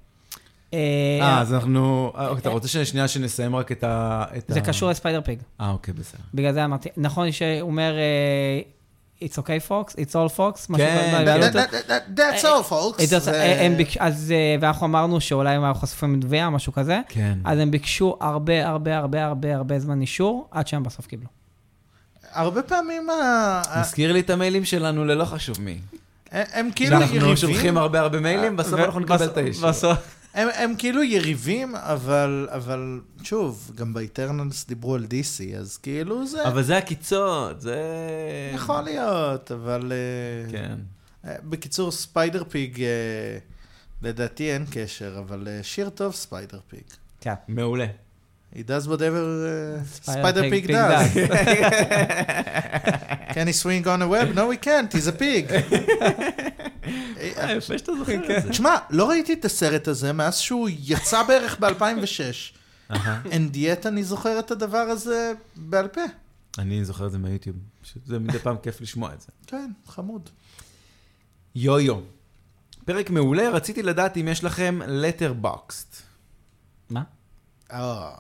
A: אה,
C: אה,
A: אז אנחנו... אה, אוקיי, אתה רוצה שנייה שנסיים רק את ה... את
C: זה
A: ה-
C: קשור לספיידר פיג.
A: אה, אוקיי, בסדר.
C: בגלל זה אמרתי, נכון שהוא אומר, אה, it's okay fox, it's all fox, משהו
A: כן,
C: כזה, לא
A: כן.
C: אבל-
B: That- that- that- that's
C: אה,
B: all, folks.
C: It does-
B: זה-
C: הם ביקשו, אז, אה, ואנחנו אמרנו שאולי הם היו חשופים לתביעה, משהו כזה.
A: כן.
C: אז הם ביקשו הרבה, הרבה, הרבה, הרבה, הרבה זמן אישור, עד שהם בסוף קיבלו.
B: הרבה פעמים ה- ה-
A: מזכיר לי את המיילים שלנו ללא חשוב מי.
B: הם כאילו
A: אנחנו
B: יריבים,
A: שולחים הרבה הרבה מיילים, בסוף
C: ו-
A: אנחנו נקבל
C: בס-
A: את האיש.
C: בסוף-
B: הם, הם כאילו יריבים, אבל, אבל שוב, גם באיטרנלס דיברו על DC, אז כאילו זה
A: אבל זה עקיצות, זה...
B: יכול להיות, אבל... אה,
A: כן.
B: אה, בקיצור, ספיידר פיג, אה, לדעתי אין קשר, אבל אה, שיר טוב ספיידר פיג.
C: כן.
A: מעולה.
B: He does whatever uh, Spider
C: Pig
B: Pig
C: Pig
B: does.
A: כן,
B: Can he swing on a web? No, he can't, he's a pig.
A: אה, יפה שאתה זוכר את זה.
B: תשמע, לא ראיתי את הסרט הזה מאז שהוא יצא בערך ב-2006.
A: אהה.
B: And yet אני זוכר את הדבר הזה בעל פה.
A: אני זוכר את זה מהיוטיוב. פשוט זה מדי פעם כיף לשמוע את זה.
B: כן, חמוד.
A: יו-יו. פרק מעולה, רציתי לדעת אם יש לכם letterboxed.
C: מה?
B: אה,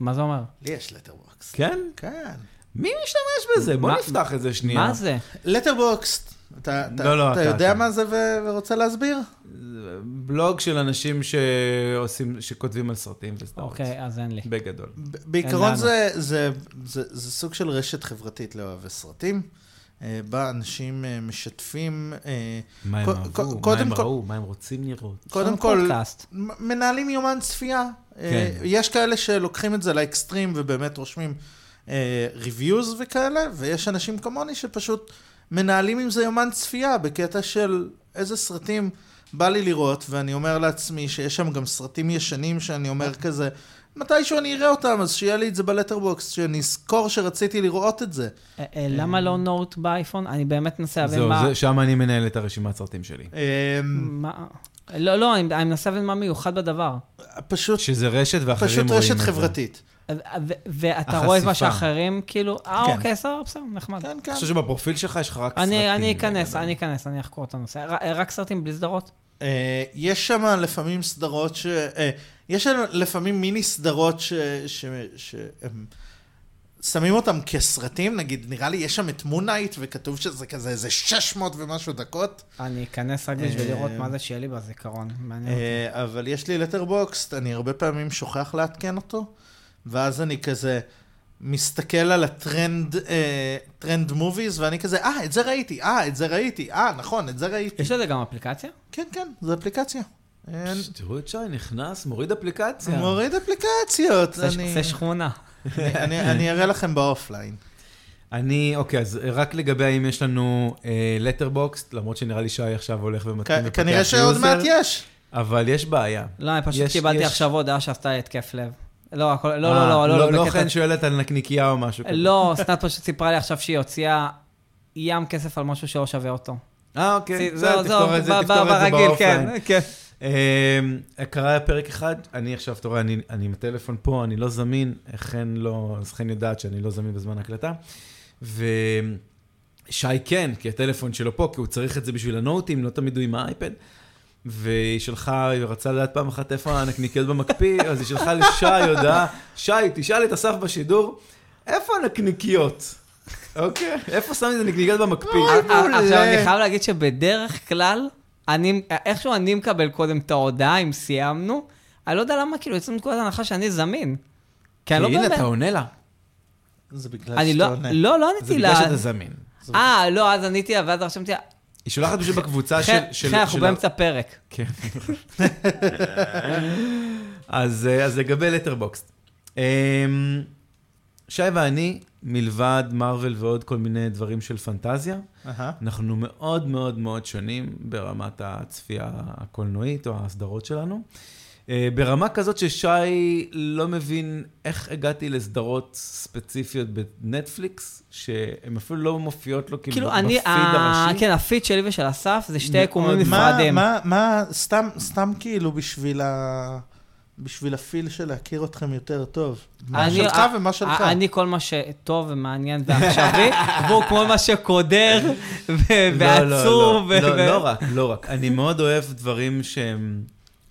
C: מה זה אומר?
B: לי יש לטרבוקס.
A: כן?
B: כן.
A: מי משתמש בזה? בוא
C: מה-
A: נפתח את זה שנייה.
C: מה זה?
B: לטרבוקס, אתה אתה-
A: לא, לא,
B: אתה
A: אתה-
B: יודע
A: אתה.
B: מה זה ו- ורוצה להסביר?
A: זה בלוג של אנשים שעושים, שכותבים על סרטים וסדרות.
C: אוקיי, אז אין לי.
A: בגדול.
B: ב- בעיקרון
C: לנו.
B: זה, זה, זה, זה סוג של רשת חברתית לאוהבי סרטים, אה, בה אנשים אה, משתפים, אה,
A: מה הם
B: ק-
A: אהבו,
B: ק-
A: מה
B: קודם
A: הם
B: כל-
A: ראו, מה הם רוצים לראות.
B: קודם
C: יש לנו
B: כל,
C: פודקאסט.
B: מ- מנהלים יומן צפייה. אה,
A: כן.
B: יש כאלה שלוקחים את זה לאקסטרים ובאמת רושמים ריוויוז וכאלה, ויש אנשים כמוני שפשוט מנהלים עם זה יומן צפייה בקטע של איזה סרטים בא לי לראות, ואני אומר לעצמי שיש שם גם סרטים ישנים שאני אומר כזה, מתישהו אני אראה אותם, אז שיהיה לי את זה בלטרבוקס, שאני אזכור שרציתי לראות את זה.
C: אה, אה, למה לא נוט באייפון? אני באמת מנסה להבין
A: זהו,
C: מה...
A: זה- שם אני מנהל את הרשימת סרטים שלי.
B: אה,
C: מה... לא, לא, אני אני מנסה להבין מה מיוחד בדבר.
B: פשוט,
A: שזה רשת ואחרים רואים
B: פשוט
A: את זה.
B: רשת חברתית.
C: ו- ו- ואתה רואה את מה
A: החשיפה.
C: שאחרים, כאילו,
B: כן.
C: אה, אוקיי, סבבה, בסדר, נחמד.
B: כן, כן.
A: אני חושב שבפרופיל שלך יש לך רק סרטים.
C: אני אני אכנס,
A: בגדול.
C: אני אכנס, אני אחקור את הנושא. ר- אה, רק סרטים בלי סדרות?
B: אה, יש שם לפעמים סדרות ש... אה, יש שם לפעמים מיני סדרות ש... ש... שהם שמים אותם כסרטים, נגיד, נראה לי יש שם את מונייט, וכתוב שזה כזה איזה 600 ומשהו דקות,
C: אני אכנס רק בשביל
B: אה,
C: לראות מה זה שיהיה לי בזיכרון. מעניין אותי.
B: אה, אבל יש לי לטרבוקסט, אני הרבה פעמים שוכח לעדכן אותו, ואז אני כזה מסתכל על הטרנד, אה, טרנד מוביז, ואני כזה, אה, את זה ראיתי, אה, את זה ראיתי, אה, נכון, את זה ראיתי.
C: יש לזה גם אפליקציה?
B: כן, כן, זו אפליקציה. אה,
A: פש, תראו את שי נכנס, מוריד אפליקציה.
B: מוריד אפליקציות.
C: זה ש-
B: אני-
C: זה שכונה.
B: אני- אני אני אראה לכם באופליין.
A: אני, אוקיי, אז רק לגבי האם יש לנו לטרבוקסט, למרות שנראה לי שי עכשיו הולך
B: כ-
A: ומתחיל לפתח
B: כנראה שעוד
A: יוזר,
B: מעט יש.
A: אבל יש בעיה.
C: לא, אני פשוט
A: יש-
C: קיבלתי
A: יש-
C: עכשיו הודעה שעשתה לי התקף לב. לא, הכל, לא,
A: אה,
C: לא, לא, לא,
A: לא,
C: בקטע-
A: חן שואלת על נקניקייה או משהו כזה.
C: לא, סנת פשוט סיפרה לי עכשיו שהיא הוציאה ים כסף על משהו שלא שווה אותו.
A: אה, אוקיי,
C: זה-
A: בסדר,
C: זהו,
A: תפתור
C: זהו,
A: את זה,
C: לא, ב-
A: תפתור
C: ב-
A: את זה
C: ברגיל,
A: באופליין.
C: כן, כן.
A: אה, קרה פרק אחד, אני עכשיו, אתה רואה, אני אני עם הטלפון פה, אני לא זמין, חן לא, אז חן יודעת שאני לא זמין בזמן ההקלטה. ושי כן, כי הטלפון שלו פה, כי הוא צריך את זה בשביל הנוטים, לא תמיד הוא עם האייפד. והיא שלחה, היא רצה לדעת פעם אחת איפה הנקניקיות במקפיא, אז היא שלחה לשי הודעה, שי, תשאל את אסף בשידור, איפה הנקניקיות? אוקיי, איפה שמתי את הנקניקיות במקפיא?
C: אה, עכשיו, אני חייב להגיד שבדרך כלל, אני, איכשהו אני מקבל קודם את ההודעה, אם סיימנו, אני לא יודע למה, כאילו, יוצאים מנקודת הנחה שאני זמין. כי אני לא
A: הנה,
C: באמת...
A: אתה עונה לה.
B: זה בגלל
C: אני לא, לא, לא
A: זה
C: עניתי
A: בגלל
C: לה.
A: שאתה זמין.
C: אה, לא, אז עניתי לה, ואז רשמתי לה,
A: היא שולחת פשוט בקבוצה אה, של...
C: חן,
A: של-
C: חן, אנחנו
A: של-
C: באמצע פרק.
A: כן. אז אה, אז לגבי לטרבוקסט. שי ואני, מלבד מארוול ועוד כל מיני דברים של פנטזיה,
B: אהה.
A: אנחנו מאוד מאוד מאוד שונים ברמת הצפייה הקולנועית או הסדרות שלנו. אה, ברמה כזאת ששי לא מבין איך הגעתי לסדרות ספציפיות בנטפליקס, שהן אפילו לא מופיעות לו כאילו
C: כאילו,
A: בפיד
C: אני, ה-
A: הראשי.
C: כן, הפיד שלי ושל אסף זה שתי יקומים
B: מה-
C: נפרדים.
B: מה- מה, סתם- סתם כאילו בשביל ה... בשביל הפיל של להכיר אתכם יותר טוב. מה
C: אני-
B: שלך
C: א-
B: ומה שלך.
C: א- אני כל מה שטוב ומעניין ועכשווי, והוא כל מה שקודר ו-
A: לא, לא,
C: ועצוב.
A: לא,
C: ו-
A: לא,
C: ו-
A: לא רק, לא רק. אני מאוד אוהב דברים שהם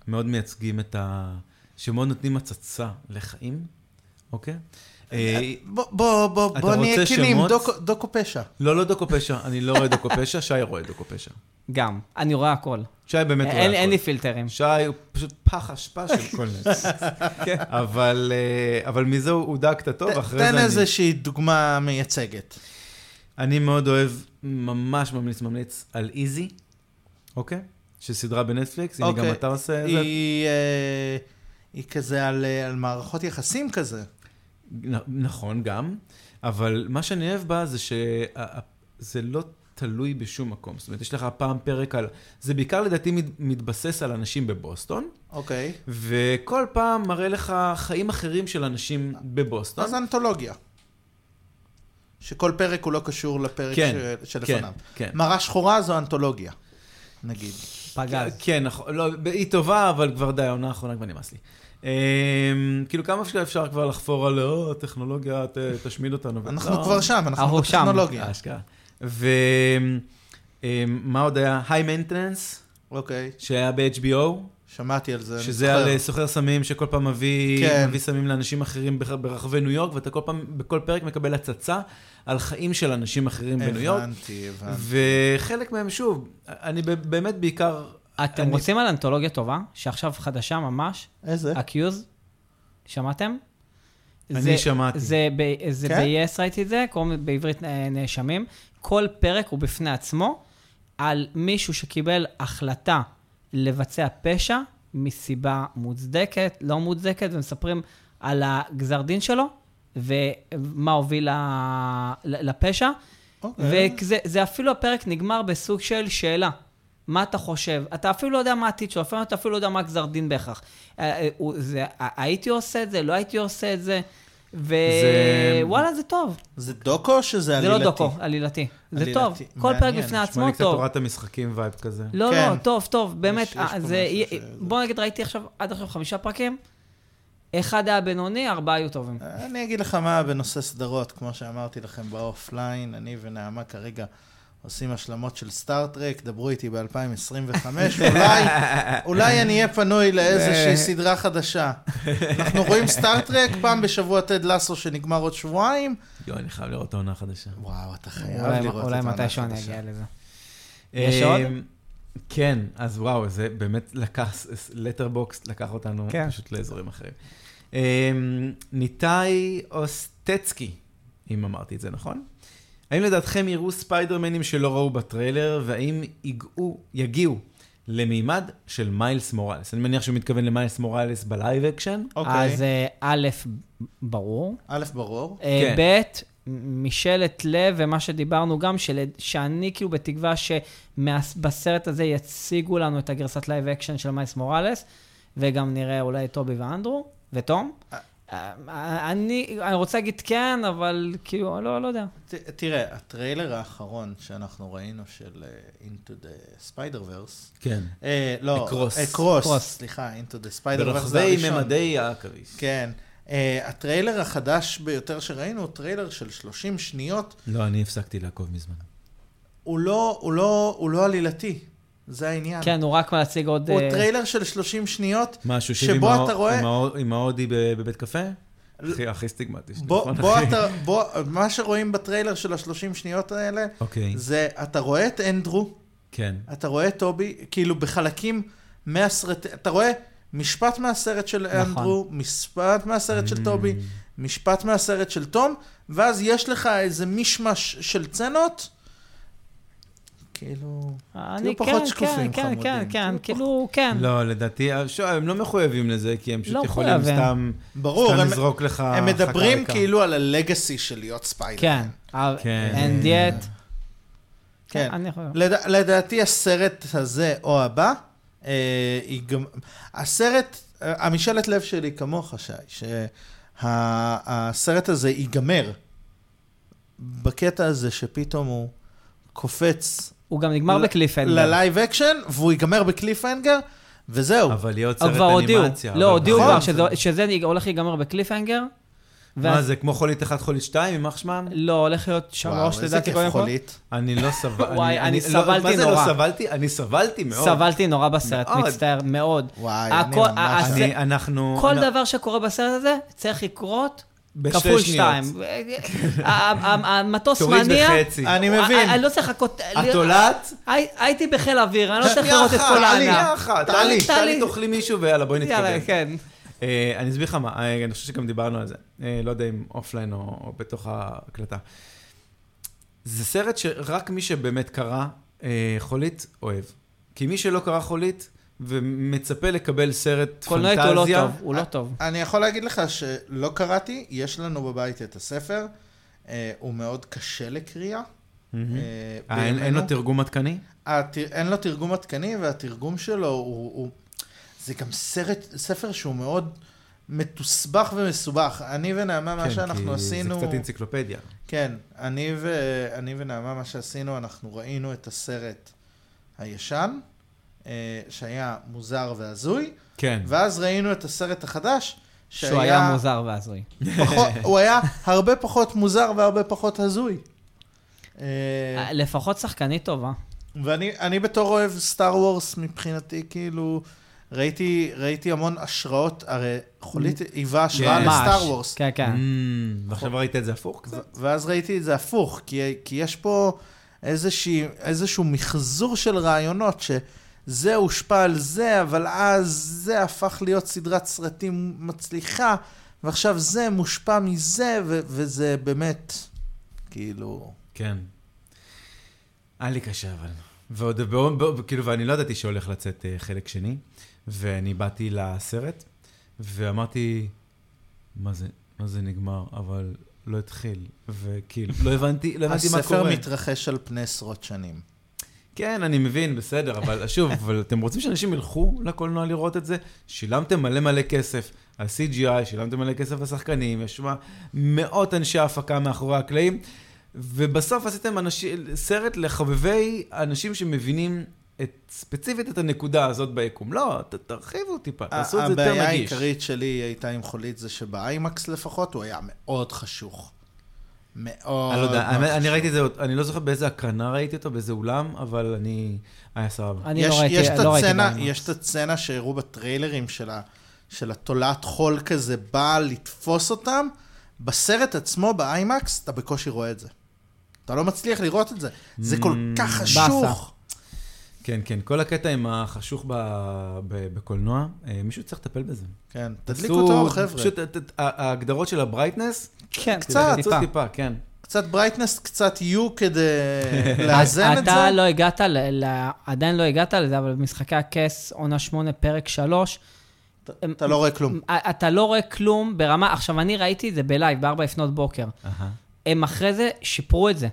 A: מאוד מייצגים את ה... שמאוד נותנים הצצה לחיים, אוקיי? אה,
B: בוא, בוא, בוא,
A: אתה
B: בוא נהיה
A: רוצה
B: כנים,
A: שמות?
B: דוקו- דוקו פשע.
A: לא, לא דוקו פשע, אני לא רואה דוקו פשע, שי רואה דוקו פשע.
C: גם, אני רואה הכל.
A: שי באמת רואה
C: אין
A: הכול.
C: אין לי פילטרים.
A: שי הוא פשוט פח אשפה של כל נס.
C: כן.
A: אבל, אה, אבל מזה הוא הוא דע קטטו,
B: ת-
A: ואחרי זה
B: תן
A: אני... אה,
B: איזושהי דוגמה מייצגת.
A: אני מאוד אוהב, ממש ממליץ ממליץ על איזי, אוקיי? שסדרה בנטפליקס, הנה גם
B: אוקיי.
A: אתה עושה את זה.
B: היא, אה, היא כזה על, אה, על מערכות יחסים כזה.
A: נ- נכון, גם, אבל מה שאני אוהב בה זה שזה לא תלוי בשום מקום. זאת אומרת, יש לך פעם פרק על... זה בעיקר לדעתי מת- מתבסס על אנשים בבוסטון,
B: אוקיי.
A: וכל פעם מראה לך חיים אחרים של אנשים בבוסטון.
B: אז אנתולוגיה. שכל פרק הוא לא קשור לפרק
A: כן,
B: ש-
A: כן,
B: שלפניו.
A: כן.
B: מראה שחורה זו אנתולוגיה, נגיד.
C: פגז.
A: כן, נכון, לא, היא טובה, אבל כבר די, העונה האחרונה כבר נמאס לי. אמ, כאילו, כמה אפשר- אפשר כבר לחפור על, או, הטכנולוגיה ת- תשמיד אותנו.
B: אנחנו
A: לא, אה.
B: כבר שם, אנחנו
C: אנחנו שם.
B: בטכנולוגיה.
A: אשכרה. ומה עוד היה? היי מנטננס,
B: אוקיי,
A: שהיה ב-HBO,
B: שמעתי על זה. אני
A: שזה
B: זוכר.
A: על אה, סוחר סמים שכל פעם מביא,
B: כן.
A: מביא סמים לאנשים אחרים ברח- ברחבי ניו יורק, ואתה כל פעם, בכל פרק מקבל הצצה על חיים של אנשים אחרים בניו יורק.
B: הבנתי, הבנתי.
A: וחלק מהם, שוב, אני ב- באמת בעיקר...
C: אתם
A: אני-
C: רוצים על אנתולוגיה טובה, שעכשיו חדשה ממש,
B: איזה?
A: אה,
C: הקיוז, שמעתם?
A: אני
C: זה-
A: שמעתי.
C: זה ב- זה
B: כן?
C: ב-yes ראיתי את זה, קוראים לזה בעברית אה, נאשמים. כל פרק הוא בפני עצמו על מישהו שקיבל החלטה לבצע פשע מסיבה מוצדקת, לא מוצדקת, ומספרים על הגזר דין שלו ומה הוביל ל- ל- לפשע.
B: אוקיי.
C: וזה זה אפילו הפרק נגמר בסוג של שאלה. מה אתה חושב? אתה אפילו לא יודע מה העתיד שלו, אפילו אתה אפילו לא יודע מה גזר דין בהכרח. אה, אה, הוא- זה- ה- הייתי עושה את זה, לא הייתי עושה את זה,
A: זה-
C: ווואלה, זה טוב.
B: זה דוקו או שזה
C: זה
B: עלילתי?
C: לא דוקו, עלילתי. זה
B: עלילתי.
C: טוב. כל פרק
B: מעניין,
C: בפני
B: נשמע
C: עצמו
A: נשמע לי קצת
C: טוב.
A: תורת המשחקים וייב כזה.
C: לא,
B: כן.
C: לא, טוב, טוב, באמת.
B: יש
C: אה,
B: פה
C: זה-
B: משהו
C: אה,
B: ש-
C: בוא נגיד, ראיתי עכשיו, עד עכשיו חמישה פרקים, אחד היה בינוני, ארבעה היו טובים.
B: אני אגיד לך מה בנושא סדרות, כמו שאמרתי לכם באופליין, אני ונעמה כרגע עושים השלמות של סטארט-טרק, דברו איתי ב-2025, אולי, אולי אני אהיה פנוי לאיזושהי סדרה חדשה. אנחנו רואים סטארט-טרק פעם בשבוע טד לסו שנגמר עוד שבועיים.
A: יואי, אני חייב לראות את העונה החדשה.
B: וואו, אתה
C: אולי-
B: חייב לראות את
C: אולי
B: העונה
C: מתישהו אני
B: החדשה.
C: אגיע לזה. יש עוד?
A: אמ, כן, אז וואו, זה באמת לקח, לטרבוקס לקח אותנו
C: כן.
A: פשוט לאזורים אחרים. אמ, ניתאי אוסטצקי, אם אמרתי את זה נכון. האם לדעתכם יראו ספיידרמנים שלא ראו בטריילר, והאם ייגעו, יגיעו למימד של מיילס מוראלס? אני מניח שהוא מתכוון למיילס מוראלס בלייב אקשן.
C: אז
B: אוקיי,
C: אה, א', ברור.
B: א', ברור.
A: כן.
C: כן. ב', משאלת לב, ומה שדיברנו גם, של, שאני כאילו בתקווה שבסרט הזה יציגו לנו את הגרסת לייב אקשן של מייס מוראלס, וגם נראה אולי את טובי ואנדרו, ותום. אה, אני, אני רוצה להגיד כן, אבל כאילו, לא, לא יודע.
B: ת- תראה, הטריילר האחרון שאנחנו ראינו של אה, Into the Spider-Verse,
A: כן.
B: אה, לא,
A: Across.
B: אקרוס,
C: Across.
B: סליחה, Into the Spider-Verse זה
A: ברחבי
B: הראשון.
A: ממדי העכביש.
B: כן. אה, הטריילר החדש ביותר שראינו הוא טריילר של 30 שניות,
A: לא, אני הפסקתי לעקוב מזמן.
B: הוא לא, הוא לא, הוא לא עלילתי, זה העניין.
C: כן, הוא רק להציג עוד...
B: אה. הוא
C: אה,
B: טריילר של 30 שניות,
A: מה, שיושב עם
B: שבו
A: האו-
B: אתה רואה-
A: עם האו- עם ההודי ב- בבית קפה?
B: ל-
A: הכי- הכי סטיגמטיש.
B: בוא,
A: נכון,
B: בוא
A: אחי?
B: אתה, בוא, מה שרואים בטריילר של ה-30 שניות האלה,
A: אוקיי,
B: זה אתה רואה את אנדרו,
A: כן.
B: אתה רואה את טובי, כאילו בחלקים מהסרט, אתה רואה משפט מהסרט של
C: נכון.
B: אנדרו, משפט מהסרט
A: Mm.
B: של טובי, משפט מהסרט של תום, ואז יש לך איזה מישמש של צנות, כאילו...
C: אני
B: תהיו
C: כן,
B: פחות שקופים,
C: כן, כן,
B: חמודים.
C: כן, כן,
B: תהיו
C: כאילו, כן.
A: לא, לדעתי, אה, שוב, הם לא מחויבים לזה, כי הם פשוט
C: לא
A: יכולים
C: מחויבים.
A: סתם
B: ברור,
A: סתם
B: הם,
A: לזרוק לך...
B: הם מדברים
A: חקה
B: כאילו על הלגאסי של להיות ספיידר.
C: כן. אה,
A: כן.
C: And yet...
B: כן.
C: אני יכול...
B: לד... לדעתי הסרט הזה או הבא, אה, היא גם... הסרט, אה, המשאלת לב שלי כמוך, שי, שהסרט הזה ייגמר בקטע הזה שפתאום הוא קופץ
C: הוא גם נגמר
B: ל-
C: בקליפנדר.
B: ללייב אקשן, והוא ייגמר בקליפהנגר, וזהו.
A: אבל יהיה עוד
C: אבל כבר
A: סרט
C: הודיעו,
A: אנימציה.
C: לא,
A: אבל-
C: הודיעו
B: נכון.
C: כבר שזה- שזה ניג- הולך להיגמר בקליפהנגר.
A: מה, זה כמו חולית 1, חולית 2, יימח שמם?
C: לא, הולך להיות שלוש, לדעתי, קודם כל.
A: אני לא סבלתי.
C: וואי, אני סבלתי
A: מה זה לא
C: נורא.
A: סבלתי? אני סבלתי מאוד.
C: סבלתי נורא בסרט,
A: מאוד.
C: מצטער, מאוד.
B: וואי, אני
C: הכל-
B: ממש...
C: הס-
A: אני, אנחנו...
C: כל
A: נ-
C: דבר שקורה בסרט הזה צריך לקרות
A: בשתי
C: כפול
A: שניות.
C: שתיים. ה- ה- ה- המטוס
A: תוריד
C: מניע.
A: בחצי.
B: אני מבין.
C: ה- אני לא צריך לחכות... לא,
A: את עולת?
C: הי- הייתי בחיל האוויר, אני לא צריך
B: שנייה
C: לראות את
B: אחת,
C: כל
B: עלי,
C: העניין.
A: שנייה אחת,
B: טלי,
A: טלי, טלי
C: טלי.
A: תאכלי מישהו ויאללה בואי נתקדם.
C: יאללה, כן.
A: אה, אני אסביר לך מה, אה, אני חושב שגם דיברנו על זה. אה, לא יודע אם אופליין או, או בתוך ההקלטה. זה סרט שרק מי שבאמת קרא אה, חולית אוהב. כי מי שלא קרא חולית ומצפה לקבל סרט
C: קולנועית הוא לא
A: פנטזיה,
C: טוב, הוא לא טוב.
B: אני יכול להגיד לך שלא קראתי, יש לנו בבית את הספר, אה, הוא מאוד קשה לקריאה. אה,
A: אה, אין- אין
B: בימינו.
A: לו תרגום עדכני?
B: התר- אין לו תרגום עדכני, והתרגום שלו הוא... הוא... זה גם סרט, ספר שהוא מאוד מתוסבך ומסובך. אני ונעמה, מה
A: כן, כי
B: שאנחנו עשינו...
A: זה קצת אנציקלופדיה.
B: כן, אני, ו... אני ונעמה, מה שעשינו, אנחנו ראינו את הסרט הישן, אה, שהיה מוזר והזוי,
A: כן.
B: ואז ראינו את הסרט החדש,
C: שהוא היה מוזר והזוי.
B: פחות, הוא היה הרבה פחות מוזר והרבה פחות הזוי. אה,
C: לפחות שחקנית טובה.
B: ואני אני בתור אוהב סטאר וורס מבחינתי, כאילו, ראיתי, ראיתי המון השראות, הרי חולית היווה השראה
A: כן.
B: לסטאר
C: ממש.
B: וורס.
C: כן, כן.
A: אמ, ועכשיו ראית את זה הפוך קצת?
B: ו- ואז ראיתי את זה הפוך, כי, כי יש פה איזושהי, איזשהו מחזור של רעיונות שזה הושפע על זה, אבל אז זה הפך להיות סדרת סרטים מצליחה, ועכשיו זה מושפע מזה, ו- וזה באמת, כאילו...
A: כן. היה לי קשה אבל. ועוד, בעוד- בעוד- כאילו, ואני לא ידעתי שהולך לצאת אה, חלק שני, ואני באתי לסרט, ואמרתי, מה זה, מה זה נגמר, אבל לא התחיל, וכאילו, לא הבנתי, לא הבנתי מה
B: הספר
A: קורה.
B: מתרחש על פני עשרות שנים.
A: כן, אני מבין, בסדר, אבל שוב, אבל אתם רוצים שאנשים ילכו לקולנוע לראות את זה? שילמתם מלא מלא כסף על CGI, שילמתם מלא כסף לשחקנים, יש שם מאות אנשי הפקה מאחורי הקלעים, ובסוף עשיתם אנשי, סרט לחובבי אנשים שמבינים את, ספציפית את הנקודה הזאת ביקום. לא, ת, תרחיבו טיפה, תעשו את זה יותר נגיש.
B: הבעיה העיקרית שלי הייתה עם חולית זה שבאיימקס לפחות הוא היה מאוד חשוך. מאוד
A: אני לא יודע,
B: מאוד
A: האמת, אני
B: חשוך.
A: ראיתי את זה, עוד- אני לא זוכר באיזה הקרנה ראיתי אותו, באיזה אולם, אבל אני... היה סבבה.
C: אני
B: יש-
C: לא ראיתי,
B: יש את
C: לא ראיתי
B: הצנה-
C: באימא.
B: יש את הצצנה שהראו בטריילרים של ה- של התולעת חול כזה, באה לתפוס אותם. בסרט עצמו, באיימקס, אתה בקושי רואה את זה. אתה לא מצליח לראות את זה. זה כל
A: Mm,
B: כך חשוך.
A: כן, כן, כל הקטע עם החשוך ב, ב, בקולנוע, אה, מישהו צריך לטפל בזה.
B: כן, תדליקו
A: עשו-
B: אותו, חבר'ה.
A: פשוט את- את- ה- ההגדרות של הברייטנס,
C: כן,
B: קצת,
A: תעשו
C: טיפה.
A: טיפה, כן.
B: קצת ברייטנס, קצת יו כדי לאזן את זה.
C: אתה לא הגעת, ל- ל- עדיין לא הגעת לזה, אבל במשחקי הכס, עונה שמונה, פרק שלוש,
B: אתה- אתה לא רואה כלום.
C: אתה לא רואה כלום ברמה, עכשיו, אני ראיתי את זה בלייב, בארבע לפנות בוקר.
A: אהה.
C: הם אחרי זה שיפרו את זה.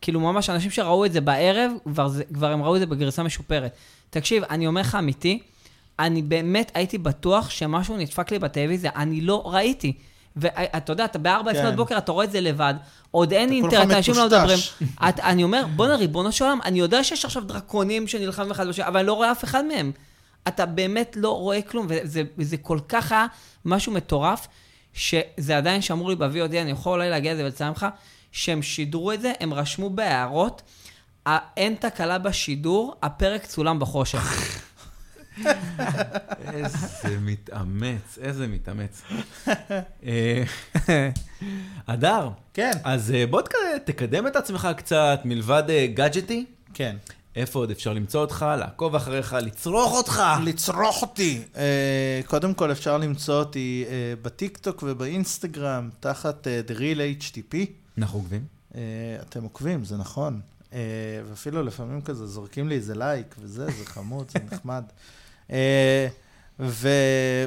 C: כאילו, ממש אנשים שראו את זה בערב, כבר, זה, כבר הם ראו את זה בגרסה משופרת. תקשיב, אני אומר לך אמיתי, אני באמת הייתי בטוח שמשהו נדפק לי בטלוויזיה, אני לא ראיתי. ואתה יודע, אתה בארבע
B: כן.
C: לפנות בוקר, אתה רואה את זה לבד, עוד אין
B: אתה
C: אינטרנט,
B: כולך
C: אנשים לא
B: מטושטש.
C: מדברים. את, אני אומר, בואנה, ריבונו של עולם, אני יודע שיש עכשיו דרקונים שנלחמים אחד בשני, אבל אני לא רואה אף אחד מהם. אתה באמת לא רואה כלום, וזה זה כל כך היה משהו מטורף, שזה עדיין שמרו לי ב-VOD, אני יכול אולי להגיע לזה ולציין לך, שהם שידרו את זה, הם רשמו בהערות, "אה, אין תקלה בשידור, הפרק צולם בחושך.
A: איזה מתאמץ, איזה מתאמץ. אה, הדר,
B: כן,
A: אז אה, בוא תק- תקדם את עצמך קצת, מלבד אה, גאדג'טי,
B: כן.
A: איפה עוד אפשר למצוא אותך, לעקוב אחריך, לצרוך אותך.
B: לצרוך אותי. אה, קודם כל אפשר למצוא אותי אה, בטיקטוק ובאינסטגרם, תחת אה, The Real HTP.
A: אנחנו עוקבים.
B: אה, אתם עוקבים, זה נכון. אה, ואפילו לפעמים כזה זורקים לי איזה לייק וזה, זה חמוד, זה נחמד. אה, ו...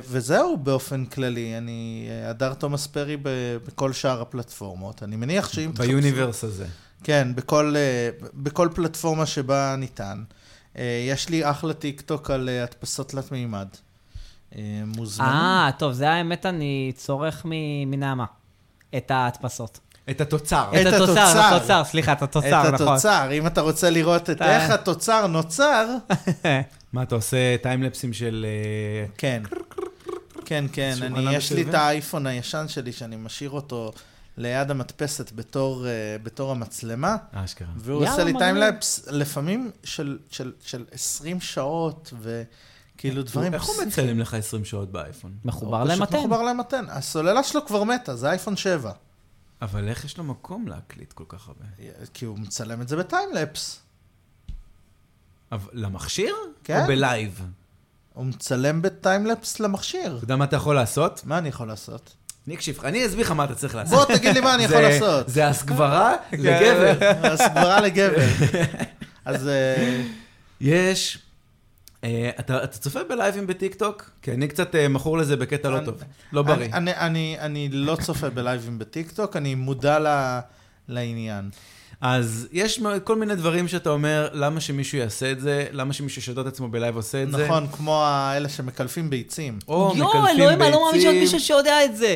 B: וזהו באופן כללי, אני אה, הדר תומאס פרי ב... בכל שאר הפלטפורמות. אני מניח שאם תחפשו-
A: ביוניברס הזה.
B: כן, בכל, אה, בכל פלטפורמה שבה ניתן. אה, יש לי אחלה טיקטוק על אה, הדפסות תלת מימד. אה, מוזמנים.
C: אה, טוב, זה האמת, אני צורך מ- מנעמה. את ההדפסות.
A: את התוצר.
B: את התוצר.
C: התוצר, התוצר, סליחה, את התוצר, נכון.
B: את התוצר, אם אתה רוצה לראות את
C: אתה-
B: איך התוצר נוצר,
A: מה, אתה עושה טיימלפסים של... אה,
B: כן. כן, כן,
A: שולחן
B: אני, יש לי
A: המסביב.
B: את האייפון הישן שלי, שאני משאיר אותו ליד המדפסת בתור, אה, בתור המצלמה,
A: אשכרה.
B: והוא
C: יאללה,
B: עושה לי
C: מגניב.
B: טיימלאפס לפעמים של, של, של 20 שעות, וכאילו כאילו, דברים...
A: איך הוא מצלם לך 20 שעות באייפון?
C: מחובר
B: הוא לא, פשוט
C: למתן.
B: מחובר למתן. הסוללה שלו כבר מתה, זה אייפון 7.
A: אבל איך יש לו מקום להקליט כל כך הרבה?
B: כי הוא מצלם את זה בטיימלפס.
A: אבל למכשיר?
B: כן.
A: או בלייב?
B: הוא מצלם בטיימלפס למכשיר.
A: אתה יודע מה אתה יכול לעשות?
B: מה אני יכול לעשות?
A: ניק שיפחה, אני אסביר לך מה אתה צריך לעשות.
B: בוא תגיד לי מה אני יכול
A: זה-
B: לעשות. כן.
A: זה הסגברה לגבר.
B: הסברה לגבר. אז אה,
A: יש... אה, אתה אתה צופה בלייבים בטיקטוק? כי אני קצת אה, מכור לזה בקטע לא
B: אני-
A: טוב, לא בריא.
B: אני- אני- אני- אני לא צופה בלייבים בטיקטוק, אני מודע ל- לעניין.
A: אז יש מ- כל מיני דברים שאתה אומר, למה שמישהו יעשה את זה? למה שמישהו שיודע את עצמו בלייב עושה את זה?
B: נכון, כמו האלה שמקלפים ביצים.
A: או מקלפים ביצים.
C: אני לא מאמין שעוד מישהו שיודע את זה.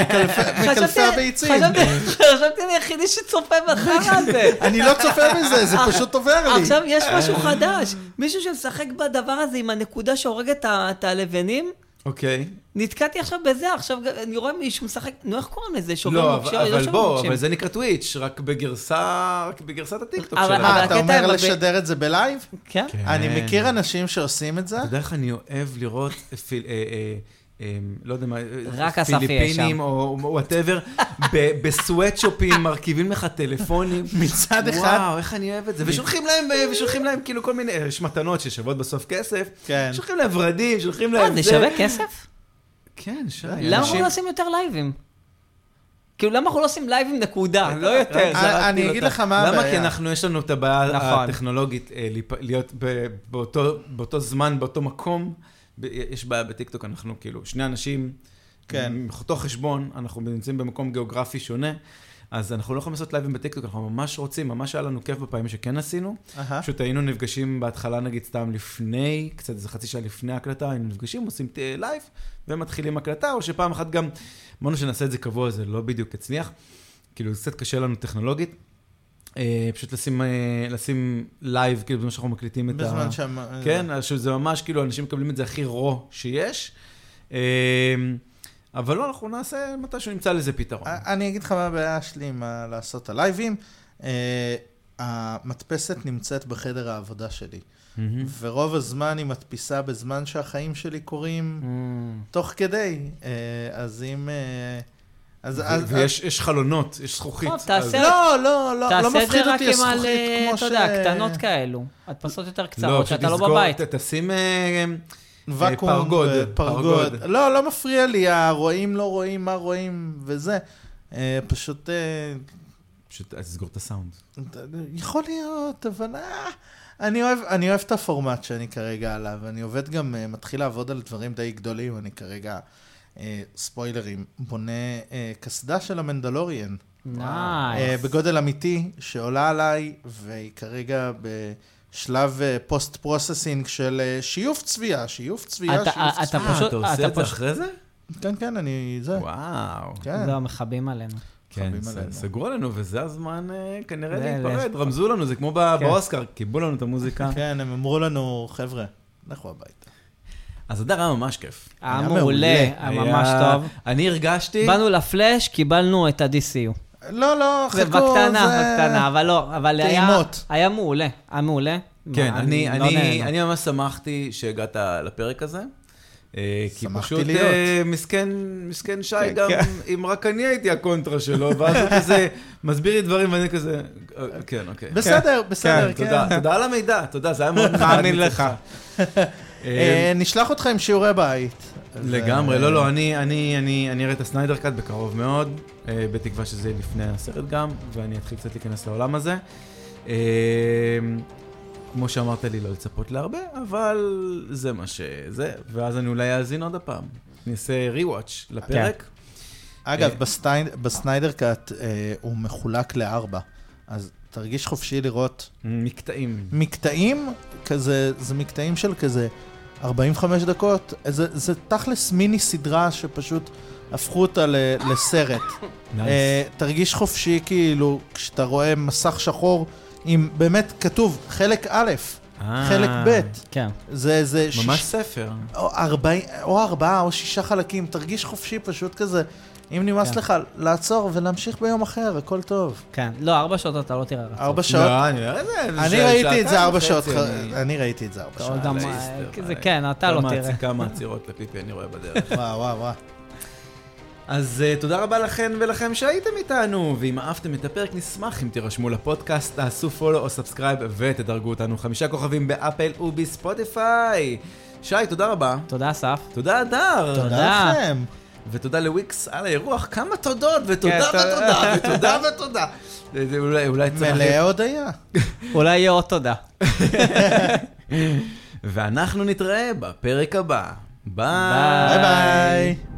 B: מקלפי
C: חשבתי-
B: הביצים.
C: חשבתי חשבתי אני היחידי שצופה בחרא הזה.
B: אני לא צופה בזה,
A: אה,
B: זה פשוט עובר לי.
C: עכשיו יש משהו חדש, מישהו שמשחק בדבר הזה עם הנקודה שהורגת את ה- את הלבנים.
A: אוקיי.
C: נתקעתי עכשיו בזה, עכשיו ג- אני רואה מישהו משחק, נו, איך קוראים לזה? שובר
A: לא,
C: מוקשים,
A: אבל- אבל
C: שובר
A: בוא,
C: מוקשים.
A: אבל זה נקרא טוויץ', רק בגרסה, רק בגרסת הטיקטוק
C: אבל-
A: שלנו.
B: אה,
C: אבל
B: אתה
C: הקטע
B: אומר
C: עם הב-
B: לשדר את זה בלייב?
C: כן?
A: כן.
B: אני מכיר אנשים שעושים את זה.
A: אתה יודע איך אני אוהב לראות, פיל- אה, אה, אה, לא יודע מה, אה,
C: רק אסף יהיה
A: פיליפינים
C: שם.
A: או וואטאבר, בסוואטשופים מרכיבים לך טלפונים.
B: מצד אחד,
A: וואו, איך אני אוהב את זה. ושולחים להם, אה, ושולחים להם כאילו כל מיני, אה, יש מתנות ששוות בסוף כסף.
B: כן.
A: שולחים להם ורדים, שולחים
C: אה,
A: להם
C: זה שווה כסף?
A: כן, שי.
C: למה אנחנו
A: אנשים-
C: לא עושים יותר לייבים? כאילו, למה אנחנו לא עושים לייבים נקודה? לא יותר.
B: אה,
A: זרקתי
B: אני
A: לו
B: אגיד
A: את ה-
B: לך מה
A: למה?
B: הבעיה.
A: כי אנחנו, יש לנו את הבעיה
C: נכון.
A: הטכנולוגית, אה, להיפ- להיות ב- באותו- באותו זמן, באותו מקום. ב- יש בעיה בטיקטוק, אנחנו כאילו שני אנשים,
B: כן.
A: עם אותו חשבון, אנחנו נמצאים במקום גיאוגרפי שונה. אז אנחנו לא יכולים לעשות לייבים בטיקטוק, אנחנו ממש רוצים, ממש היה לנו כיף בפעמים שכן עשינו.
B: אהה.
A: פשוט היינו נפגשים בהתחלה, נגיד, סתם לפני, קצת איזה חצי שעה לפני ההקלטה, היינו נפגשים, עושים ת- לייב ומתחילים הקלטה, או שפעם אחת גם, אמרנו שנעשה את זה קבוע, זה לא בדיוק הצליח. כאילו, זה קצת קשה לנו טכנולוגית. אה, פשוט לשים, אה, לשים לייב, כאילו, בזמן שאנחנו מקליטים את ה...
B: בזמן שהם... אה,
A: כן, עכשיו זה ממש, כאילו, אנשים מקבלים את זה הכי רו שיש. אה, אבל לא, אנחנו נעשה מתישהו נמצא לזה פתרון.
B: אה, אני אגיד לך מה הבעיה שלי עם ה- לעשות את הלייבים. אה, המדפסת נמצאת בחדר העבודה שלי,
A: מהמם.
B: ורוב הזמן היא מדפיסה בזמן שהחיים שלי קורים
A: Mm.
B: תוך כדי. אה, אז אם... אה, אז... אז-
A: ו- ויש יש חלונות, יש זכוכית.
C: טוב, תעשה
A: אז-
B: אז- לא, לא, לא, לא
C: תעשה את
B: מפחיד
C: זה רק
B: אותי
C: עם על,
B: הזכוכית
C: אה,
B: כמו ש...
C: אתה יודע, קטנות כאלו. הדפסות יותר
A: לא,
C: קצרות,
A: פשוט
C: שאתה לא
A: תסגור,
C: בבית.
A: ת- תשים... אה,
B: ואקום,
A: פרגוד,
B: אה, פרגוד.
A: פרגוד.
B: לא, לא מפריע לי, הרואים לא רואים, מה רואים וזה. אה, פשוט, אה,
A: פשוט אז תסגור את הסאונד.
C: אה,
B: יכול להיות, אבל אה, אני אוהב, אני אוהב את הפורמט שאני כרגע עליו. אני עובד גם, אה, מתחיל לעבוד על דברים די גדולים, אני כרגע, אה, ספוילרים, בונה אה, קסדה של המנדלוריאן. אה,
C: נייס.
B: בגודל אמיתי, שעולה עליי, והיא כרגע בשלב פוסט פרוססינג של אה, שיוף צביעה, שיוף צביעה,
C: אתה-
B: שיוף
C: אתה
B: צביעה.
A: אה,
C: פשוט-
A: אתה עושה
C: אתה
A: את זה
C: פשוט-
A: אחרי זה?
B: כן, כן, אני... זה.
A: וואו.
B: כן.
C: לא, מכבים עלינו.
A: כן,
B: חביב
A: ס-
B: עלינו.
A: סגרו לנו, וזה הזמן אה, כנראה
C: זה-
A: להתפרד.
C: זה-
A: רמזו לנו, זה כמו ב-
C: כן.
A: באוסקר, קיבלו לנו את המוזיקה.
B: כן, הם אמרו לנו, חבר'ה, לכו הביתה.
A: אז הדר היה ממש כיף.
C: היה
B: היה
C: מעולה, היה ממש
A: היה-
C: טוב.
A: אני הרגשתי...
C: באנו לפלאש, קיבלנו את ה-DCU.
B: לא, לא, חכו,
C: זה בקטנה, בקטנה, אבל לא, אבל היה...
B: טעימות.
C: היה מעולה, היה מעולה.
A: כן,
C: מה,
A: אני-
C: לא
A: אני
C: נהנה.
A: אני ממש שמחתי שהגעת לפרק הזה. אה, כי
B: שמחתי
A: פשוט
B: להיות.
A: אה, מסכן, מסכן שי
B: כן,
A: גם,
B: כן.
A: אם רק אני הייתי הקונטרה שלו, ואז הוא כזה מסביר לי דברים ואני כזה, אה, כן, אוקיי.
B: בסדר, בסדר,
A: כן,
B: כן.
A: תודה, תודה על המידע, תודה, זה היה מאוד נחמד.
D: מאמין לך.
A: אה,
B: אה, נשלח אותך עם שיעורי בית.
A: לגמרי, לא,
B: אה,
A: לא, אני, אני, אני, אני אראה את הסניידר קאט בקרוב מאוד, אה, בתקווה שזה יהיה לפני הסרט גם, ואני אתחיל קצת להיכנס לעולם הזה. אה, כמו שאמרת לי, לא לצפות להרבה, אבל זה מה שזה, ואז אני אולי אאזין עוד הפעם. אני אעשה rewatch לפרק.
B: אגב,
A: אה,
B: בסטי- בסניידר קאט אה, הוא מחולק לארבע, אז תרגיש חופשי לראות
A: מקטעים.
B: מקטעים, כזה, זה מקטעים של כזה 45 דקות, זה, זה תכלס מיני סדרה שפשוט הפכו אותה ל, לסרט. אה, תרגיש חופשי כאילו כשאתה רואה מסך שחור עם באמת כתוב חלק א',
A: אה,
B: חלק ב',
C: כן.
B: זה, זה
A: ממש
B: שיש-
A: ספר.
B: או, ארבעים, או ארבעה או שישה חלקים, תרגיש חופשי פשוט כזה. אם נמאס
C: כן.
B: לך, לעצור ולהמשיך ביום אחר, הכל טוב.
C: כן, לא, ארבע שעות אתה לא תראה רצון.
B: ארבע שעות.
A: לא, אני אראה את זה.
B: אני
A: שעה-
B: ראיתי את זה
A: שעתיים
B: ארבע
A: וחצי,
B: שעות, ח-
A: אני-
B: אני ראיתי את זה ארבע
C: אתה
B: שעות.
C: עוד גם-
A: לאיסטר,
C: זה
A: אה,
C: כן, אתה לא
A: כמה-
C: תראה.
A: כמה עצירות לפיפי אני רואה בדרך.
B: וואו, וואו, וואו.
A: אז uh, תודה רבה לכן ולכם שהייתם איתנו, ואם אהבתם את הפרק נשמח אם תירשמו לפודקאסט, תעשו פולו או סאבסקרייב ותדרגו אותנו חמישה כוכבים באפל ובספוטיפיי. שי, תודה רבה.
C: תודה, אסף.
A: תודה, אדר.
B: תודה לכם.
A: ותודה לוויקס על האירוח, כמה תודות, ותודה
C: כן, תודה.
A: ותודה, ותודה ותודה. זה- זה אולי- אולי צריך...
B: מלאה עוד היה.
C: אולי יהיה עוד תודה.
A: ואנחנו נתראה בפרק הבא. ביי.
C: ביי.
B: ביי ביי.